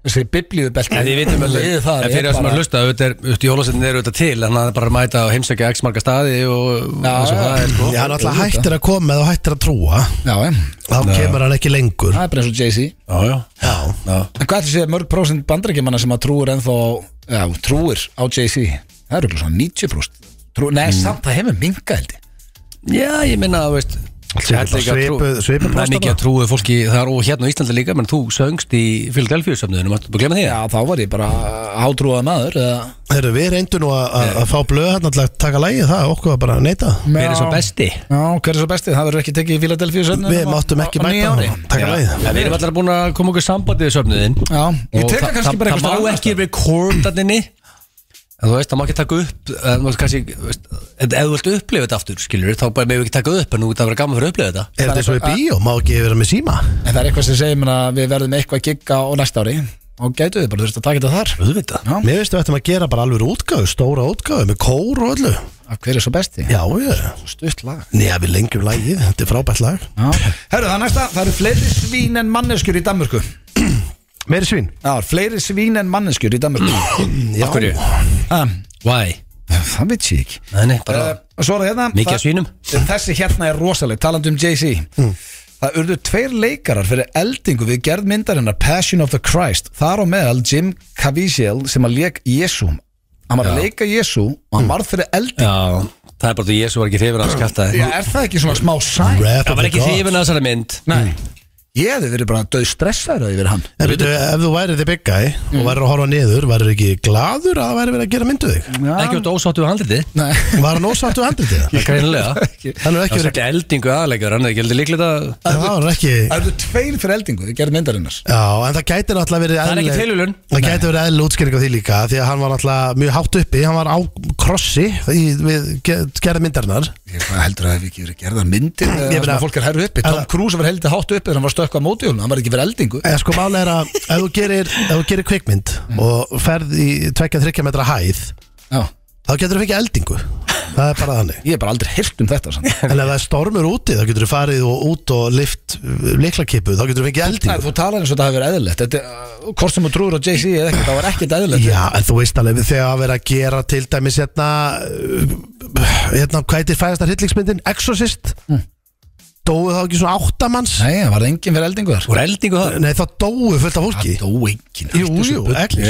D: Þessi biblíðubelti
C: En við vitum að
D: Liðið það
C: fyrir það sem að hlusta auðvitað er, auðvitað jólasetin er auðvitað til en það er bara að mæta og heimsækja x marga staði og
D: Já,
C: eins og
D: já.
C: það er sko
B: já, hann alltaf hættir að koma eða hættir að trúa
D: Já, já.
B: þá kemur hann ekki lengur
D: það er bara eins og Jay-Z
C: Já, já
B: já,
D: En hvað ætli sé mörg prósent bandarækjumanna sem að trúir ennþá já, trúir á Jay-Z það eru eitthvað svona 90 prósent Trú, Nei, samt, það hefur minga held ég
C: Já, ég minna, þú veist
B: Þetta er bara svipuð- svipuð
C: Það er
B: próstata.
C: mikið að trúið fólki þar og hérna á Íslandi líka menn þú söngst í Philadelphia-söfnuðinu, máttu bara glemma því
D: Já, þá var ég bara átrúað maður eða...
B: Heru, við reyndum nú að- að að fá blöð hérna til að taka lægið það, okkur var bara að neyta
C: Hver er svo besti?
D: Já, hver er svo bestið? Það verður ekki tekið í Philadelphia sönn
B: við máttum ekki mæta
D: ári.
B: hann taka lægið
C: Ja, við erum allar búin að koma okkur sambandið í söfnuðin
D: Já, ég tek það kannski bara
C: Það
D: eitthvað
C: má ekki rekordaninni En þú veist, það má ekki taka upp eh, þú veist, kannski, þú veist, en ef þú vilt upplifa þetta aftur, skilur þá bara meðum við ekki taka upp, en nú þetta verður gaman fyrir að upplifa þetta
B: Er þetta eins og í bíó? Má ekki vera með síma?
D: En það er eitthvað sem segir mér að við verðum eitthvað gigga á næsta ári og gætu við bara þurfum að taka þetta þar
B: Auðvitað
D: Já.
B: Mér veistu að þetta maður gera bara alveg útgáðu, stóra útgáðu með kór og öllu
D: Af Hver er svo bestið?
B: Já, ég
D: Stutt lag
B: Nýja, við lengjum lagið, þetta er frábært lag
D: Herru, það er næsta, það eru fleiri svín en manneskjur í Danmörku
B: Meiri svín
D: Já, fleiri svín en manneskjur í Danmörku
B: Já,
C: hverju?
D: Ah,
C: Why?
D: Það veit ég ekki
C: Nei, nei, bara
D: uh, Svo er það hérna
C: Mikið af
D: það-
C: svínum. Mm.
D: Þessi hérna er rosaleg, talandi um Jay-Z Það urðu tveir leikarar fyrir eldingu við gerð myndarinnar Passion of the Christ Þar á meðal Jim Caviezel sem að leik Jésu Hann var að leika Jésu og
C: Mm.
D: hann varð fyrir eldingu
C: Já, það er bara því Jésu var ekki hrifin að skjálta
D: Já, er það ekki svona smá sæn?
B: Wrath
C: Það
B: of
C: var
B: the
C: ekki
B: gods.
C: hrifin að þessari mynd
D: Nei Ég hefði verið bara döð stressaður yfir hann
B: En veitu, ef þú værið þig bygga og værið að horfa niður, værið ekki gladur að það værið verið að gera myndu þig?
C: Ekki út ósáttu við handlitið
D: Nei
B: Var hann ósáttu handið þig?
C: Greinilega
B: Hann er ekki
C: Það var
B: verið,
C: ekki eldingu aðleikar Hann er ekki heldur líklegt að
B: það var ekki,
D: Það urðu tveir fyrir eldingu við gerð myndarinnar
B: já, en það gæti náttúrulega verið
C: Það er ekki
B: eðlileg-
C: tilhjulun
B: Það gæti verið eðlileg útskýring á því líka því að hann var náttúrulega mjög hátt uppi, hann var á krossi í, við gerði myndarinnar
D: Ég hvað heldur að það hef ekki verið gerðar myndir
B: Ég
D: Það sem
B: meina-
D: að fólk er herru uppi Tom
B: Eða-
D: Cruise var heldur hátt uppi þegar hann var stökka á mótihjólinu Hann var ekki fyrir eldingu
B: En sko máli er að ef þú gerir, ef þú gerir kvikmynd
C: Mm.
B: og ferð í 2-3 metra hæð
D: Já.
B: þá getur þú fengið eldingu það er bara þannig
D: Ég hef bara aldrei hirt um þetta sann.
B: En ef það er stormur úti, þá getur þú farið og út og lift liklakipu, þá getur þú fengið
D: Nei,
B: eldingu
D: Þú talar eins og þetta hefur verið eðlilegt Þetta er, uh, hvort sem þú trúir á Jay-Z eða ekkert, það var ekkert eðlilegt
B: Já, en þú veist alveg þegar að vera að gera til dæmis hérna, uh, hérna hvað heitir fæðasta hryllingsmyndin? Exorcist? Dóu þá ekki svona áttamanns?
D: Nei, það var enginn fyrir eldingu þar
C: Úr eldingu það
B: Nei, þá dóu fullt af fólki
D: Dó enginn sko.
B: Jú, jú,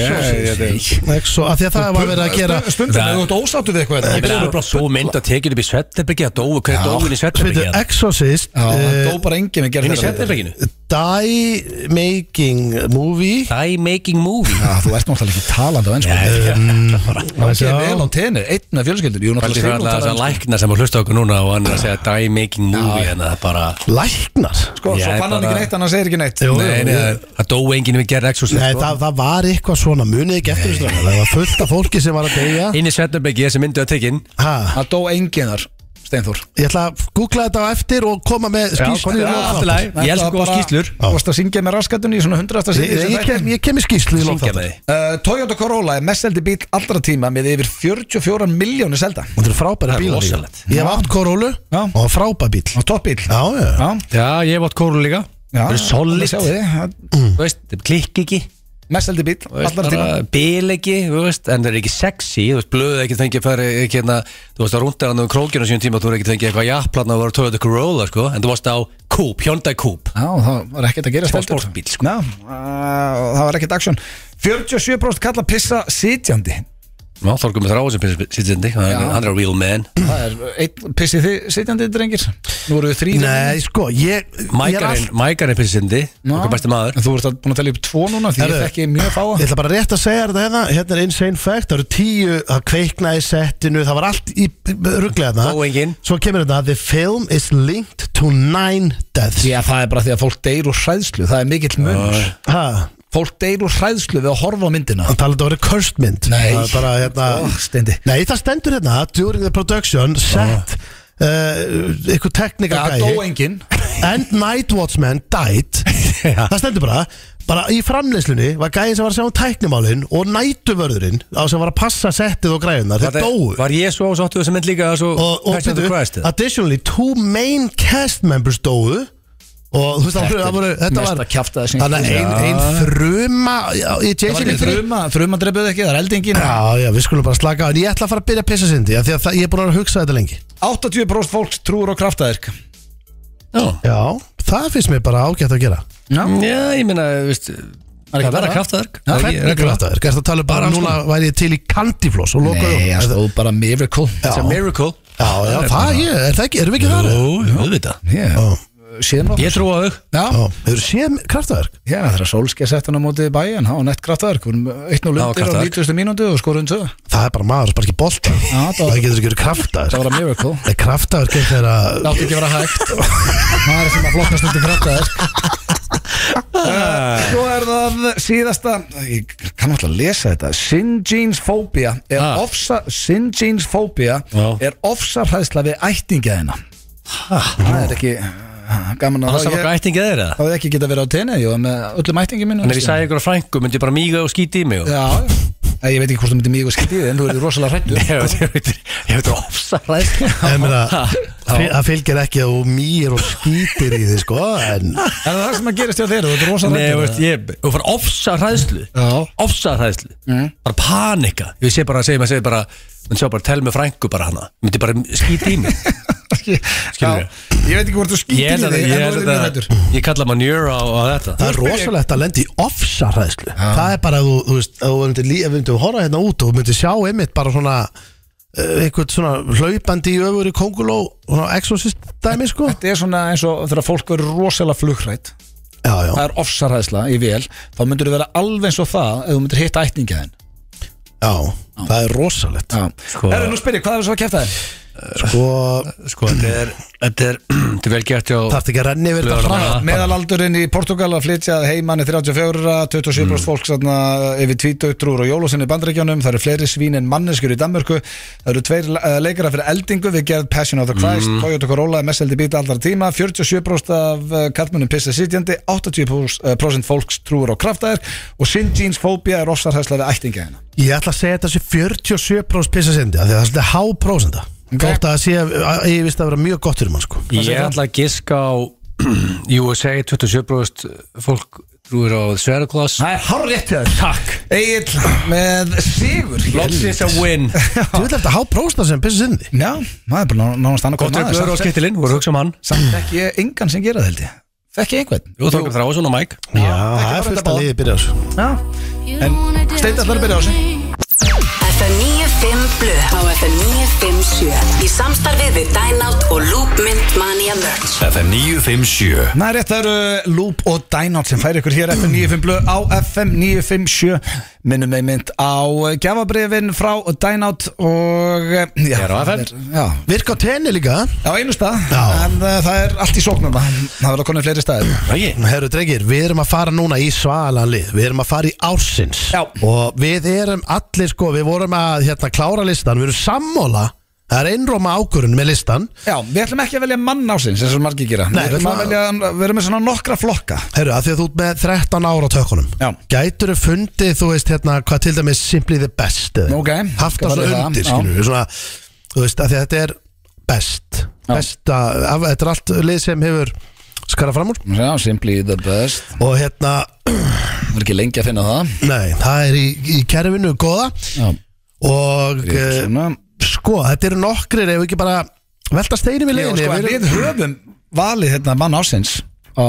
B: Exorcist Exo- af Því að það var verið að gera
D: Stundum
C: Það-
D: ef þú ert ósáttu við eitthvað
C: Ég meina, Svo mynd að tekið upp í svettarbyggi að dóu Hver er dóin í
B: Sveitu,
C: svettarbyggi?
B: Exorcist
D: Já, það
B: uh,
D: dó bara enginn
C: Hinn
D: við
C: í
D: gerð Eh, þetta
C: svettarbyginu?
B: Die Making Movie
C: Die making movie
D: Já, Ah, þú ert náttúrulega ekki talandi á ennsku Það sé vel á tenni, einn af fjölskyldur
C: Það
D: Jú,
C: er
D: náttúrulega
C: alltaf þess
D: Sigrún
C: að
D: talar
C: lækna sem að hlusta okkur núna og hann er að segja die making movie en það er bara
B: Læknar
D: Sko,
C: Ég
D: Svo
C: er
D: fann
C: bara-
D: hann ekki neitt, hann segir ekki neitt
B: Jú,
C: Nei,
B: jú,
C: nei,
B: ég-
C: það dó enginn við gerð exorcist
B: Nei,
C: sko.
B: það, það var eitthvað svona munið ekki eftir þessu strákar. Það var fullt af fólki sem var að deyja
C: Inn í svettarbyggi þessi myndu að tekin
B: ha,
D: Það dó enginn þar, Steinþór
B: Ég ætla að googla þetta á eftir og koma með skýrslu
C: komdu,
B: og
C: já,
B: allt
C: allt í lagi.
B: það.
C: Ég elska góða skýrslur.
D: Þú varst að syngja með raskatunni í svona 100.
B: Ég, ég, ég, kem, ég kem í skýrslu í
C: Syngja
B: lóttátt
C: með því
D: Uh, Toyota Corolla er mest seldi bíl allra tíma með yfir 44 miljónir selda
B: Þetta er frábæra
C: Það er
B: bíl
C: rosalegt.
B: Ég hef átt Corolla
D: Já.
B: og frábæra bíl
D: og toppbíl
B: Já, já
D: Já,
C: Já, ég hef átt kóru líka
D: já,
C: Það er solid,
D: sjáu þið, það-
C: þú veist, það klikk ekki
D: Mest seldi bíl
C: þú veist,
D: allra tíma
C: bara Bil ekki, þú veist, en það er ekki sexy Þú veist, blöð ekki fengið að fara ekki hérna Þú veist, að rúnda hann um krókinu á sínum tíma Þú er ekki fengið eitthvað jafnplan að vera Toyota Corolla, sko En þú varst á Coupe, Hyundai Coupe
D: Já, það var ekkert að gera
C: Smá
D: steltur.
C: sportbíl, sko.
D: Já, uh, það var ekkert aksjón 47% kalla pissa sitjandi
C: Ná, Þorgum er þráð sem sitjandi Hann er a real man
D: Það er einn pissi þið sitjandi drengir Nú eru við þrýr
B: Nei, sko, ég, ég er
C: Mækarinn,
B: all-
C: mækarinn pissindi Okkar besti maður
D: En þú ert að- búin að tella upp tvo núna því ég
B: Herðu.
D: þekki mjög fáa
B: Ég ætla bara rétt að segja þetta hérna Hérna er insane fact, það eru tíu Það kveiknaði settinu, það var allt í rugglega
C: Dó enginn.
B: Svo kemur þetta The film is linked to nine deaths
D: Já, það er bara því að fólk deyr úr hræðslu Það er mikill munur
B: Ha,
D: Fólk deyr úr hræðslu við að horfa á myndina
B: Hann talaði að það voru cursed mynd
D: Nei.
B: Það er bara, hérna,
D: Ó, Steindi.
B: Nei, það stendur hérna During the production set uh, Ykkur teknika
D: Það Ah. dó enginn
B: And night watchman died Það stendur bara Bara í framleyslunni var gæðin sem var að sjá um tæknimálin Og nætuvörðurinn Á sem var að passa settið og græðunar Þeir
C: Var-
B: dóu
C: Var Jésu ás áttu þessi mynd líka svo
B: Og, og
C: Passion of the Christ eða?
B: additionally Two main cast members dóu Og þú veist það voru- það voru Þetta
D: mesta
B: var
D: kjaftaði sem-
B: Þannig að ein,
D: Já.
B: ein fruma í
D: Það var
B: Jason
D: ekki þruma, þruma drepuð ekki, það er eldingin
B: Já, já, við skulum bara slaka á En ég ætla að fara að byrja að pissa sindi Því að það, ég er búin að vera að hugsa þetta lengi
D: 80% fólks trúur á kraftaðirk
C: Já.
B: Já, það finnst mér bara ágætt að gera
C: Já, ég meina, veist Það verða kraftaðark Það er
B: Hvernig
C: ekki regla
B: kraftaður? Gerst að tala um bara
C: Bara
B: núna væri ég til í kandifloss og loka
D: Nei, það stóð bara miracle
C: It's a miracle
B: Já, já, það ég, er það ekki, erum við ekki þar?
C: Jú, auðvitað
D: yeah.
B: Já,
D: Síðan okkur
C: Ég trú á þau
D: Já,
B: já, hefur séð kraftaður?
D: já þegar Solskja sett hann á móti bæjan Há, nett kraftaðirk, við erum eitt nú
C: Já,
D: lundir á
C: kraftaverk.
D: 90. mínútu og skorum tvö
B: Það er bara maður, bara ekki bolta
D: það var-
B: Það getur ekki verið
D: Það
B: kraftaður
D: var að miracle
B: Nei, kraftaður getur þegar
D: Það
B: að
D: átti ekki að vera hægt Það er sem að flokkast undir kraftaðirk
C: Ah.
D: Svo er það síðasta Ég kann alltaf að lesa þetta Syngenesphobia er
C: Ah.
D: ofsa Syngenesphobia
C: Já.
D: er ofsa hræðsla við ættingja þeina Það er ekki gaman
C: Það
D: að
C: er saman hvað ættingið er það
D: Það hefði ekki getað verið á tenni, jú, með öllum ættingum minn
C: En ef ég sagði ykkur á frængu, myndi ég bara míga og skíti í mig og-
D: Já, Nei, ég veit ekki hvort þú myndir mjög skildið, en þú erði rosalega hrættur
C: Ég veit- ég veit- ég veit ofsa ræð
B: Ég meina, Fyl- Það fylgir ekki að þú mýr og skýtir í þið sko En
D: Er það það sem að gerist hjá þér? Þú ert rosa
C: Nei,
D: hræddur,
C: þú veist, ég Þú fara ofsa hræðslu
D: Já. Mm.
C: Ofsa hræðslu Bara panika Ég sé bara, segi maður, segi bara Menn sjá bara, tel með frængu bara hana Ég myndi bara skýti í mig
D: Já,
C: Skilur við.
D: Ég veit ekki hvort þú
C: Ég held
D: skýtir í
C: að
D: þig
C: Ég,
D: en
C: held
D: þú ert mjög
C: að-
D: hræddur.
C: ég kalla manjur á, á þetta
B: það er rosalegt að lendi í ofsarhæðslu Það er bara, að þú, þú veist, að þú myndir, lí- ef við myndir horfa hérna út og þú myndir sjá einmitt bara svona eh, einhvern svona hlaupandi í öfur í Konguló svona exorcist dæmi sko
D: Þetta er svona eins og þegar fólk verður rosalega flugrætt
B: Já, já,
D: Það er ofsaræðsla í vel Þá myndur þú vera alveg eins og það Ef þú myndir hitta ætninga þinn
B: já, það er rosalegt
C: Sko-
D: Herru, nú spyrir, hvað er svo að kæfta þér?
B: Sko,
C: Sko, þetta er Þetta er, þetta er vel gert hjá
B: þarf ekki að renni verið þetta
C: Laugarnar.
B: frá
C: Já, bara-
D: Meðalaldurinn í Portugal að flytja að heimann er 34, 27 mm. fólk satna, yfir 20 trúr og jólosinni bandregjónum það eru fleiri svín en manneskjur í Danmörku það eru tveir eh, leikara fyrir eldingu við gerð Passion of the Christ, Toyota Corolla er mest eldi býta allra tíma, 47% af eh, karlmönnum pissa sitjandi, 80% fólks trúur á kraftaðir og Sinjins fóbia er ofsarhæsla við ættinga hennar
B: Ég ætla að segja þetta sé 47 prófs pissasindi af því að það er svolítið há prósenda
D: Ok.
B: Þótt að það sé, að- ég vist að vera mjög gott fyrir mann sko
C: Ég ætla að giska á USA 27% fólk trúir á Sverre Kloss
D: Það er hár rétt hjá þér Takk Egil með sigur
C: Loksins að win
B: Þú vil eftir há prósenda sem pissasindi
D: Já, maður er bara ná- nánast annað
C: Gott er blöður á skittilinn, voru að hugsa um hann
D: Samt ekki ég engan sem gera það held ég Þekki ég einhvern
C: Jú, Þorgar Þráðsson og Mike
B: Já, það er
D: bara
B: fullt
D: þetta
B: að liði byrja á þessu
D: Já, en Steindar þarf að byrja á þessu
E: FM 95 Blu á FM 957 í samstarfið við Dynout og Loopmynd Mania Merch
F: FM 957
D: Næ, rétt það eru Loop og Dynout sem færi ykkur hér FM 95 blöð á FM 957 minnum með mynd á gjafabrifin frá Dynout og eh, já,
C: Hér á FM.
D: það er- Já,
B: Virka á tenni líka
D: á einu stað
B: Já.
D: en uh, það er allt í sóknum það verður konið fleiri staðir
C: Ægir
B: Herru drengir, við erum að fara núna í svalan lið Við erum að fara í ársins
D: Já.
B: Og við erum allir sko, við vorum að hérna, klára listan Við erum sammála Það er einróma ákvörun með listan
D: Já, við ætlum ekki að velja mann ásins eins og margir gera
B: Nei,
D: við, ætlum að
B: það-
D: velja, við erum með svona nokkra flokka
B: Herru, að því að þú ert með 13 ára á tökunum
D: Já.
B: Gætur fundið, þú veist, hérna, hvað til dæmis Simply the best eða?
D: Ok,
B: Haft
D: skal
B: það
D: verða
B: svona
D: það,
B: undir,
D: já.
B: skilur við svona, Þú veist, að því að þetta er best Besta, af, þetta er allt lið sem hefur skara fram úr
D: Já, simply the best
B: Og hérna,
D: Það er ekki lengi að finna það
B: nei, það er í, í kerfinu góða
D: Já,
B: Og eh,
D: svona
B: Sko, þetta eru nokkrir ef við ekki bara velta steinum í
D: Já,
B: leiðinni
D: sko,
B: við
D: en við
B: erum-
D: höfum valið hérna mann ásins á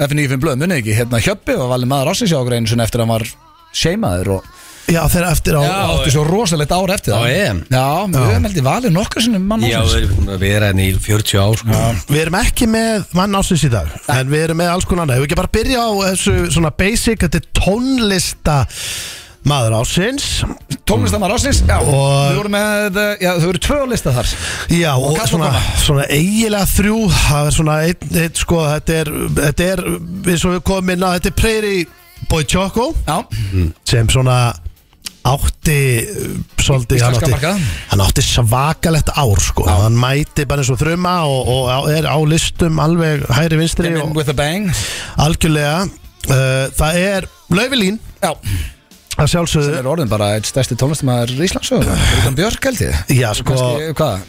D: F95 blöð, munið ekki, hérna Hjöppi var valið maður ásins hjá okkur einu sinni eftir að hann var seimaður og
B: Já, þeir eru eftir á
D: og átti svo rosalegt ár eftir það
C: Á EM.
D: Já, við höfum heldur valið nokkra sinni mann
C: Já, við
D: ásins
C: erum búin að vera henni í 40 ár sko.
B: Við erum ekki með mann ásins í dag En við erum með alls konar annað Ef við ekki bara byrja á þessu svona basic Þetta er tónlista maður ásins
D: Tónlistamar ásins, já,
B: Og-
D: við vorum með eh, já, þau eru tvö á lista þar
B: Já, og,
D: kall og
B: svona,
D: kona.
B: svona eigilega þrjú Það er svona einn, ein, sko Þetta er, þetta er, eins og við komum inn á Þetta er Prairie Boy Choco
D: Já,
B: sem svona átti uh, svolítið, hann
D: Íslenska
B: átti,
D: markaðan.
B: hann átti svakalett ár sko, hann mæti bara eins og þruma og, og á- er á listum alveg hægri vinstri
D: Came in
B: og
D: with a bang
B: algjörlega uh, það er Laufilín
D: Já,
B: að
D: það
B: sjálfsögðu
D: er orðin bara eitt stærsti tónlistamar Íslandsögur Rúkan Björk held ég
B: Já, sko,
D: Kannski, Hvað?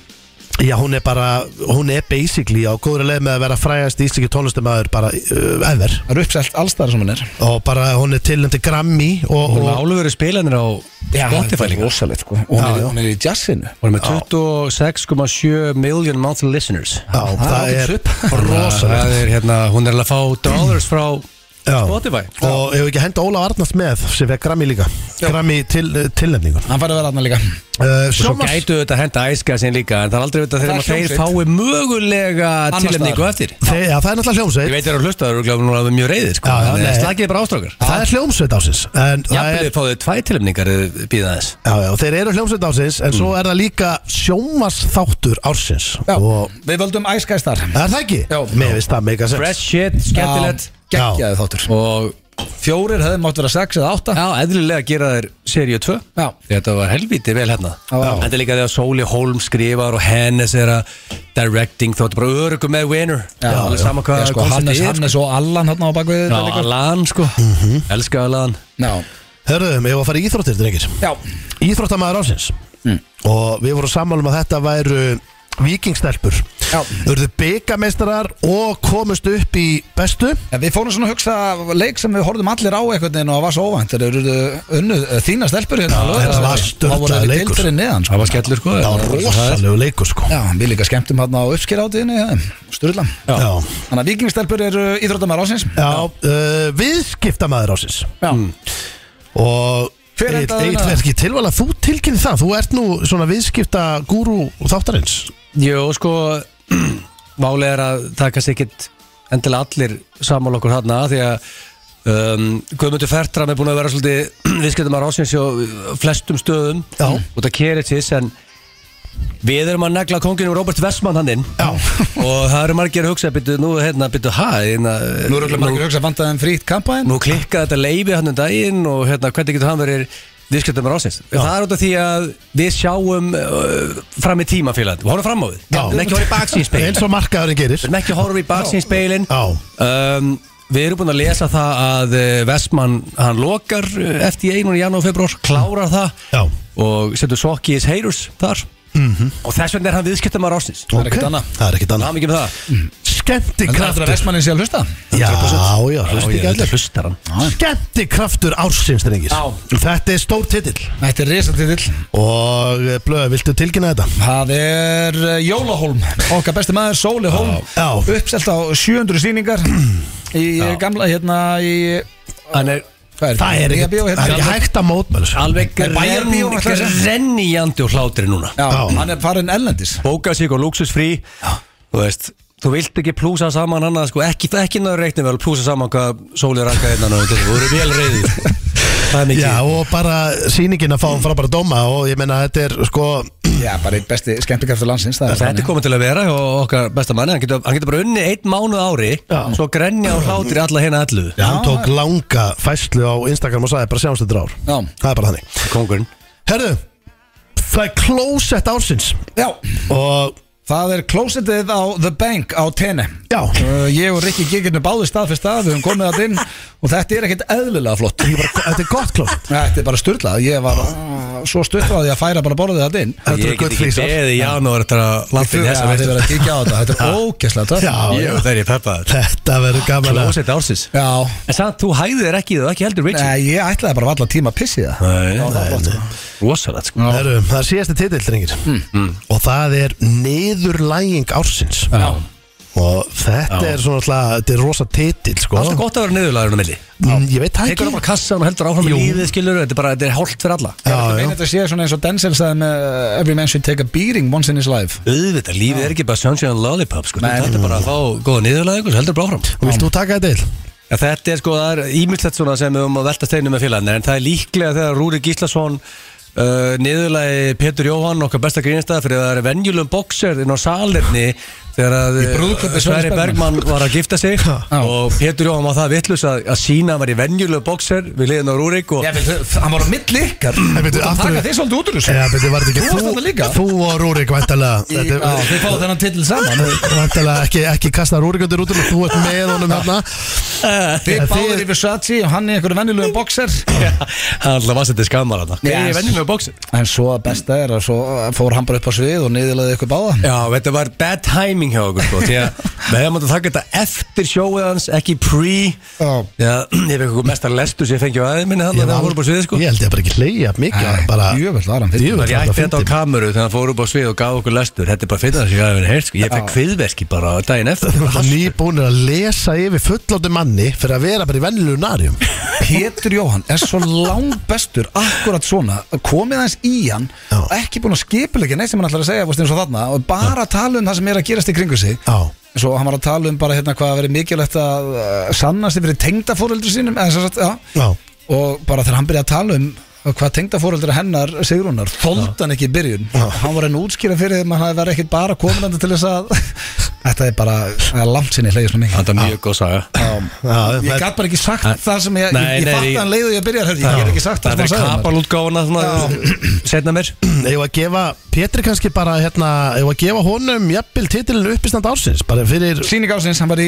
B: já, hún er bara hún er basically á góðri leið með að vera frægast íslenski tónlistamæður bara uh, ever
D: Það eru uppsellt allstæðar sem hann er
B: og bara hún er tilnæmdi Grammy og,
C: Hún er
B: og,
C: álöfur í spilanir á Spotify líka
D: rosalegt sko Og hún
B: Já,
D: er-
B: já.
D: hún er í jazzinu
C: Hún er með 26,7 million monthly listeners
B: já, það
D: ágætis
B: er
D: upp.
B: rosalegt
C: Það er hérna, hún er alveg að fá dollars frá
B: Já.
C: Spotify
B: og ef við ekki henda Óla Arnast með sem vekk Grammy líka Grammy til, eh, tilnefningun
D: Hann fær að vera aðna líka
B: uh,
C: Svo
B: sjónvarps-
C: gætu þetta henda æska sín líka En það er aldrei veit að
D: Það
C: þeir,
D: er
C: þeir
D: hljómsveit.
C: fái mögulega
D: Annars
C: tilhemningu
D: staðar.
C: eftir
B: Þe, já, það er náttúrulega
C: Ég
B: hljómsveit
C: veit þeir eru að hlusta, það eru alveg mjög reyðir
B: Já,
C: sko.
B: já,
C: Þannig að
B: nei.
C: Slakið bara ástrákar
B: Það er hljómsveit ásins en það
C: Jafnvel
B: er,
C: þið fáðu tvær tilhemningar býða þess
B: já, já, Þeir eru hljómsveit ásins En svo er það líka sjómasþáttur ársins
D: Já,
B: Og
D: við völdum Æskæs þar
B: er það ekki?
D: Já.
B: Mér finnst það mega sens
C: Fresh shit, skemmtilegt
D: Gekkjaði þáttur
C: Og
D: Fjórir hefði mátt vera sex eða átta
C: já, eðlilega gera þær seríu 2
D: Já.
C: Þetta var helviti vel hérna
D: já.
C: Þetta er líka þegar Sóli Holm skrifar og Hennes er að directing Þá er þetta bara örugum með winner Alveg sama hvað
D: Já, sko, Hannes,
C: konceptið er,
D: Hannes og Allan hann á bakvið
C: Já, Alan sko Elska Alan
D: Já,
B: Hörruðum, ég var að fara í íþróttir, drengir
D: já
B: Íþróttamæður ársins Og við vorum sammálum að þetta um væru vikingstelpur
D: Já.
B: Urðu byggameistarar og komust upp í bestu
D: Ja, við fórum svona að hugsa leik sem við horfum allir á einhvern veginn og það var svo óvænt þeir eru unnu þína stelpur hérna alveg,
B: þetta
D: það-
B: var störtlaður
D: það voru ekki
B: leikur.
D: deildir en neðan sko.
C: var skellur sko
B: Það var rosalegu leikur sko
D: Já, við líka skemmtum hérna á uppskýrhátiðinu Sturla
B: Já,
D: Þannig að vikingstelpur eru íþróttamæður ásins
B: Já. Uh, Viðskiptamaður ásins
D: Já.
B: Og
D: Hver
B: Egill-
D: endaði
B: Egill
D: það?
B: verð ekki tilvala Þú tilkynni það, þú ert nú svona viðskipta gúrú þáttarins
C: Jó, sko Málið er að það er kannski ekkit endilega allir saman okkur hann að því að um, Guðmundur Fertram er búin að vera svolítið viðskiptum að rásins á flestum stöðum
B: Já.
C: út að Keretis en við erum að negla konginu Robert Vessmann hann inn
B: Já.
C: og það eru margir að hugsa byttu, nú, hérna, byttu, ha, hérna,
D: Nú eru ekki margir að hugsa að vanda þeim frýtt kampaðin
C: nú klikkaði þetta leifi hann um daginn og hérna, hvernig getur hann verið viðskiptum að rásins það er út af því að við sjáum uh, fram í tíma félag, við horfum fram á við
B: Já.
C: en ekki horfum í baksýnspegin
B: Eins og markaðurinn gerir
C: Við erum ekki að horfa í baksinspeilin
B: Já.
C: um, Við erum búin að lesa það að eh, Vestmann, hann lokar eh, FTA núna í janúar og februar, klárar það
B: Já.
C: og setur sokk í his haters þar -hmm. og þess vegna er hann viðskiptamar ásins
D: Það er ekkert annað.
B: Mhm. Það er ekkert
C: Það
B: annað
C: er mikið með það
D: Kraftur að
B: Skemmtikraftur
D: vestmannin sé að hlusta
B: Já, já, hlusti ekki allir
C: hlustar hann
B: Skemmtikraftur ársins, drengir
C: Já.
B: Þetta er stór titill
D: Þetta er risatitil
B: Og eh, Blöð, viltu tilkynna þetta?
D: Það er eh, Jólahólm, okkar besti maður Sóli Hólm,
B: Já.
D: uppselt á 700 sýningar í gamla hérna í
C: Hann er
D: hvað
B: Það er
D: Nýja
B: ekki,
D: bíó, hérna?
B: það er ekki hægt að mótmæla þessu.
C: alveg
D: Það er bæjarbíó,
C: grenn-
D: ætlaði að segja.
C: grenjandi og hlátri núna
D: Já,
B: Já.
D: hann er farin ellendis
C: Bókað sig og luxusfrí Þú veist Þú vilt ekki plúsa saman annað sko, ekki, ekki náður reiknum vel plúsa saman hvað sólið rakka hérna og þú eru vel reyðið Það er mikið
B: Já, og bara sýningin að fá frábæra dóma og ég meina þetta er sko
D: Já, bara einn besti skemmtikraftur landsins það
C: Þetta er komið til að vera og okkar besta manni hann getur, hann getur bara unni einn mánuð á ári svo grenja og hlátir alla hérna allu
B: Já, hann tók langa fæslu á Instagram og sagði bara sjáumst þetta ár
D: Já.
B: Það er bara þannig
C: Kongurinn
B: Herðu, það er Closet ársins
D: Já,
B: og
D: það er Closetið á The Bank á Tene
B: já,
D: Uh, Ég og Rikki Gigirnu báði stað fyrir stað, við höfum komið það inn og þetta er ekkert eðlilega flott
B: ég bara, þetta er gott Closet
D: Þetta er bara styrlað, ég var uh, svo styrlað að ég að færa bara borðið það inn
B: Þetta eru
C: Ég get ekki
B: gullfrísar.
C: beðið í janúar eftir að
D: Þú
C: landin
D: ja,
C: þessa
D: þið verður að kíkja á þetta, þetta er ógæslega töff
B: Já, já.
C: Það er ég peppaður
B: Þetta verður gaman að
C: Klósett ársins
D: Já,
C: En samt, þú hæðir þér ekki í þau, ekki heldur Richie
D: Nei, ég ætlaði bara valla tíma að pissi það
C: Rosalegt sko
B: Herru, það er síðasti titill, drengir
D: Mm,
B: Og það er Niðurlæging ársins
C: Já.
B: Og þetta er svona alltaf, þetta er rosa titill sko
C: Alltaf gott að vera niðurlæðurinn á milli
B: Mm, Ég veit það
C: Tekur það
B: ekki
C: bara kassan og heldur áfram í
B: Jú.
C: lífið skilur Þetta er bara, þetta er hálft fyrir alla
B: Já,
D: Ég
B: já.
D: meina þetta sé svona eins og Denzel sagði með uh, Every man should take a beating once in his life
C: Auðvitað, lífið er ekki bara sunshine and lollipop sko.
D: Nei.
C: Þetta er bara að fá góða niðurlæðingu og heldur bara áfram
B: Og Vilt þú taka þetta til?
C: Ja, þetta er sko, það er ímyndslegt svona sem við höfum að velta steinu með félaginu en það er líklega þegar Rúri Gíslason uh, niðurlagi Pétur Jóhann okkar besta grínstæða fyrir að það er venjulegum bokser inn á salerni þegar að
D: Í brúðkaupi
C: eh,
D: Sverris
C: Sverri Bergmann var að gifta sig og Pétur Jóhann var það vittlust að, að sína hann var í venjulegum bokser við liðin á Rúrik og
D: Ég vil, hann var á milli ykkar Þú
B: veitu,
D: ert að
B: aftur-
D: taka þig svolítið út úr þessu
B: Já, beti, var þetta
D: Þú varst
B: ekki
D: þarna líka.
B: þú, þú og Rúrik væntalega
D: Já,
B: Þetta-
D: Þið fáðu þennan titl saman
B: Væntalega ekki, ekki kasta Rúrik undir út og þú ert með honum hérna
D: Þið
B: Já, þið-
D: báður í Versace og hann er einhverju venjulegu boxer
C: hann alltaf var þetta skamar hann
D: Yes.
C: ég er í venjulegum bokser
D: En svo að besta er að svo uh, fór hann bara upp á svið og niðurlaði ykkur báða
C: Já, þetta var bad timing hjá okkur sko, því að við hefum átt að taka þetta eftir sjóið hans, ekki pre
D: Já.
C: Já, ég veit eitthvað mestar lestur sem ég fengi á aðeins minni þannig að það voru bara sviðið sko
B: Ég held ég bara ekki hleyja mikið bara,
D: Jöfell var hann fyrir
B: Jöfull.
C: Ég ætti þetta á
B: fyndið.
C: kameru þegar hann fór upp á svið og gaf okkur lestur Þetta er bara fyrir það sem ég hafi verið heyrt sko. Ég fekk kviðverki bara daginn eftir
B: Þú ert nýbúnir að lesa yfir fullóttu manni fyrir að vera bara í vennilu narjum
D: Pétur Jóhann er svo langbestur akkurat svona, komið hans í hann
B: Já.
D: og ekki búin að skipulegja neitt sem hann ætlar að segja fórst eins og þarna og bara tala um það sem er að gerast í kringu sig
B: Já,
D: Svo hann var að tala um bara hérna hvað að vera mikilvægt að uh, sannast yfir tengdafóreldur sínum eða, sem sagt, já.
B: já
D: og bara þegar hann byrjaði að tala um hvað tengdafóreldur hennar Sigrúnar þoldi hann ekki í byrjun hann var enn útskýra fyrir þeim að hann væri ekkit bara komin þetta til þess að Þetta er bara það er langt sinni hleyðið svona mikið
C: Þetta er mjög góð saga
B: Já,
D: Ég
B: það-
D: gæt bara ekki sagt það sem ég
C: Nei,
D: Ég, ég
C: nei,
D: fatt
C: ég-
D: hann leiðu ég byrjar hörðu, Ég er ekki sagt
C: Það
D: það
C: er
D: sem hann sagði
C: kapalútgáfana Setna mér
B: Eða að gefa Pétri kannski bara hérna, eða að gefa honum jafnvel titilinu uppistand ársins bara fyrir
D: mér. Sýning ásins, hann var í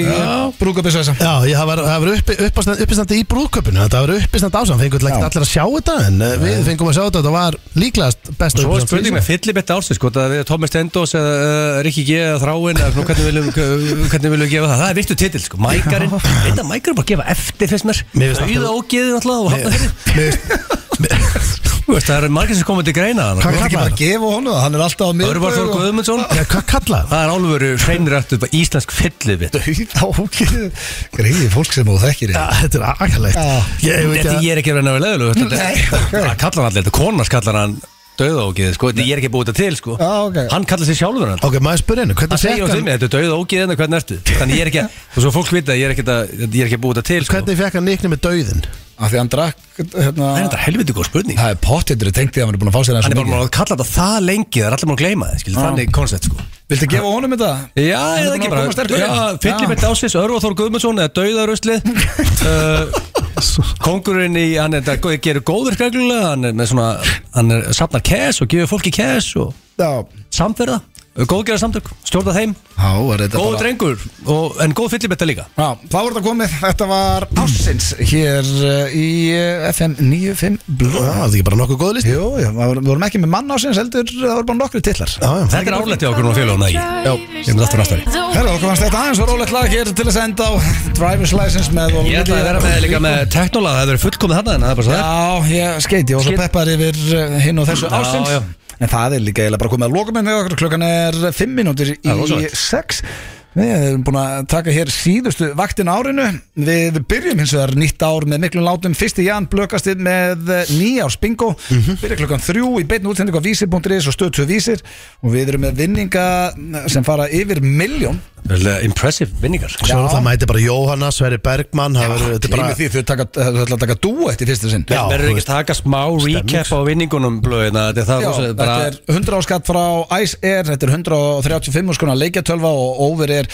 D: brúkabisvesa
B: Já, ég hafa verið uppi, uppistand, uppistandi í brúðköpunu Þetta hafa verið uppistandi ásan, fengum ekki allir að sjá þetta En eh, við fengum að sjá þetta, þetta var líklegast besta
C: Svo er
B: uppistand
C: spurning með fyllibetta ársins sko, Það við Thomas Stendos eða uh, Rikki G eða Þráin eða svona, hvernig viljum, hvernig viljum við gefa það Það er virtu titill sko Mækarinn Þetta mækarinn bara gefa eftir fyrst mér
B: Mér finnst alltaf-
C: Auða og geði náttúrulega og hafna
D: hérna-
C: fyrir
B: Mér-
C: Þú veist, Það eru margir sem komið til greina þarna,
D: Hann
C: sko.
D: er ekki bara að gefa honum það Hann er alltaf á
C: Örvar Þór
D: miðbögu
C: Guðmundsson
B: Já, Hvað kallar það?
C: Það er álveru hreinrættu bara íslensk fyllibetta
D: Greiði fólk sem þú þekkir hérna.
B: Já, Þetta er akalegt
D: Já.
B: Ég veit
C: Þetta
B: að
C: ég er ekki að reyna að vera leðilug Það kallar hann allir Þetta konars kallar hann Dauða ógeði sko Þetta ég er ekki búið þetta til sko
D: Já,
B: Ah,
D: ok.
C: Hann kallar sig sjálfur hann
B: Ok, maður spyrir hennu,
C: Það
B: hvernig
C: segir á
B: fekk
C: þeim,
B: hann
C: um þetta er dauð ógeðin og hvernig ertu Þannig ég er ekki að, og svo fólk vita að ég er ekki að, ég er ekki að búið þetta til sko.
B: Hvernig fekk hann nikni með dauðin?
D: Af því hann drakk hérna,
C: Það er þetta helviti góð spurning
D: Það er pottitur tengt því að hann er búin að fá sér
C: Hann
D: þessu
C: er bara
D: mikið
C: búin að kalla þetta það lengi Það er allir búin að gleyma það, skil, þannig koncept sko
D: Viltu gefa honum þetta?
C: Já,
D: Hann er
C: eða
D: búinn
C: ekki
D: að
C: bara
D: koma sterkur
C: Já,
D: inn.
C: fyllibett ásins, Örvaþór Guðmundsson eða Dauðaröslið uh, Kongurinn í, hann er, það gerir góður skreglulega Hann er með svona, hann er, safnar cash og gefur fólki cash og
D: Já
C: samferða Góðgerða samtök, stjórna þeim
D: Já, er þetta
C: Góð
D: bara
C: drengur, og, en góð fyllibetta líka
D: Já, þá er þetta komið, þetta var ásins hér uh, í uh, FM 95
B: Já,
D: Bló
B: það er ekki bara nokkuð góð list
D: Jú, jú, það voru- við vorum ekki með mann ásins heldur, eh, það voru bara nokkri tillar
B: Já, já
C: Þetta er árlegt í okkur og félaguna ekki Já, ég myndi aftur næstari
D: Herra, okkur fannst þetta aðeins var rólegt lag hér til að senda á Driver's License með og-
C: Ég ætlaði að vera með líka með teknóla, það verður fullkomið þarna en það er bara svo það
D: Já, ég skeiti og svo
C: Skeit-
D: peppar yfir uh, hinn og þessu
C: Já,
D: ásins
C: já.
D: En það er líka eiginlega bara komið að loka með með okkur Klukkan er 5 mínútur
C: Já,
D: í
C: rosalegt.
D: 6 Við erum búin að taka hér síðustu vaktin á árinu Við byrjum hins vegar nýtt ár með miklum látum Fyrsti Jan blökast inn með nýjárs bingo Byrja klukkan þrjú í beinu útsendingu á vísir.is og stöðtöð vísir Og við erum með vinninga sem fara yfir miljón
C: Vel, eh, Impressive vinningar
B: Svo er það mæti bara Jóhanna, Sverri Bergmann það verður- Þetta er bara
D: Gleymið því, Þau taka- þau ætla að taka dúa eftir fyrsta sinn
B: Ah, Já,
C: Verður
B: þú
C: ekki að
B: veist.
C: taka smá recap á vinningunum blöðina Þetta er það
D: Já,
C: rosa-
D: þetta
C: bara
D: er 100 áskatt frá Ice Air, þetta er 135 skona leikjatölva og over er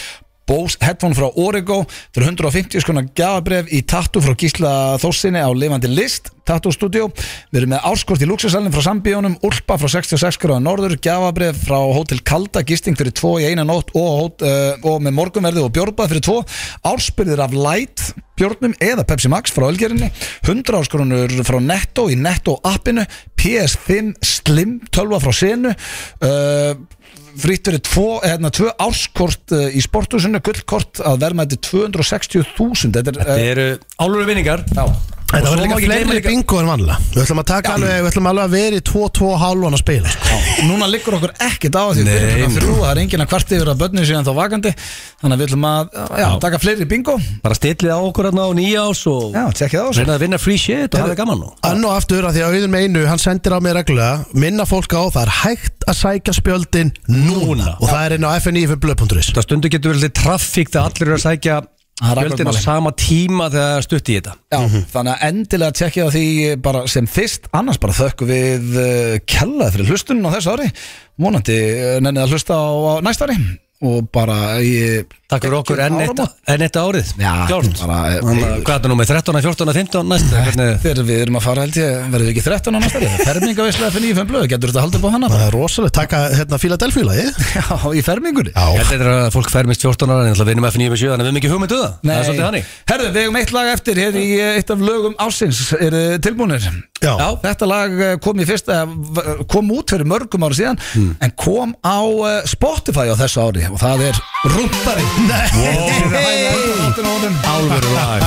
D: Bose headphone frá Origo þetta er 150 skona gjafabref í Tattoo frá Gísla Þóssinni á Levandi List Tattoo Studio, við erum með áskort í Luxusalinn frá Sambíónum, Ulpa frá 66 gráða Norður, gjafabref frá Hotel Kalda gisting fyrir 2 í eina nótt og, hót- eh, og með morgunverði og bjórbað fyrir 2 áspyrðir af Light bjórnum eða Pepsi Max frá Ölgerinni 100 áskorunur frá Netto í Netto appinu, PS5 Slim 12 frá Senu uh, fritt verið tvo, hérna, tvö áskort uh, í sporthúsinu, gullkort að verma þetta 260.000 þetta er
C: Þetta
D: uh,
C: eru álur vinningar
D: já,
B: Þetta var
C: Og svo má
B: líka
C: ekki gleyma
B: fleiri
C: líka-
B: bingo en vanlega Við ætlum að taka alveg, við ætlum alveg að vera í 2-2 hálfan að spila sko.
D: núna liggur okkur ekkert á því
C: Nei,
D: við erum klukkan
C: nei.
D: þrjú, það er enginn að kvart yfir að börnum síðan þá vakandi þannig að við ætlum að uh, já, taka fleiri bingo
C: Bara stillið á okkur hérna á nýjás og
D: já, tjekkið á þessu
C: reyna að vinna free shit og hafa gaman nú
B: Enn og aftur að því að auðvitað meinu, hann sendir á mig reglulega Minna fólk á það er hægt að sækja spjöldin núna Og það er inn á fnifblöð.is
C: Það stundu getur verið traffík þegar allir eru að sækja
D: Það er
C: Hjöldin á
D: akkurat málið.
C: sama tíma þegar það er stutt í þetta
D: Já, þannig að endilega tjekkja á því bara sem fyrst, annars bara þökk við uh, kjallaði fyrir hlustunum á þessu ári vonandi uh, nennið að hlusta á, á næsta ári og bara í,
C: Takk fyrir okkur enn eitt,
D: Áramót.
C: enn eitt árið
D: Já,
C: Klárt.
D: bara, eh,
C: Þannig að Hvað er það nú með 13, 14, 15 næst Hvernig
D: þegar við erum að fara held ég, verðum við ekki 13 á næsta ári fermingavislega fyrir nýjum blöð, getur þetta haldið upp á hana
B: Það er rosalega, taka hérna Philadelphia ég?
D: já, í fermingunni
B: Já,
C: Ég held þetta að fólk færmist 14 ára en ég ætla að vinna með F9 með 7 þannig að við erum ekki hugmynduða Það er svolítið hannig
D: herðu, við hefum eitt lag eftir hér í eh, eitt af lögum ásins, er tilbúinir
B: Já.
D: þetta lag eh, kom í fyrsta eh, kom út fyrir mörgum ára síðan
C: Hmm.
D: en kom á eh, Spotify á þessu ári og það er Rúntari Nei
C: Álveru lag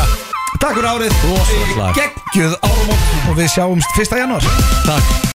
D: Takk fyrir árið
C: Rosalegt lag.
D: Gekkjuð árum og við sjáumst 1. janúar
C: Takk